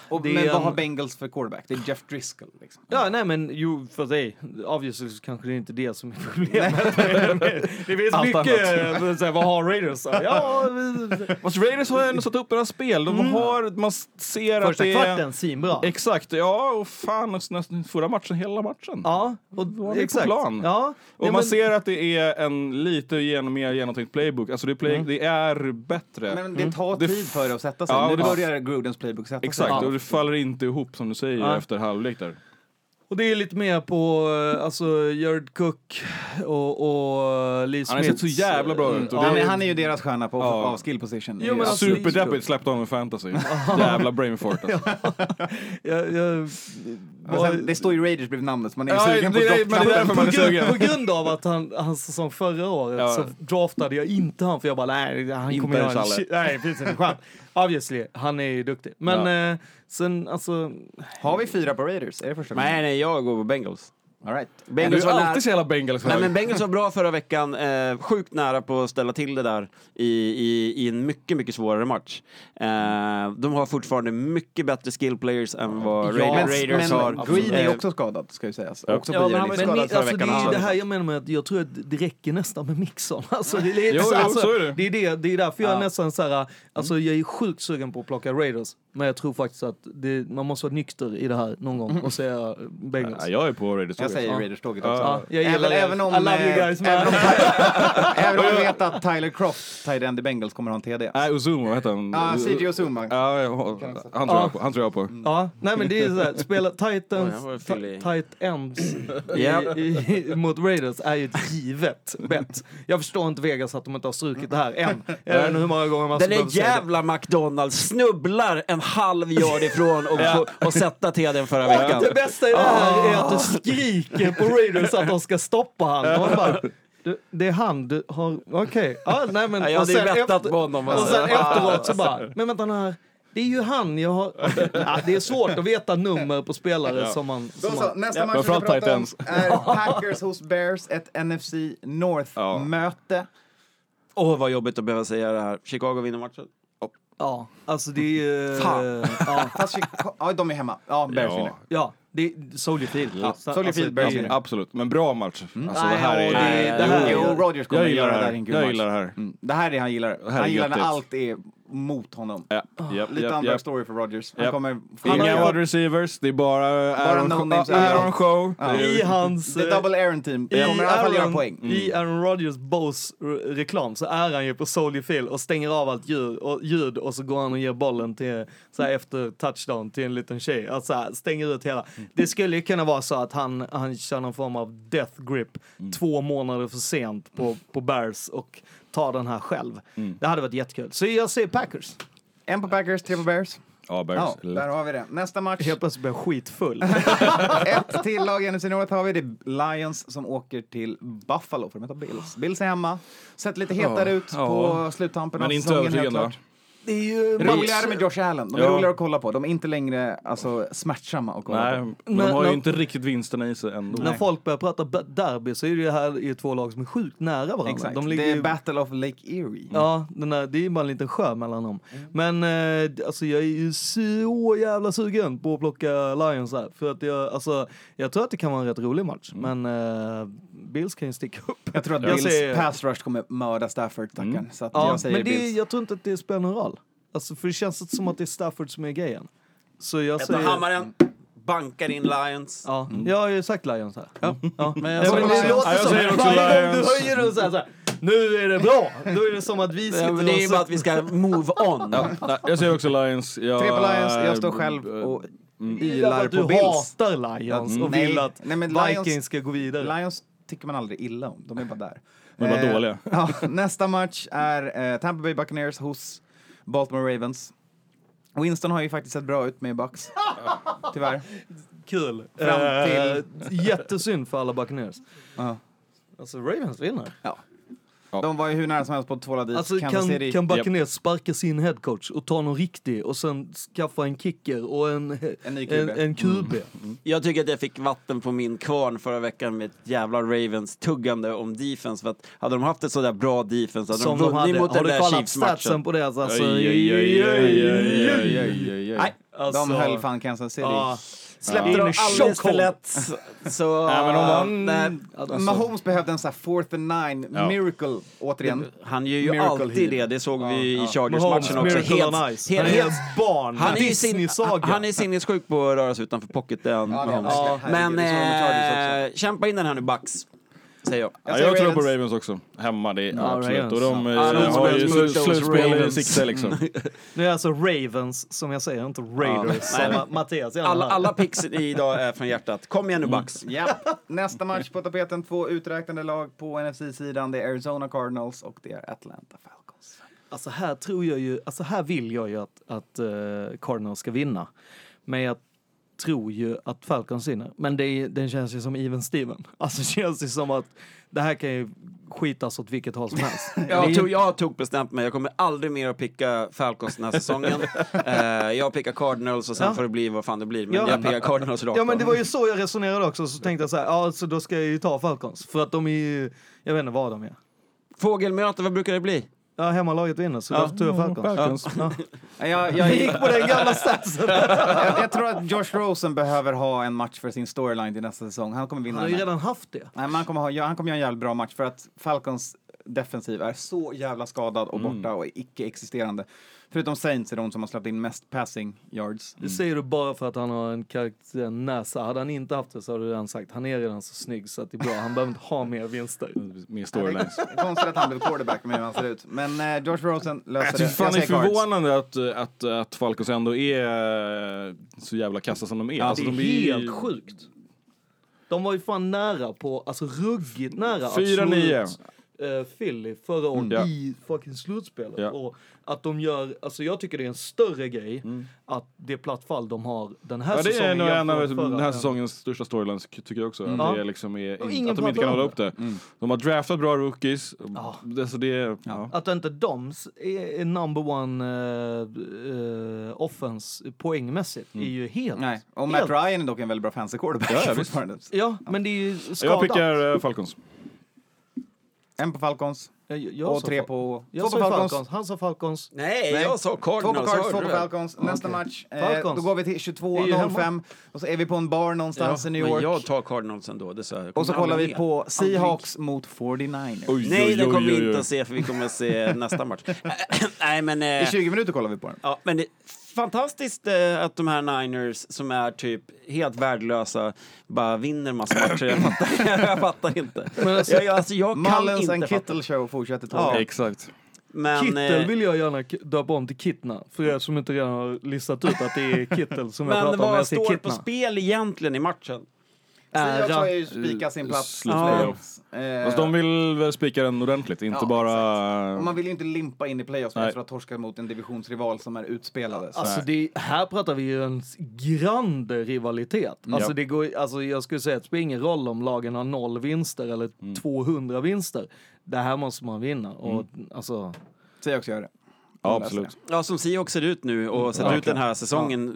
Speaker 1: Och,
Speaker 2: det är
Speaker 1: men vad
Speaker 2: en-
Speaker 1: har Bengals för quarterback? Det är Jeff Driscoll. Liksom.
Speaker 2: Ja, nej men jo, för dig. Obviously så kanske det är inte det som är problemet. det finns
Speaker 4: Allt
Speaker 2: mycket, eh, så här, vad har Raiders? Ja, vi-
Speaker 4: Fast Raiders har ju ändå satt upp deras spel. De har, man ser att
Speaker 2: Mm. första
Speaker 4: det är...
Speaker 2: kvarten, svinbra.
Speaker 4: Exakt, ja och fan nästan förra matchen, hela matchen.
Speaker 2: Ja,
Speaker 4: är
Speaker 2: och,
Speaker 4: på
Speaker 2: exakt.
Speaker 4: plan.
Speaker 2: Ja,
Speaker 4: Och
Speaker 2: nej,
Speaker 4: man
Speaker 2: men-
Speaker 4: ser att det är en lite gen, mer genomtänkt playbook. Alltså det, är
Speaker 2: Mm.
Speaker 4: play, det är bättre.
Speaker 1: Men det tar
Speaker 4: Mm. Det
Speaker 1: tid
Speaker 4: f-
Speaker 1: för det att sätta sig.
Speaker 4: Ja,
Speaker 1: nu
Speaker 4: det-
Speaker 1: börjar Grudens playbook sätta sig.
Speaker 4: Exakt,
Speaker 2: Ja.
Speaker 4: och det faller inte ihop som du säger
Speaker 2: Ja.
Speaker 4: efter halvlek där.
Speaker 2: Och det är lite mer på eh, alltså, Jared Cook och, och eh, Lee mm, Smith.
Speaker 4: Han har sett så jävla bra ut. Och
Speaker 1: Ja,
Speaker 4: det
Speaker 1: men han är ju deras stjärna på
Speaker 4: Ja.
Speaker 1: av skill position.
Speaker 2: Jo, men
Speaker 4: är
Speaker 2: alltså-
Speaker 4: superdeppigt, släppte honom i fantasy. Jävla brain fart alltså.
Speaker 2: Jag, jag,
Speaker 1: Men sen, det står ju Raiders bredvid namnet så man är ju
Speaker 4: Ja,
Speaker 1: sugen på
Speaker 4: det är- men det är
Speaker 1: docknappen.
Speaker 4: därför man är
Speaker 2: på, grund,
Speaker 4: sugen.
Speaker 2: på grund av att han, hans säsong förra året
Speaker 4: Ja.
Speaker 2: så draftade jag inte han för jag bara nej, han
Speaker 4: Inte
Speaker 2: kommer göra en
Speaker 4: ens alla.
Speaker 2: shit. Nej, det finns inte en chans. Obviously, han är ju duktig. Men eh, sen alltså,
Speaker 1: Har vi fyra på Raiders? Är det första
Speaker 3: Nej, nej, jag går på Bengals.
Speaker 1: gången? All right.
Speaker 4: Du
Speaker 3: Bengals
Speaker 4: är
Speaker 3: var nära-
Speaker 4: alltid så jävla bengals
Speaker 3: Nej,
Speaker 4: hög.
Speaker 3: men Bengals var bra förra veckan. Eh, sjukt nära på att ställa till det där i, i, i en mycket, mycket svårare match. Eh, de har fortfarande mycket bättre skill players än vad Ra-
Speaker 1: men,
Speaker 3: Raiders
Speaker 1: men
Speaker 3: har.
Speaker 1: Green är
Speaker 3: Eh,
Speaker 1: också skadad, ska ju sägas.
Speaker 4: Ja.
Speaker 1: Också på
Speaker 3: Ja, men han var
Speaker 1: IR-listan.
Speaker 3: ju skadad
Speaker 2: men,
Speaker 3: förra
Speaker 2: alltså, det
Speaker 3: veckan
Speaker 2: är ju
Speaker 3: också.
Speaker 2: det här jag menar med att jag tror att det räcker nästan med Mixon. Alltså, det, är,
Speaker 4: Jo, jo,
Speaker 2: alltså,
Speaker 4: så är det. Mm.
Speaker 2: Det, är det, det är därför jag
Speaker 1: Ja.
Speaker 2: nästan så här, alltså jag är sjukt sugen på att plocka Raiders. Men jag tror faktiskt att det, man måste vara nykter i det här någon gång och säga Bengals.
Speaker 4: Mm. Ja, jag är på Raiders.
Speaker 1: Jag säger
Speaker 2: Ja.
Speaker 1: Raiders-tåget också.
Speaker 2: Ja, jag gillar
Speaker 1: även,
Speaker 2: det.
Speaker 1: även om...
Speaker 2: I love you
Speaker 1: eh,
Speaker 2: guys, man.
Speaker 1: även om, även om vi vet att Tyler Croft, tight end i Bengals, kommer ha en TD.
Speaker 4: Nej, Ozumo, vad heter
Speaker 2: Uh,
Speaker 4: han?
Speaker 1: Ja, CJ Ozuma.
Speaker 4: Ja, jag- han tror jag på. Han tror jag på.
Speaker 2: Ja, nej men det är ju såhär, spela Titans,
Speaker 3: Oj, han var
Speaker 2: ta-
Speaker 3: fyllig.
Speaker 2: tight ends
Speaker 3: Ja.
Speaker 2: i, i, mot Raiders är ju ett givet bett. Jag förstår inte Vegas att de inte har strukit det här än. Jag vet inte hur många gånger man
Speaker 3: Den
Speaker 2: ska behöva
Speaker 3: där
Speaker 2: säga det.
Speaker 3: jävla McDonalds snubblar en halv yard ifrån och, och, och sätta teden förra veckan.
Speaker 2: Det bästa i det här
Speaker 3: Ah.
Speaker 2: är att du skriker på Raiders att de ska stoppa han. Och han bara, du, det är han, du har, okej. Ja, nej men.
Speaker 3: Ja, jag
Speaker 2: och
Speaker 3: hade ju
Speaker 2: sen
Speaker 3: bettat
Speaker 2: efter-
Speaker 3: på honom,
Speaker 2: Och
Speaker 3: alltså.
Speaker 2: sen efteråt så bara, men vänta nu här. Det är ju han jag har... Ja, det är svårt att veta nummer på spelare som man...
Speaker 1: Då
Speaker 2: Som
Speaker 1: så,
Speaker 2: man
Speaker 1: nästa match vi ska
Speaker 4: Framförallt
Speaker 1: prata om
Speaker 4: Titans.
Speaker 1: är Packers hos Bears, ett NFC North-möte.
Speaker 3: Åh, vad jobbigt att behöva säga det här. Chicago vinner matchen. Eh.
Speaker 2: ja, alltså det är ju...
Speaker 3: Fan.
Speaker 2: Ja,
Speaker 1: Fast Chicago- ja, de är hemma. Ja, Bears
Speaker 4: Ja.
Speaker 1: vinner.
Speaker 2: ja, det är Solid Field. Ja,
Speaker 1: Solid Field, Bears vinner.
Speaker 4: Absolut, men bra match. Alltså, det
Speaker 2: Nej,
Speaker 4: här
Speaker 2: och
Speaker 4: är...
Speaker 2: det- det här-
Speaker 1: Jo, Rodgers kommer
Speaker 4: Jag
Speaker 1: att
Speaker 4: gillar
Speaker 1: göra
Speaker 4: det
Speaker 1: det här
Speaker 4: här.
Speaker 1: i en
Speaker 4: Jag
Speaker 1: kul
Speaker 4: gillar
Speaker 1: match.
Speaker 4: det här.
Speaker 1: Mm. Det här är det han gillar.
Speaker 4: här är
Speaker 3: typ.
Speaker 1: Han gillar när
Speaker 4: göttigt.
Speaker 1: allt är mot honom.
Speaker 4: Ja, ja,
Speaker 1: Lite
Speaker 4: ja, ja.
Speaker 1: understory för Rodgers. Han
Speaker 4: Japp.
Speaker 1: kommer...
Speaker 4: Inga
Speaker 2: har-
Speaker 4: wide receivers, det är bara Aaron,
Speaker 1: no-names.
Speaker 4: Show- Aaron Show.
Speaker 1: Ja.
Speaker 4: Det
Speaker 2: I
Speaker 4: är-
Speaker 2: hans...
Speaker 1: The
Speaker 2: eh,
Speaker 1: double Aaron team.
Speaker 2: I
Speaker 1: Det kommer i alla fall göra
Speaker 2: Aaron-
Speaker 1: poäng.
Speaker 2: I Aaron Rodgers Bose-reklam så är han ju på Soldier Field och stänger av allt ljud och, ljud och så går han och ger bollen till, så här, efter touchdown till en liten tjej. Alltså, så här, stänger ut hela. Det skulle ju kunna vara så att han, han kör någon form av death grip två månader för sent på, på Bears och tar den här själv. Det hade varit jättekul. Så jag säger Packers.
Speaker 1: En på Packers, tre på Bears.
Speaker 4: Ja, Bears.
Speaker 1: Ja, där har vi det. Nästa match.
Speaker 2: Helt plötsligt blir jag skitfull.
Speaker 1: Ett till lag genom senioret har vi. Det är Lions som åker till Buffalo för att möta Bills. Bills är hemma. Sett lite hetare
Speaker 4: Ja,
Speaker 1: ut
Speaker 4: ja.
Speaker 1: på sluttampen av
Speaker 4: Men inte
Speaker 1: säsongen helt
Speaker 4: övertygande. va?
Speaker 1: klart.
Speaker 2: det är ju
Speaker 1: Roligare med Josh Allen. De är
Speaker 4: Ja.
Speaker 1: roligare att kolla på. De är inte längre alltså, smärtsamma att kolla
Speaker 4: Nej,
Speaker 1: på.
Speaker 4: de
Speaker 2: Men-
Speaker 4: har ju
Speaker 2: men-
Speaker 4: inte riktigt vinsterna i sig ändå.
Speaker 2: När folk börjar prata b- derby så är det ju här i två lag som är sjukt nära varandra.
Speaker 1: Exakt.
Speaker 2: De ligger
Speaker 1: det är Mm.
Speaker 2: ju-
Speaker 1: Battle of Lake Erie.
Speaker 2: Ja, den där, det är ju bara en liten sjö mellan dem.
Speaker 1: Mm.
Speaker 2: Men eh, d- alltså jag är ju så jävla sugen på att plocka Lions här. För att jag, alltså, jag tror att det kan vara en rätt rolig match. Men eh, Bills kan ju sticka upp.
Speaker 1: Mm. Jag tror att
Speaker 2: Jag
Speaker 1: Bills
Speaker 2: säger- Mm.
Speaker 1: pass rush kommer mörda Stafford, tackaren. Så att
Speaker 2: ja,
Speaker 1: jag säger
Speaker 2: men det,
Speaker 1: Bills.
Speaker 2: jag tror inte att det spelar någon roll. Alltså, för det känns inte som att det är Stafford som är grejen. Så jag
Speaker 3: Sätter
Speaker 2: säger...
Speaker 3: hammaren, bankar in Lions.
Speaker 2: Alltså, Ja, jag har ju sagt Lions här. Mm. Ja. Men
Speaker 3: jag
Speaker 2: jag
Speaker 3: sa
Speaker 2: men det
Speaker 3: Lions.
Speaker 2: låter
Speaker 4: Ja, jag
Speaker 2: som
Speaker 4: säger också
Speaker 2: varje gång du
Speaker 4: Lions.
Speaker 2: höjer och säger så här, nu är det bra. Då är det som att vi sitter
Speaker 3: Ja, men det är ju
Speaker 2: och
Speaker 3: bara att vi ska move on.
Speaker 4: Nej, jag säger också Lions. Jag,
Speaker 1: Tre på Lions, jag
Speaker 4: Eh,
Speaker 1: står själv och
Speaker 2: För
Speaker 4: mm.
Speaker 1: ylar
Speaker 2: att du
Speaker 1: på Bills.
Speaker 2: hatar Lions och
Speaker 1: Nej.
Speaker 2: vill att
Speaker 1: Nej, men
Speaker 2: Vikings
Speaker 1: Lions-
Speaker 2: ska gå vidare.
Speaker 1: Lions tycker man aldrig illa om, de är bara där.
Speaker 4: De är bara
Speaker 1: Eh,
Speaker 4: dåliga.
Speaker 1: Ja, nästa match är eh, Tampa Bay Buccaneers hos Baltimore Ravens. Winston har ju faktiskt sett bra ut med Bucks, tyvärr.
Speaker 2: Kul.
Speaker 1: Fram
Speaker 2: Eh, jättesynd för alla Buccaneers.
Speaker 1: Ja.
Speaker 2: Alltså Ravens vinner.
Speaker 1: Ja. De var ju hur nära som helst på att tvåla dit
Speaker 2: Alltså
Speaker 1: Kansas
Speaker 2: kan,
Speaker 1: City.
Speaker 2: kan Buccaneers sparka sin headcoach och ta någon riktig och sen skaffa en kicker och en,
Speaker 1: En ny QB.
Speaker 2: en, en QB.
Speaker 3: Jag tycker att jag fick vatten på min kvarn förra veckan med ett jävla Ravens tuggande om defense. För att hade de haft ett sådär bra defense hade
Speaker 2: Som
Speaker 3: de
Speaker 2: de
Speaker 3: vunnit
Speaker 2: hade.
Speaker 3: mot
Speaker 2: Har
Speaker 3: den
Speaker 2: du
Speaker 3: där
Speaker 2: kollat statsen
Speaker 3: Chiefs-matchen.
Speaker 2: på deras? Alltså,
Speaker 4: Aj, aj, aj, aj, aj, aj, aj, aj.
Speaker 1: Nej,
Speaker 2: alltså-
Speaker 1: de höll fan Kansas City.
Speaker 2: Ja.
Speaker 3: Släppte
Speaker 2: Ja.
Speaker 3: de
Speaker 2: In
Speaker 3: alldeles för
Speaker 2: chokehold.
Speaker 3: lätt. Så... eh,
Speaker 4: Nej, men de vann.
Speaker 3: Nej,
Speaker 2: alltså.
Speaker 1: Mahomes behövde en sån här fourth and nine
Speaker 4: Ja.
Speaker 1: miracle, återigen.
Speaker 3: Han gör ju
Speaker 1: Miracle
Speaker 3: alltid
Speaker 1: Hill.
Speaker 3: det, det såg vi i
Speaker 2: Mahomes,
Speaker 3: Chargers-matchen också.
Speaker 2: Miracle
Speaker 3: Helt,
Speaker 2: on Ice.
Speaker 3: helt,
Speaker 2: han är
Speaker 3: helt
Speaker 2: ett barn.
Speaker 3: han är, ju sin,
Speaker 2: Disney-saga.
Speaker 3: han är sinnessjuk på att röra sig utanför pocketen.
Speaker 1: Ja, det är han
Speaker 3: Mahomes.
Speaker 1: verkligen.
Speaker 3: Men
Speaker 1: Herregud, det såg de med Chargers
Speaker 3: eh, kämpa in den här nu, Bucks. Säger jag.
Speaker 4: Jag,
Speaker 1: säger
Speaker 4: jag tror på Ravens också. Hemma, det är absolut.
Speaker 2: Ravens.
Speaker 4: Och de eh,
Speaker 3: Ja, de
Speaker 4: har ju
Speaker 3: spelar
Speaker 4: sl-
Speaker 3: mot
Speaker 4: slutspel i
Speaker 3: Ravens.
Speaker 4: sikte liksom.
Speaker 2: Det är alltså Ravens som jag säger, inte Raiders.
Speaker 3: Nej,
Speaker 2: som Mattias gärna
Speaker 3: Alla,
Speaker 2: hade.
Speaker 3: alla picks idag är från hjärtat. Kom igen nu,
Speaker 2: Mm.
Speaker 3: Bucks.
Speaker 1: Ja. Nästa match på tapeten, två uträknade lag på NFC-sidan. Det är Arizona Cardinals och det är Atlanta Falcons.
Speaker 2: Alltså här tror jag ju, alltså här vill jag ju att, att eh, Cardinals ska vinna. Men jag tror ju att Falcons vinner. Men det är, den känns ju som even Steven. Alltså det känns ju som att det här kan ju skitas åt vilket håll som helst.
Speaker 3: Jag tog, jag tog bestämt mig, jag kommer aldrig mer att picka Falcons den här säsongen. Eh, jag pickar Cardinals och sen
Speaker 2: Ja.
Speaker 3: får det bli vad fan det blir. Men
Speaker 2: Ja.
Speaker 3: jag pickar Cardinals rakt
Speaker 2: Ja men
Speaker 3: av.
Speaker 2: det var ju så jag resonerade också. Så tänkte jag så här, ja så då ska jag ju ta Falcons. För att de är ju, jag vet inte vad de är.
Speaker 3: Fågelmöte, vad brukar det bli?
Speaker 2: Ja, hemmalaget vinner så därför tog jag Mm, Falcons.
Speaker 4: Falcons.
Speaker 1: Ja, Jag, jag,
Speaker 2: Jag gick på den gamla statsen.
Speaker 1: jag, jag tror att Josh Rosen behöver ha en match för sin storyline till nästa säsong. Han kommer vinna
Speaker 2: Han har
Speaker 1: den
Speaker 2: ju
Speaker 1: här.
Speaker 2: redan haft det.
Speaker 1: Nej, men han, kommer ha, ja, han kommer göra en jävligt bra match för att Falcons defensiv är så jävla skadad och
Speaker 2: Mm.
Speaker 1: borta och icke-existerande. Förutom Saints är de som har släppt in mest passing yards.
Speaker 2: Det säger du bara för att han har en karaktär näsa. Hade han inte haft det så hade du redan sagt han är redan så snygg så att det är bra. Han behöver inte ha mer vinster.
Speaker 4: Min storylines.
Speaker 1: Konstigt att han blev quarterback med hur han ser ut. Men eh, Josh Rosen löser
Speaker 4: Jag
Speaker 1: det.
Speaker 4: tycker fan det
Speaker 1: säger
Speaker 4: är
Speaker 1: Cards.
Speaker 4: förvånande att, att, att Falcons ändå är eh, så jävla kassa som de är.
Speaker 2: Det
Speaker 4: Alltså,
Speaker 2: är
Speaker 4: de ju-
Speaker 2: helt sjukt. De var ju fan nära på, alltså ruggigt nära att slå
Speaker 4: 4-9.
Speaker 2: ut eh, Philly förra året
Speaker 4: Ja.
Speaker 2: i fucking slutspelet.
Speaker 4: Ja.
Speaker 2: Och att de gör, alltså jag tycker det är en större grej att det plattfall de har den här
Speaker 4: Mm. Ja, det är
Speaker 2: säsongen.
Speaker 4: nog en av
Speaker 2: Alltså, jämfört med
Speaker 4: den
Speaker 2: förra.
Speaker 4: här säsongens största storylines, tycker jag också. Att,
Speaker 2: Ja.
Speaker 4: det är liksom är,
Speaker 2: Och
Speaker 4: in,
Speaker 2: ingen
Speaker 4: att de inte
Speaker 2: pratar
Speaker 4: kan
Speaker 2: om
Speaker 4: hålla upp det. De har draftat bra rookies.
Speaker 2: Ja.
Speaker 4: Det, så det, ja. Ja.
Speaker 2: Att inte de s- är är number one eh, eh, offense poängmässigt är ju helt...
Speaker 1: Mm. Nej, och Matt
Speaker 2: helt
Speaker 1: Ryan är dock en väldigt bra fancy quarterback
Speaker 4: Ja, ja, visst.
Speaker 1: fortfarande.
Speaker 2: Ja, men det är ju skadat.
Speaker 4: Jag pickar eh, Falcons.
Speaker 1: En på Falcons
Speaker 2: Jag, jag
Speaker 1: och
Speaker 2: sa
Speaker 1: tre
Speaker 2: Fal-
Speaker 1: på... Två
Speaker 2: Jag
Speaker 1: på
Speaker 2: sa Falcons.
Speaker 1: Falcons.
Speaker 2: Han sa Falcons.
Speaker 3: Nej,
Speaker 1: Nej.
Speaker 3: jag sa
Speaker 1: Två på
Speaker 3: Cardinals.
Speaker 1: Cards,
Speaker 3: hörde
Speaker 1: två
Speaker 3: du
Speaker 1: på
Speaker 3: det?
Speaker 1: Falcons. Nästa match, eh,
Speaker 2: Falcons.
Speaker 1: då går vi till
Speaker 2: Det är ju
Speaker 1: 22.05
Speaker 2: hemma.
Speaker 1: och så är vi på en bar
Speaker 3: Ja,
Speaker 1: någonstans i New
Speaker 3: men
Speaker 1: York.
Speaker 3: jag tar Cardinals ändå. Det sa jag. Jag
Speaker 1: Och så
Speaker 3: kommer
Speaker 1: kollar vi
Speaker 3: aldrig
Speaker 1: på
Speaker 3: med.
Speaker 1: Seahawks mot 49ers.
Speaker 4: Oj,
Speaker 3: Nej,
Speaker 4: oj,
Speaker 3: det
Speaker 4: oj,
Speaker 3: kommer vi
Speaker 4: oj,
Speaker 3: inte
Speaker 4: oj.
Speaker 3: att se, för vi kommer att se nästa match. Nej, men...
Speaker 1: I
Speaker 3: eh,
Speaker 1: 20 minuter kollar vi på den.
Speaker 3: Ja, men det fantastiskt eh, att de här Niners som är typ helt värdelösa bara vinner massa matcher. Jag fattar, jag fattar inte.
Speaker 2: Men alltså,
Speaker 3: jag, jag- alltså, jag kan
Speaker 1: Mullens
Speaker 3: inte
Speaker 1: and
Speaker 3: fatta.
Speaker 1: Kittle show fortsätter
Speaker 3: Ja.
Speaker 1: tåga.
Speaker 4: Exakt.
Speaker 3: Men,
Speaker 2: Kittel
Speaker 3: eh,
Speaker 2: vill jag gärna k- döpa om till Kittna. För er som inte redan har listat ut att det är Kittel som jag
Speaker 3: men
Speaker 2: pratar om när jag
Speaker 3: vad
Speaker 2: säger
Speaker 3: står på
Speaker 2: Kittna.
Speaker 3: spel egentligen i matchen?
Speaker 1: Seahawks har
Speaker 2: Ära.
Speaker 1: ju spikat sin plats.
Speaker 4: Slutspel.
Speaker 1: Playoffs. Eh,
Speaker 4: Fast de vill väl spika den ordentligt, inte
Speaker 1: Ja,
Speaker 4: bara...
Speaker 1: Och Eh, man vill ju inte limpa in i playoffs
Speaker 4: Nej.
Speaker 1: efter att ha torskat mot en divisionsrival som är utspelade. Så.
Speaker 2: Alltså det, här pratar vi ju en s- grand rivalitet. Alltså,
Speaker 4: Ja.
Speaker 2: det går, alltså jag skulle säga att det spelar ingen roll om lagen har noll vinster eller 200 vinster. Det här måste man vinna. Och, alltså,
Speaker 1: Seahawks gör det.
Speaker 4: Ja, absolut.
Speaker 3: Ja, som Seahawks ser ut nu
Speaker 2: Mm.
Speaker 3: och sett ut den här säsongen,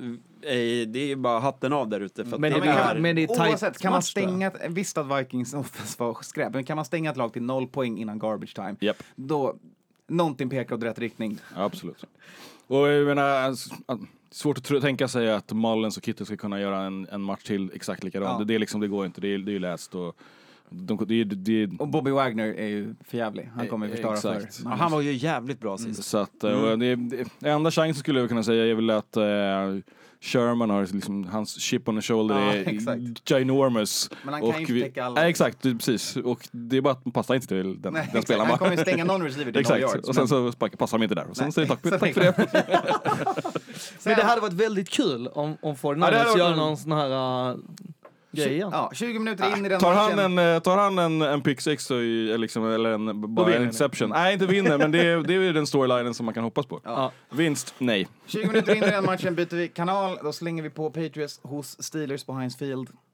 Speaker 3: eh, det är ju bara hatten av där ute. För att
Speaker 2: Men
Speaker 3: det
Speaker 2: det
Speaker 1: Ja, men
Speaker 3: är
Speaker 1: kan,
Speaker 2: där-
Speaker 1: man-
Speaker 2: men det är tight
Speaker 1: oavsett, kan man
Speaker 2: match där.
Speaker 1: stänga... ett- Visst att Vikings offense var skräp, men kan man stänga ett lag till noll poäng innan garbage time,
Speaker 4: Japp.
Speaker 1: då... Någonting pekar åt rätt riktning.
Speaker 4: Absolut. Och jag menar, s- att- svårt att tro- tänka sig att Mullens och Kittel ska kunna göra en, en match till exakt likadan.
Speaker 1: Ja.
Speaker 4: Det, det, är liksom, det går inte, det är, det är ju läst och... De, det, är- det, är-
Speaker 1: Och Bobby Wagner är ju förjävlig. Han kommer förstöra
Speaker 4: Eh, Exakt.
Speaker 1: för...
Speaker 3: Ja, han var ju jävligt bra sist.
Speaker 4: så att, eh,
Speaker 1: Mm.
Speaker 4: och det, det, det enda chansen skulle jag kunna säga är väl att eh, Sherman har liksom, hans chip on the shoulder
Speaker 1: Ja,
Speaker 4: är
Speaker 1: exakt.
Speaker 4: ginormous.
Speaker 1: Men han kan ju inte
Speaker 4: vi-
Speaker 1: täcka alla.
Speaker 4: Nej, exakt, det- precis. Och det är bara att man passar inte till den,
Speaker 1: Nej,
Speaker 4: den
Speaker 1: exakt.
Speaker 4: spelaren.
Speaker 1: Han
Speaker 4: va?
Speaker 1: kommer ju stänga någon receiver till noll
Speaker 4: Exakt,
Speaker 1: yards.
Speaker 4: och sen så sparkar- passar de inte där. Och sen
Speaker 1: Nej,
Speaker 4: säger tack,
Speaker 1: exakt.
Speaker 4: tack för det.
Speaker 2: men det hade varit väldigt kul om, om
Speaker 4: Ja, det hade
Speaker 2: Fortnite
Speaker 4: varit
Speaker 2: gör
Speaker 4: en-
Speaker 2: någon sån här uh, grej igen.
Speaker 1: Ja, 20 minuter in i den
Speaker 4: Tar
Speaker 1: matchen.
Speaker 4: han en, eh, tar han en, en pick six och, i- eller liksom, eller en, bara
Speaker 2: vinner
Speaker 4: en
Speaker 2: ni.
Speaker 4: interception? Nej, inte vinner, men det är, det är ju den storylinen som man kan hoppas på.
Speaker 2: Ja.
Speaker 4: Vinst? Nej.
Speaker 1: 20 minuter in i den matchen byter vi kanal. Då slänger vi på Patriots hos Steelers på Heinz Field.
Speaker 3: Eh,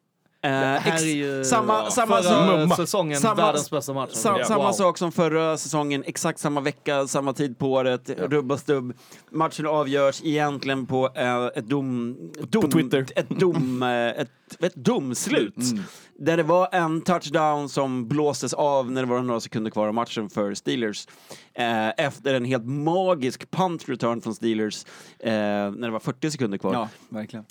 Speaker 2: Mm. Äh, här
Speaker 3: ex-
Speaker 2: är ju-
Speaker 3: samma, samma,
Speaker 2: Förra
Speaker 4: Mumma.
Speaker 2: säsongen,
Speaker 3: Samma-
Speaker 2: världens bästa match.
Speaker 3: Sam,
Speaker 4: Ja.
Speaker 3: Samma
Speaker 2: Wow.
Speaker 3: sak som förra säsongen, exakt samma vecka, samma tid på året, rubb och stubb. Matchen avgörs egentligen på eh, ett dom... dom
Speaker 4: Twitter.
Speaker 3: Ett, dom, eh, ett, ett domslut. Där det var en touchdown som blåstes av när det var några sekunder kvar av matchen för Steelers. Eh, efter en helt magisk punt return från Steelers eh, när det var 40 sekunder kvar.
Speaker 1: verkligen.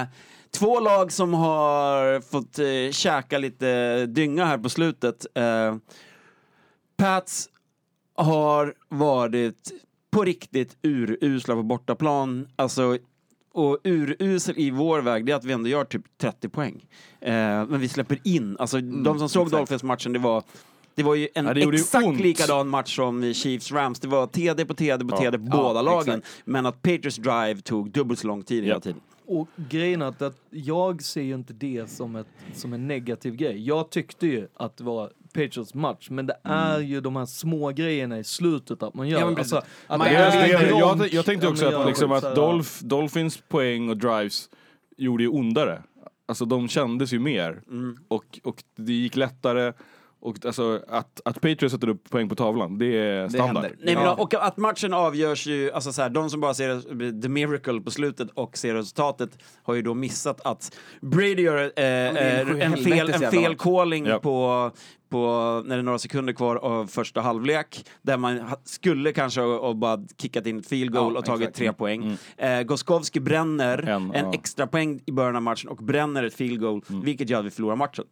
Speaker 3: Eh, två lag som har fått eh, käka lite dynga här på slutet. Eh, Pats har varit på riktigt urusla på bortaplan. Alltså, och urusel i vår väg, det är att vi ändå gör typ 30 poäng. Eh, men vi släpper in. Alltså, de som såg Dolphins-matchen, det var det var ju en
Speaker 4: Mm, Ja, det gjorde ju
Speaker 3: exakt
Speaker 4: ont.
Speaker 3: likadan match som i Chiefs Rams. Det var TD på TD på
Speaker 4: Ja.
Speaker 3: TD på båda
Speaker 4: Ja,
Speaker 3: lagen. Men att Patriots drive tog dubbelt så lång tid hela
Speaker 4: Ja.
Speaker 3: tiden.
Speaker 2: Och grejen är att- att jag ser ju inte det som, ett, som en negativ grej. Jag tyckte ju att det var Patriots match, men det
Speaker 4: Mm.
Speaker 2: är ju de här små grejerna i slutet att man gör.
Speaker 1: Ja,
Speaker 2: Alltså,
Speaker 1: men precis. Man-
Speaker 2: att
Speaker 4: Det
Speaker 2: det
Speaker 4: är,
Speaker 2: är
Speaker 4: det är,
Speaker 2: en
Speaker 4: jag,
Speaker 2: lång-
Speaker 4: jag tänkte
Speaker 2: Ja,
Speaker 4: också
Speaker 2: men
Speaker 4: att,
Speaker 2: jag-
Speaker 4: liksom,
Speaker 2: så
Speaker 4: att
Speaker 2: här,
Speaker 4: Dolph, Dolphins poäng och drives gjorde ju ondare. Alltså de kändes ju mer.
Speaker 2: Mm.
Speaker 4: Och, och det gick lättare. Och alltså, att, att Patriots sätter upp poäng på tavlan, det är standard.
Speaker 1: händer.
Speaker 3: Nej, men,
Speaker 1: Ja.
Speaker 3: Och att matchen avgörs ju, alltså så här, de som bara ser the miracle på slutet och ser resultatet har ju då missat att Brady gör eh,
Speaker 1: en
Speaker 3: eh, en
Speaker 1: sjuhelvetes
Speaker 3: fel, en
Speaker 1: jävla
Speaker 3: fel
Speaker 1: match.
Speaker 3: calling
Speaker 4: Ja.
Speaker 3: på, på när det är några sekunder kvar av första halvlek där man ha- skulle kanske ha ha bara kickat in ett field goal
Speaker 1: Ja,
Speaker 3: och tagit
Speaker 1: exakt. Mm.
Speaker 3: tre poäng. Eh, Gostkowski bränner en,
Speaker 4: En, ja.
Speaker 3: extra poäng i början av matchen och bränner ett field goal,
Speaker 1: Mm.
Speaker 3: vilket gör att vi förlorar matchen.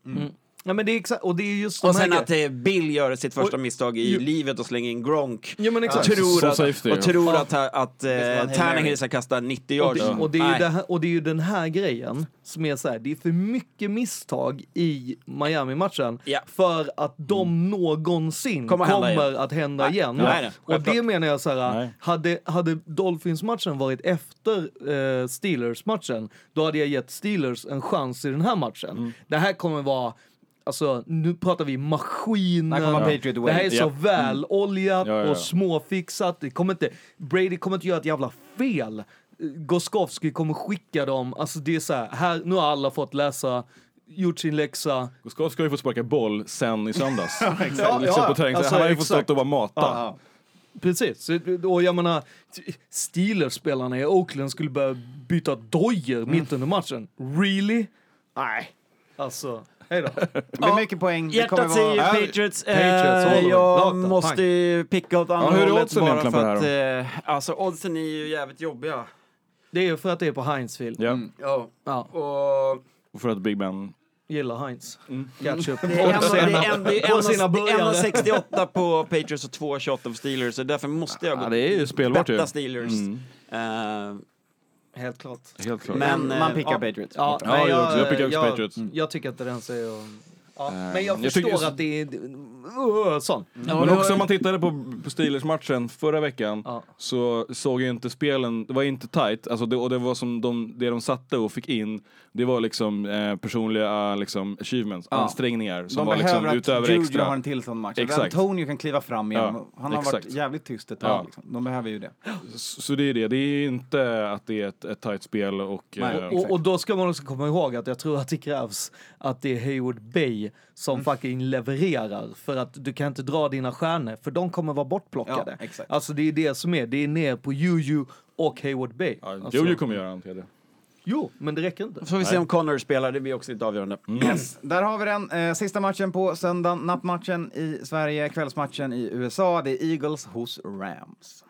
Speaker 2: Ja, men det är exakt, och det är just
Speaker 3: Och
Speaker 2: de här
Speaker 3: sen
Speaker 2: grejerna.
Speaker 3: att eh, Bill gör sitt första
Speaker 2: Oh Och-
Speaker 3: misstag i livet och slänger in Gronk.
Speaker 2: Ja, men
Speaker 3: Och
Speaker 2: exakt.
Speaker 3: tror
Speaker 4: Som
Speaker 3: att,
Speaker 4: safety,
Speaker 3: och
Speaker 4: ja.
Speaker 3: tror att, att, att
Speaker 1: ska vara en
Speaker 3: eh,
Speaker 1: Hail
Speaker 3: Tannehill
Speaker 1: Mary.
Speaker 3: ska kasta 90
Speaker 2: Och
Speaker 3: yards.
Speaker 2: det, och, det är ju
Speaker 3: Nej.
Speaker 2: det här, och det är ju den här grejen som är så här, det är för mycket misstag i Miami-matchen
Speaker 3: Ja.
Speaker 2: för att de någonsin
Speaker 3: Kommer
Speaker 2: kommer,
Speaker 3: hända igen.
Speaker 2: att hända
Speaker 3: Nej.
Speaker 2: igen.
Speaker 3: Nej, nej.
Speaker 2: och det menar jag så här,
Speaker 4: Nej.
Speaker 2: hade, hade Dolphins-matchen varit efter eh, Steelers-matchen, då hade jag gett Steelers en chans i den här matchen. Det här kommer vara Alltså, nu pratar vi
Speaker 1: Det
Speaker 2: maskiner.
Speaker 1: här kommer vara Patriot
Speaker 2: det här
Speaker 1: way.
Speaker 2: är så
Speaker 4: Ja.
Speaker 2: väl oljat
Speaker 4: Mm. Ja, ja, ja.
Speaker 2: och småfixat. Det kommer inte, Brady kommer inte göra ett jävla fel. Goskovski kommer skicka dem. Alltså det är så här, här, nu har alla fått läsa, gjort sin läxa.
Speaker 4: Guskov ska ju få sparka boll sen i söndags.
Speaker 2: Ja,
Speaker 4: liksom
Speaker 2: ja,
Speaker 4: på träning.
Speaker 2: alltså,
Speaker 4: han har ju fått
Speaker 2: exakt.
Speaker 4: stått och bara mata.
Speaker 1: Ja.
Speaker 2: Precis. Så- Och jag menar, Steelers-spelarna i Oakland skulle
Speaker 4: Mm.
Speaker 2: börja byta dojor mitt under matchen. Really? Nej. Alltså, Hej då.
Speaker 1: Det blir mycket poäng. Det kommer
Speaker 3: Hjärtat säger
Speaker 1: vara...
Speaker 4: Ja,
Speaker 3: ju Patriots. Eh,
Speaker 4: Patriots, håll dem.
Speaker 3: jag
Speaker 4: Data,
Speaker 3: måste
Speaker 4: tack.
Speaker 3: ju picka åt andra
Speaker 4: hur är
Speaker 3: hållet
Speaker 4: oddsen
Speaker 3: bara
Speaker 4: egentligen på
Speaker 3: för
Speaker 4: det
Speaker 3: att... Eh, alltså oddsen är ju jävligt jobbiga.
Speaker 2: Det är ju för att det är på Heinzfield.
Speaker 4: Ja.
Speaker 3: Ja.
Speaker 2: Ja,
Speaker 3: Och
Speaker 4: Och för att Big Ben...
Speaker 2: gillar Heinz.
Speaker 4: Mm.
Speaker 2: Ketchup.
Speaker 3: det är ändå- det är ändå- det är
Speaker 2: Och sina
Speaker 3: ändå- det är ändå
Speaker 2: burgare.
Speaker 3: 68 på Patriots och 2,28 på Steelers. Så därför måste jag gå
Speaker 4: Ja, det är ju spelbart ju.
Speaker 3: betta Steelers. Eh,
Speaker 2: Helt klart.
Speaker 4: Helt klart.
Speaker 3: Men-
Speaker 1: Men man
Speaker 3: eh,
Speaker 1: pickar
Speaker 3: ja.
Speaker 1: Patriots.
Speaker 2: Ja,
Speaker 4: Ja,
Speaker 2: nej,
Speaker 4: jag också. Jag pickar också
Speaker 2: jag,
Speaker 4: Patriots. Mm. Eh,
Speaker 2: Jag tycker inte den säger... Ja, men jag
Speaker 4: jag
Speaker 2: förstår
Speaker 4: tycker- Mm.
Speaker 2: att det är... Uh, sån.
Speaker 4: Men också om man tittade på, på Steelers-matchen förra veckan
Speaker 2: Ja.
Speaker 4: så såg ju inte spelen, det var inte tight. Alltså det, och det var som de, det de satte och fick in, det var liksom eh, personliga eh, liksom, achievements, ansträngningar som
Speaker 1: De
Speaker 4: var
Speaker 1: behöver
Speaker 4: liksom
Speaker 1: att
Speaker 4: utöver
Speaker 1: Juju
Speaker 4: extra.
Speaker 1: har en till sån match.
Speaker 4: Exakt.
Speaker 1: Antonio kan kliva fram igen.
Speaker 4: Ja,
Speaker 1: Han har varit
Speaker 4: exakt.
Speaker 1: jävligt tyst ett tag.
Speaker 4: Ja.
Speaker 1: Liksom. De behöver ju det.
Speaker 4: Så, så det är det, det är ju inte att det är ett, ett tight spel och...
Speaker 1: Nej.
Speaker 4: eh,
Speaker 2: Och, och då ska man också komma ihåg att jag tror att det krävs att det är Hayward Bay
Speaker 4: Mm.
Speaker 2: som fucking levererar. För att du kan inte dra dina stjärnor, för de kommer vara bortplockade.
Speaker 1: Ja, exakt.
Speaker 2: Alltså det är det som är, det är ner på Juju och Hayward Bay.
Speaker 4: ja, Jojo
Speaker 2: alltså,
Speaker 4: kommer göra en tredje.
Speaker 2: jo, men det räcker inte.
Speaker 3: får vi se om Connor spelar, det blir också lite avgörande.
Speaker 4: Mm.
Speaker 1: Där har vi den. Eh, sista matchen på söndagen. Nattmatchen i Sverige, kvällsmatchen i USA. Det är Eagles hos Rams.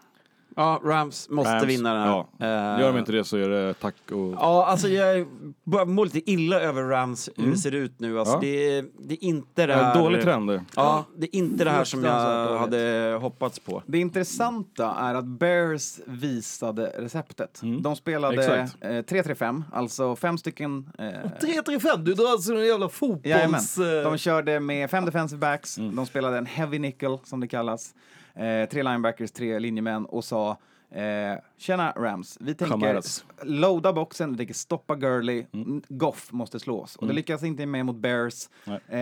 Speaker 3: Ja, Rams måste
Speaker 4: Rams,
Speaker 3: vinna den här.
Speaker 4: ja.
Speaker 3: Eh,
Speaker 4: Gör de inte det så är det tack och...
Speaker 3: Ja, alltså jag börjar må lite illa över Rams, hur det ser ut nu. Alltså,
Speaker 4: Mm. Ja.
Speaker 3: det, är- det är inte det här...
Speaker 4: En dålig trend det.
Speaker 3: Ja, det är inte det här som
Speaker 1: Fruktansvärt
Speaker 3: jag
Speaker 1: dåligt.
Speaker 3: hade hoppats på.
Speaker 1: Det intressanta är att Bears visade receptet. De spelade
Speaker 4: Mm. Exakt.
Speaker 1: eh, 3-3-5, alltså fem stycken... Eh,
Speaker 2: 3-3-5, du drar alltså en jävla
Speaker 1: Jajamän.
Speaker 2: fotbolls... eh, Mm.
Speaker 1: De körde med fem defensive backs, de spelade en heavy nickel som det kallas, eh, tre linebackers, tre linjemän och sa eh, Tjena Rams, vi tänker
Speaker 4: Kamaras.
Speaker 1: s- loada boxen, vi tänker stoppa Gurley,
Speaker 2: Mm.
Speaker 1: N- Goff måste slås. Och det lyckas inte med mot Bears, eh,
Speaker 4: Nej.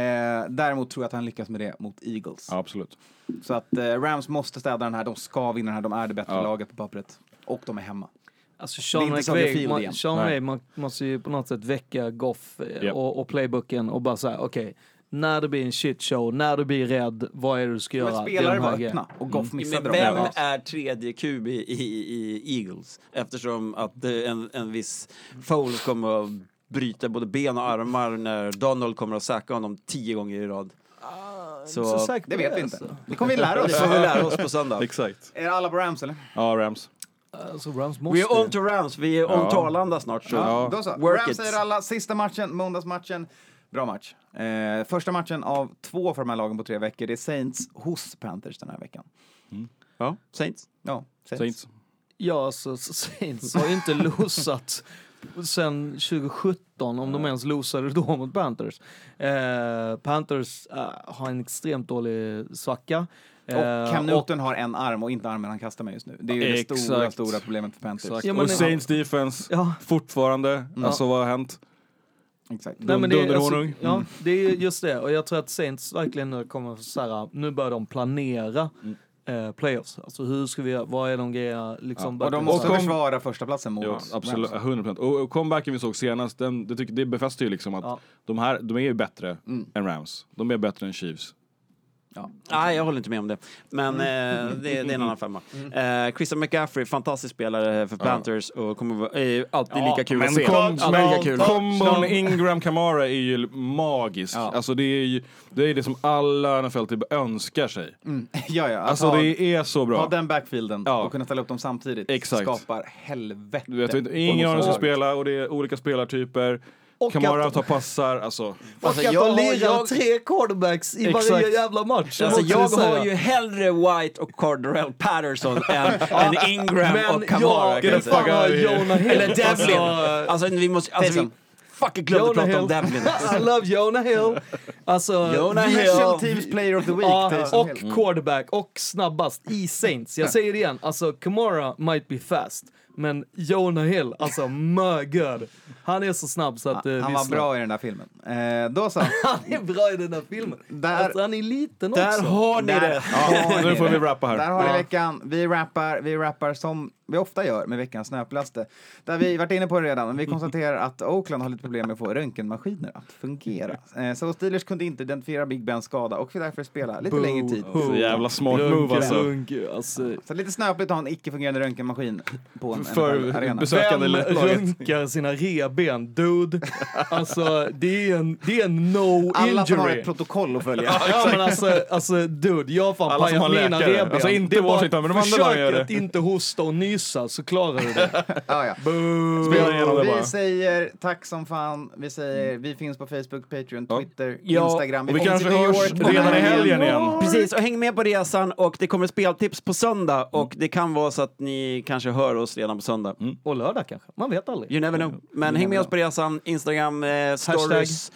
Speaker 1: däremot tror jag att han lyckas med det mot Eagles.
Speaker 4: Ja, absolut.
Speaker 1: Så att eh, Rams måste städa den här, de ska vinna den här, de är det bättre
Speaker 4: Ja.
Speaker 1: laget på pappret. Och de är hemma.
Speaker 2: Alltså
Speaker 1: Det
Speaker 2: Sean
Speaker 1: är inte Soldier
Speaker 2: McVay,
Speaker 1: Field
Speaker 2: man,
Speaker 1: igen.
Speaker 2: Sean
Speaker 4: Nej.
Speaker 2: McVay man måste ju på något sätt väcka Goff eh,
Speaker 4: Japp.
Speaker 2: och, och playbooken och bara säga okej, när det blir en shit show, när du blir rädd, vad är det du ska göra?
Speaker 1: Men
Speaker 2: Det är
Speaker 1: spelare
Speaker 2: de Mm. här
Speaker 1: var
Speaker 2: grejerna.
Speaker 1: öppna och Goff
Speaker 3: Men
Speaker 1: missade
Speaker 3: vem
Speaker 1: dem.
Speaker 3: är tredje QB i, i, i Eagles? Eftersom att eh, en, en viss Foles kommer att bryta både ben och armar när Donald kommer att säkra honom tio gånger i rad.
Speaker 1: Ah,
Speaker 3: Så,
Speaker 2: Så säkert
Speaker 1: Det
Speaker 2: på
Speaker 1: vet vi inte.
Speaker 2: alltså.
Speaker 1: Det kommer vi lära
Speaker 3: det
Speaker 1: oss.
Speaker 3: får vi lära oss på söndag.
Speaker 4: Exakt.
Speaker 1: Är alla på Rams eller?
Speaker 4: Ja, Rams.
Speaker 2: Alltså Rams måste
Speaker 3: We are on
Speaker 2: ju.
Speaker 3: to Rams, vi är on
Speaker 4: Ja.
Speaker 3: to Arlanda snart. Så.
Speaker 4: Ja.
Speaker 1: Då så.
Speaker 3: Work
Speaker 1: Rams
Speaker 3: it.
Speaker 1: säger alla. Sista matchen, måndagsmatchen. Bra match. Eh, första matchen av två för de här lagen på tre veckor. Det är Saints hos Panthers den här veckan.
Speaker 3: Ja, Saints.
Speaker 1: Ja, Saints.
Speaker 4: Saints.
Speaker 2: Ja, alltså Saints har ju inte losat sen 2017, om de ens losade då mot Panthers. Eh, Panthers eh, har en extremt dålig svacka.
Speaker 1: Och Cam
Speaker 2: Eh, och-
Speaker 1: Newton har en arm och inte armen han kastar med just nu. Det är ju det
Speaker 4: Exakt.
Speaker 1: stora, stora problemet för Panthers.
Speaker 4: Exakt.
Speaker 1: Exakt.
Speaker 2: Ja, men-
Speaker 4: och Saints defense,
Speaker 2: Ja.
Speaker 4: fortfarande. Alltså vad har hänt?
Speaker 2: Nej, men det, är-
Speaker 4: Dunderhonung.
Speaker 2: alltså,
Speaker 3: Mm.
Speaker 2: ja, det är just det. Och jag tror att Saints verkligen nu kommer så här, nu börjar de planera eh, playoffs. Alltså hur ska vi göra, vad är de grejerna liksom.
Speaker 1: Mm. Och de
Speaker 2: verkligen
Speaker 1: måste
Speaker 2: så här-
Speaker 1: försvara förstaplatsen mot
Speaker 4: Ja,
Speaker 1: Rams.
Speaker 4: absolut, 100 procent. Och och comebacken vi såg senast, den, det, tycker, det befäster ju liksom att
Speaker 2: Ja.
Speaker 4: de här, de är ju bättre
Speaker 3: Mm.
Speaker 4: än Rams. De är bättre än Chiefs.
Speaker 1: Ja.
Speaker 3: Nej, jag håller inte med om det. Men eh, det, det är en annan femma.
Speaker 1: Mm.
Speaker 3: Eh, Christian McCaffrey, fantastisk spelare för Panthers och kommer vara- är ju alltid lika kul att se. Alltså, Alltid lika kul.
Speaker 4: kombon Ingram Kamara är ju magisk.
Speaker 1: Ja.
Speaker 4: Alltså det är ju det, är det som alla NFL typ önskar sig.
Speaker 3: Mm.
Speaker 1: ja, ja. Att
Speaker 4: Alltså
Speaker 1: ha,
Speaker 4: det är så
Speaker 1: ha
Speaker 4: bra.
Speaker 1: den backfielden
Speaker 4: Ja.
Speaker 1: och kunna ställa upp dem samtidigt
Speaker 4: Exakt.
Speaker 1: skapar helvete.
Speaker 4: Du vet,
Speaker 1: på
Speaker 4: ingen av dem ska
Speaker 1: motståndarlaget.
Speaker 4: spela och det är olika spelartyper.
Speaker 2: Och
Speaker 4: Kamara
Speaker 2: att-
Speaker 4: tar passar, alltså.
Speaker 2: Och
Speaker 3: Alltså,
Speaker 2: att
Speaker 3: jag-
Speaker 2: de lirar
Speaker 3: jag-
Speaker 2: tre quarterbacks i varje
Speaker 4: Exakt.
Speaker 2: jävla match.
Speaker 3: Alltså,
Speaker 2: måste
Speaker 3: jag
Speaker 2: vi säga.
Speaker 3: har ju hellre White och Cardarell Patterson än, än Ingram
Speaker 2: men
Speaker 3: och Kamara.
Speaker 2: jag
Speaker 3: kan
Speaker 2: vill
Speaker 3: jag säga.
Speaker 2: fan ha Jonah Hill.
Speaker 3: Eller Devlin.
Speaker 2: Alltså,
Speaker 3: Alltså, vi måste... Alltså, vi
Speaker 1: Taysom.
Speaker 3: fucking glömde
Speaker 2: Jonah
Speaker 3: prata om
Speaker 2: Hill.
Speaker 3: Devlin.
Speaker 2: I love Jonah Hill. Alltså,
Speaker 3: Jonah
Speaker 2: vi-
Speaker 3: Hill.
Speaker 1: Special Teams Player of the Week.
Speaker 2: Ja,
Speaker 1: Taysom Hill.
Speaker 2: och quarterback och snabbast i Saints. Jag säger det igen, alltså Kamara might be fast, men Jonah Hill, alltså my god. Han är så snabb så att eh,
Speaker 1: Han
Speaker 2: vi
Speaker 1: var
Speaker 2: snabb-
Speaker 1: bra i den där filmen. Eh, då så.
Speaker 2: Han är bra i den här filmen.
Speaker 1: Där-
Speaker 2: alltså, han är liten
Speaker 3: Där
Speaker 2: också.
Speaker 3: har ni
Speaker 1: Där
Speaker 3: det.
Speaker 1: har ni
Speaker 4: Nu får vi
Speaker 1: det.
Speaker 4: rappa
Speaker 1: Där
Speaker 4: här.
Speaker 1: har ni veckan. Vi rappar, vi rappar som vi ofta gör med veckans snöplaste. Där vi varit inne på det redan, men vi konstaterar att Oakland har lite problem med att få röntgenmaskiner att fungera. Eh, Så Steelers kunde inte identifiera Big Bens skada och fick därför spela lite längre tid.
Speaker 4: Så jävla smart move alltså.
Speaker 2: Runk, alltså.
Speaker 1: Så lite snöpligt att ha en icke-fungerande röntgenmaskin på en
Speaker 4: För
Speaker 1: NFL-arena.
Speaker 4: besök-
Speaker 2: Vem
Speaker 4: Sökande laget.
Speaker 2: runkar sina reb ben. Dude, alltså det är en, det är en no
Speaker 1: Alla som har
Speaker 2: injury.
Speaker 1: ett protokoll att följa.
Speaker 2: Ja men alltså, alltså dude, jag har fan
Speaker 4: Alla som
Speaker 2: pajat
Speaker 4: har
Speaker 2: mina
Speaker 4: läkare.
Speaker 2: revben.
Speaker 4: Alltså, inte
Speaker 2: Det är bara-
Speaker 4: Washington, men de andra lagen gör
Speaker 2: Försök att
Speaker 4: det.
Speaker 2: inte hosta och nysa så klarar du det.
Speaker 1: ja, ja.
Speaker 4: Spela igenom det bara.
Speaker 1: Vi säger tack som fan. Vi säger vi finns på Facebook, Patreon,
Speaker 4: Ja.
Speaker 1: Twitter,
Speaker 3: Ja,
Speaker 1: Instagram.
Speaker 4: Och vi
Speaker 1: finns i
Speaker 4: kanske
Speaker 1: New
Speaker 4: hörs
Speaker 1: York, på
Speaker 4: redan i
Speaker 1: Manhattan.
Speaker 4: helgen igen.
Speaker 3: Precis, och häng med på resan och det kommer speltips på söndag och det kan vara så att ni kanske hör oss redan på söndag.
Speaker 2: Och lördag kanske, man vet aldrig.
Speaker 3: Mm. You never know. Mm. Men häng med oss på resan, Instagram eh, stories,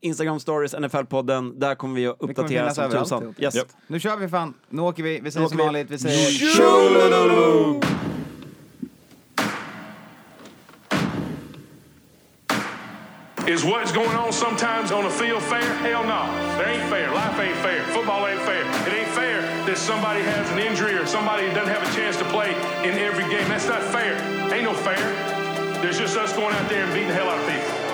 Speaker 3: Instagram stories, NFL-podden. Där kommer vi att
Speaker 1: kommer
Speaker 3: uppdatera
Speaker 1: finnas
Speaker 3: som
Speaker 1: överallt,
Speaker 3: tusan.
Speaker 1: typ.
Speaker 3: Yes.
Speaker 4: Japp.
Speaker 1: Nu kör vi fan. Nu åker vi. Vi säger
Speaker 3: åker
Speaker 1: som
Speaker 3: vi.
Speaker 1: vanligt. Vi säger...
Speaker 5: Is what's going on sometimes on the field fair? Hell no. That ain't fair. Life ain't fair. Football ain't fair. It ain't fair that somebody has an injury or somebody doesn't have a chance to play in every game. That's not fair. Ain't no fair. There's just us going out there and beating the hell out of people.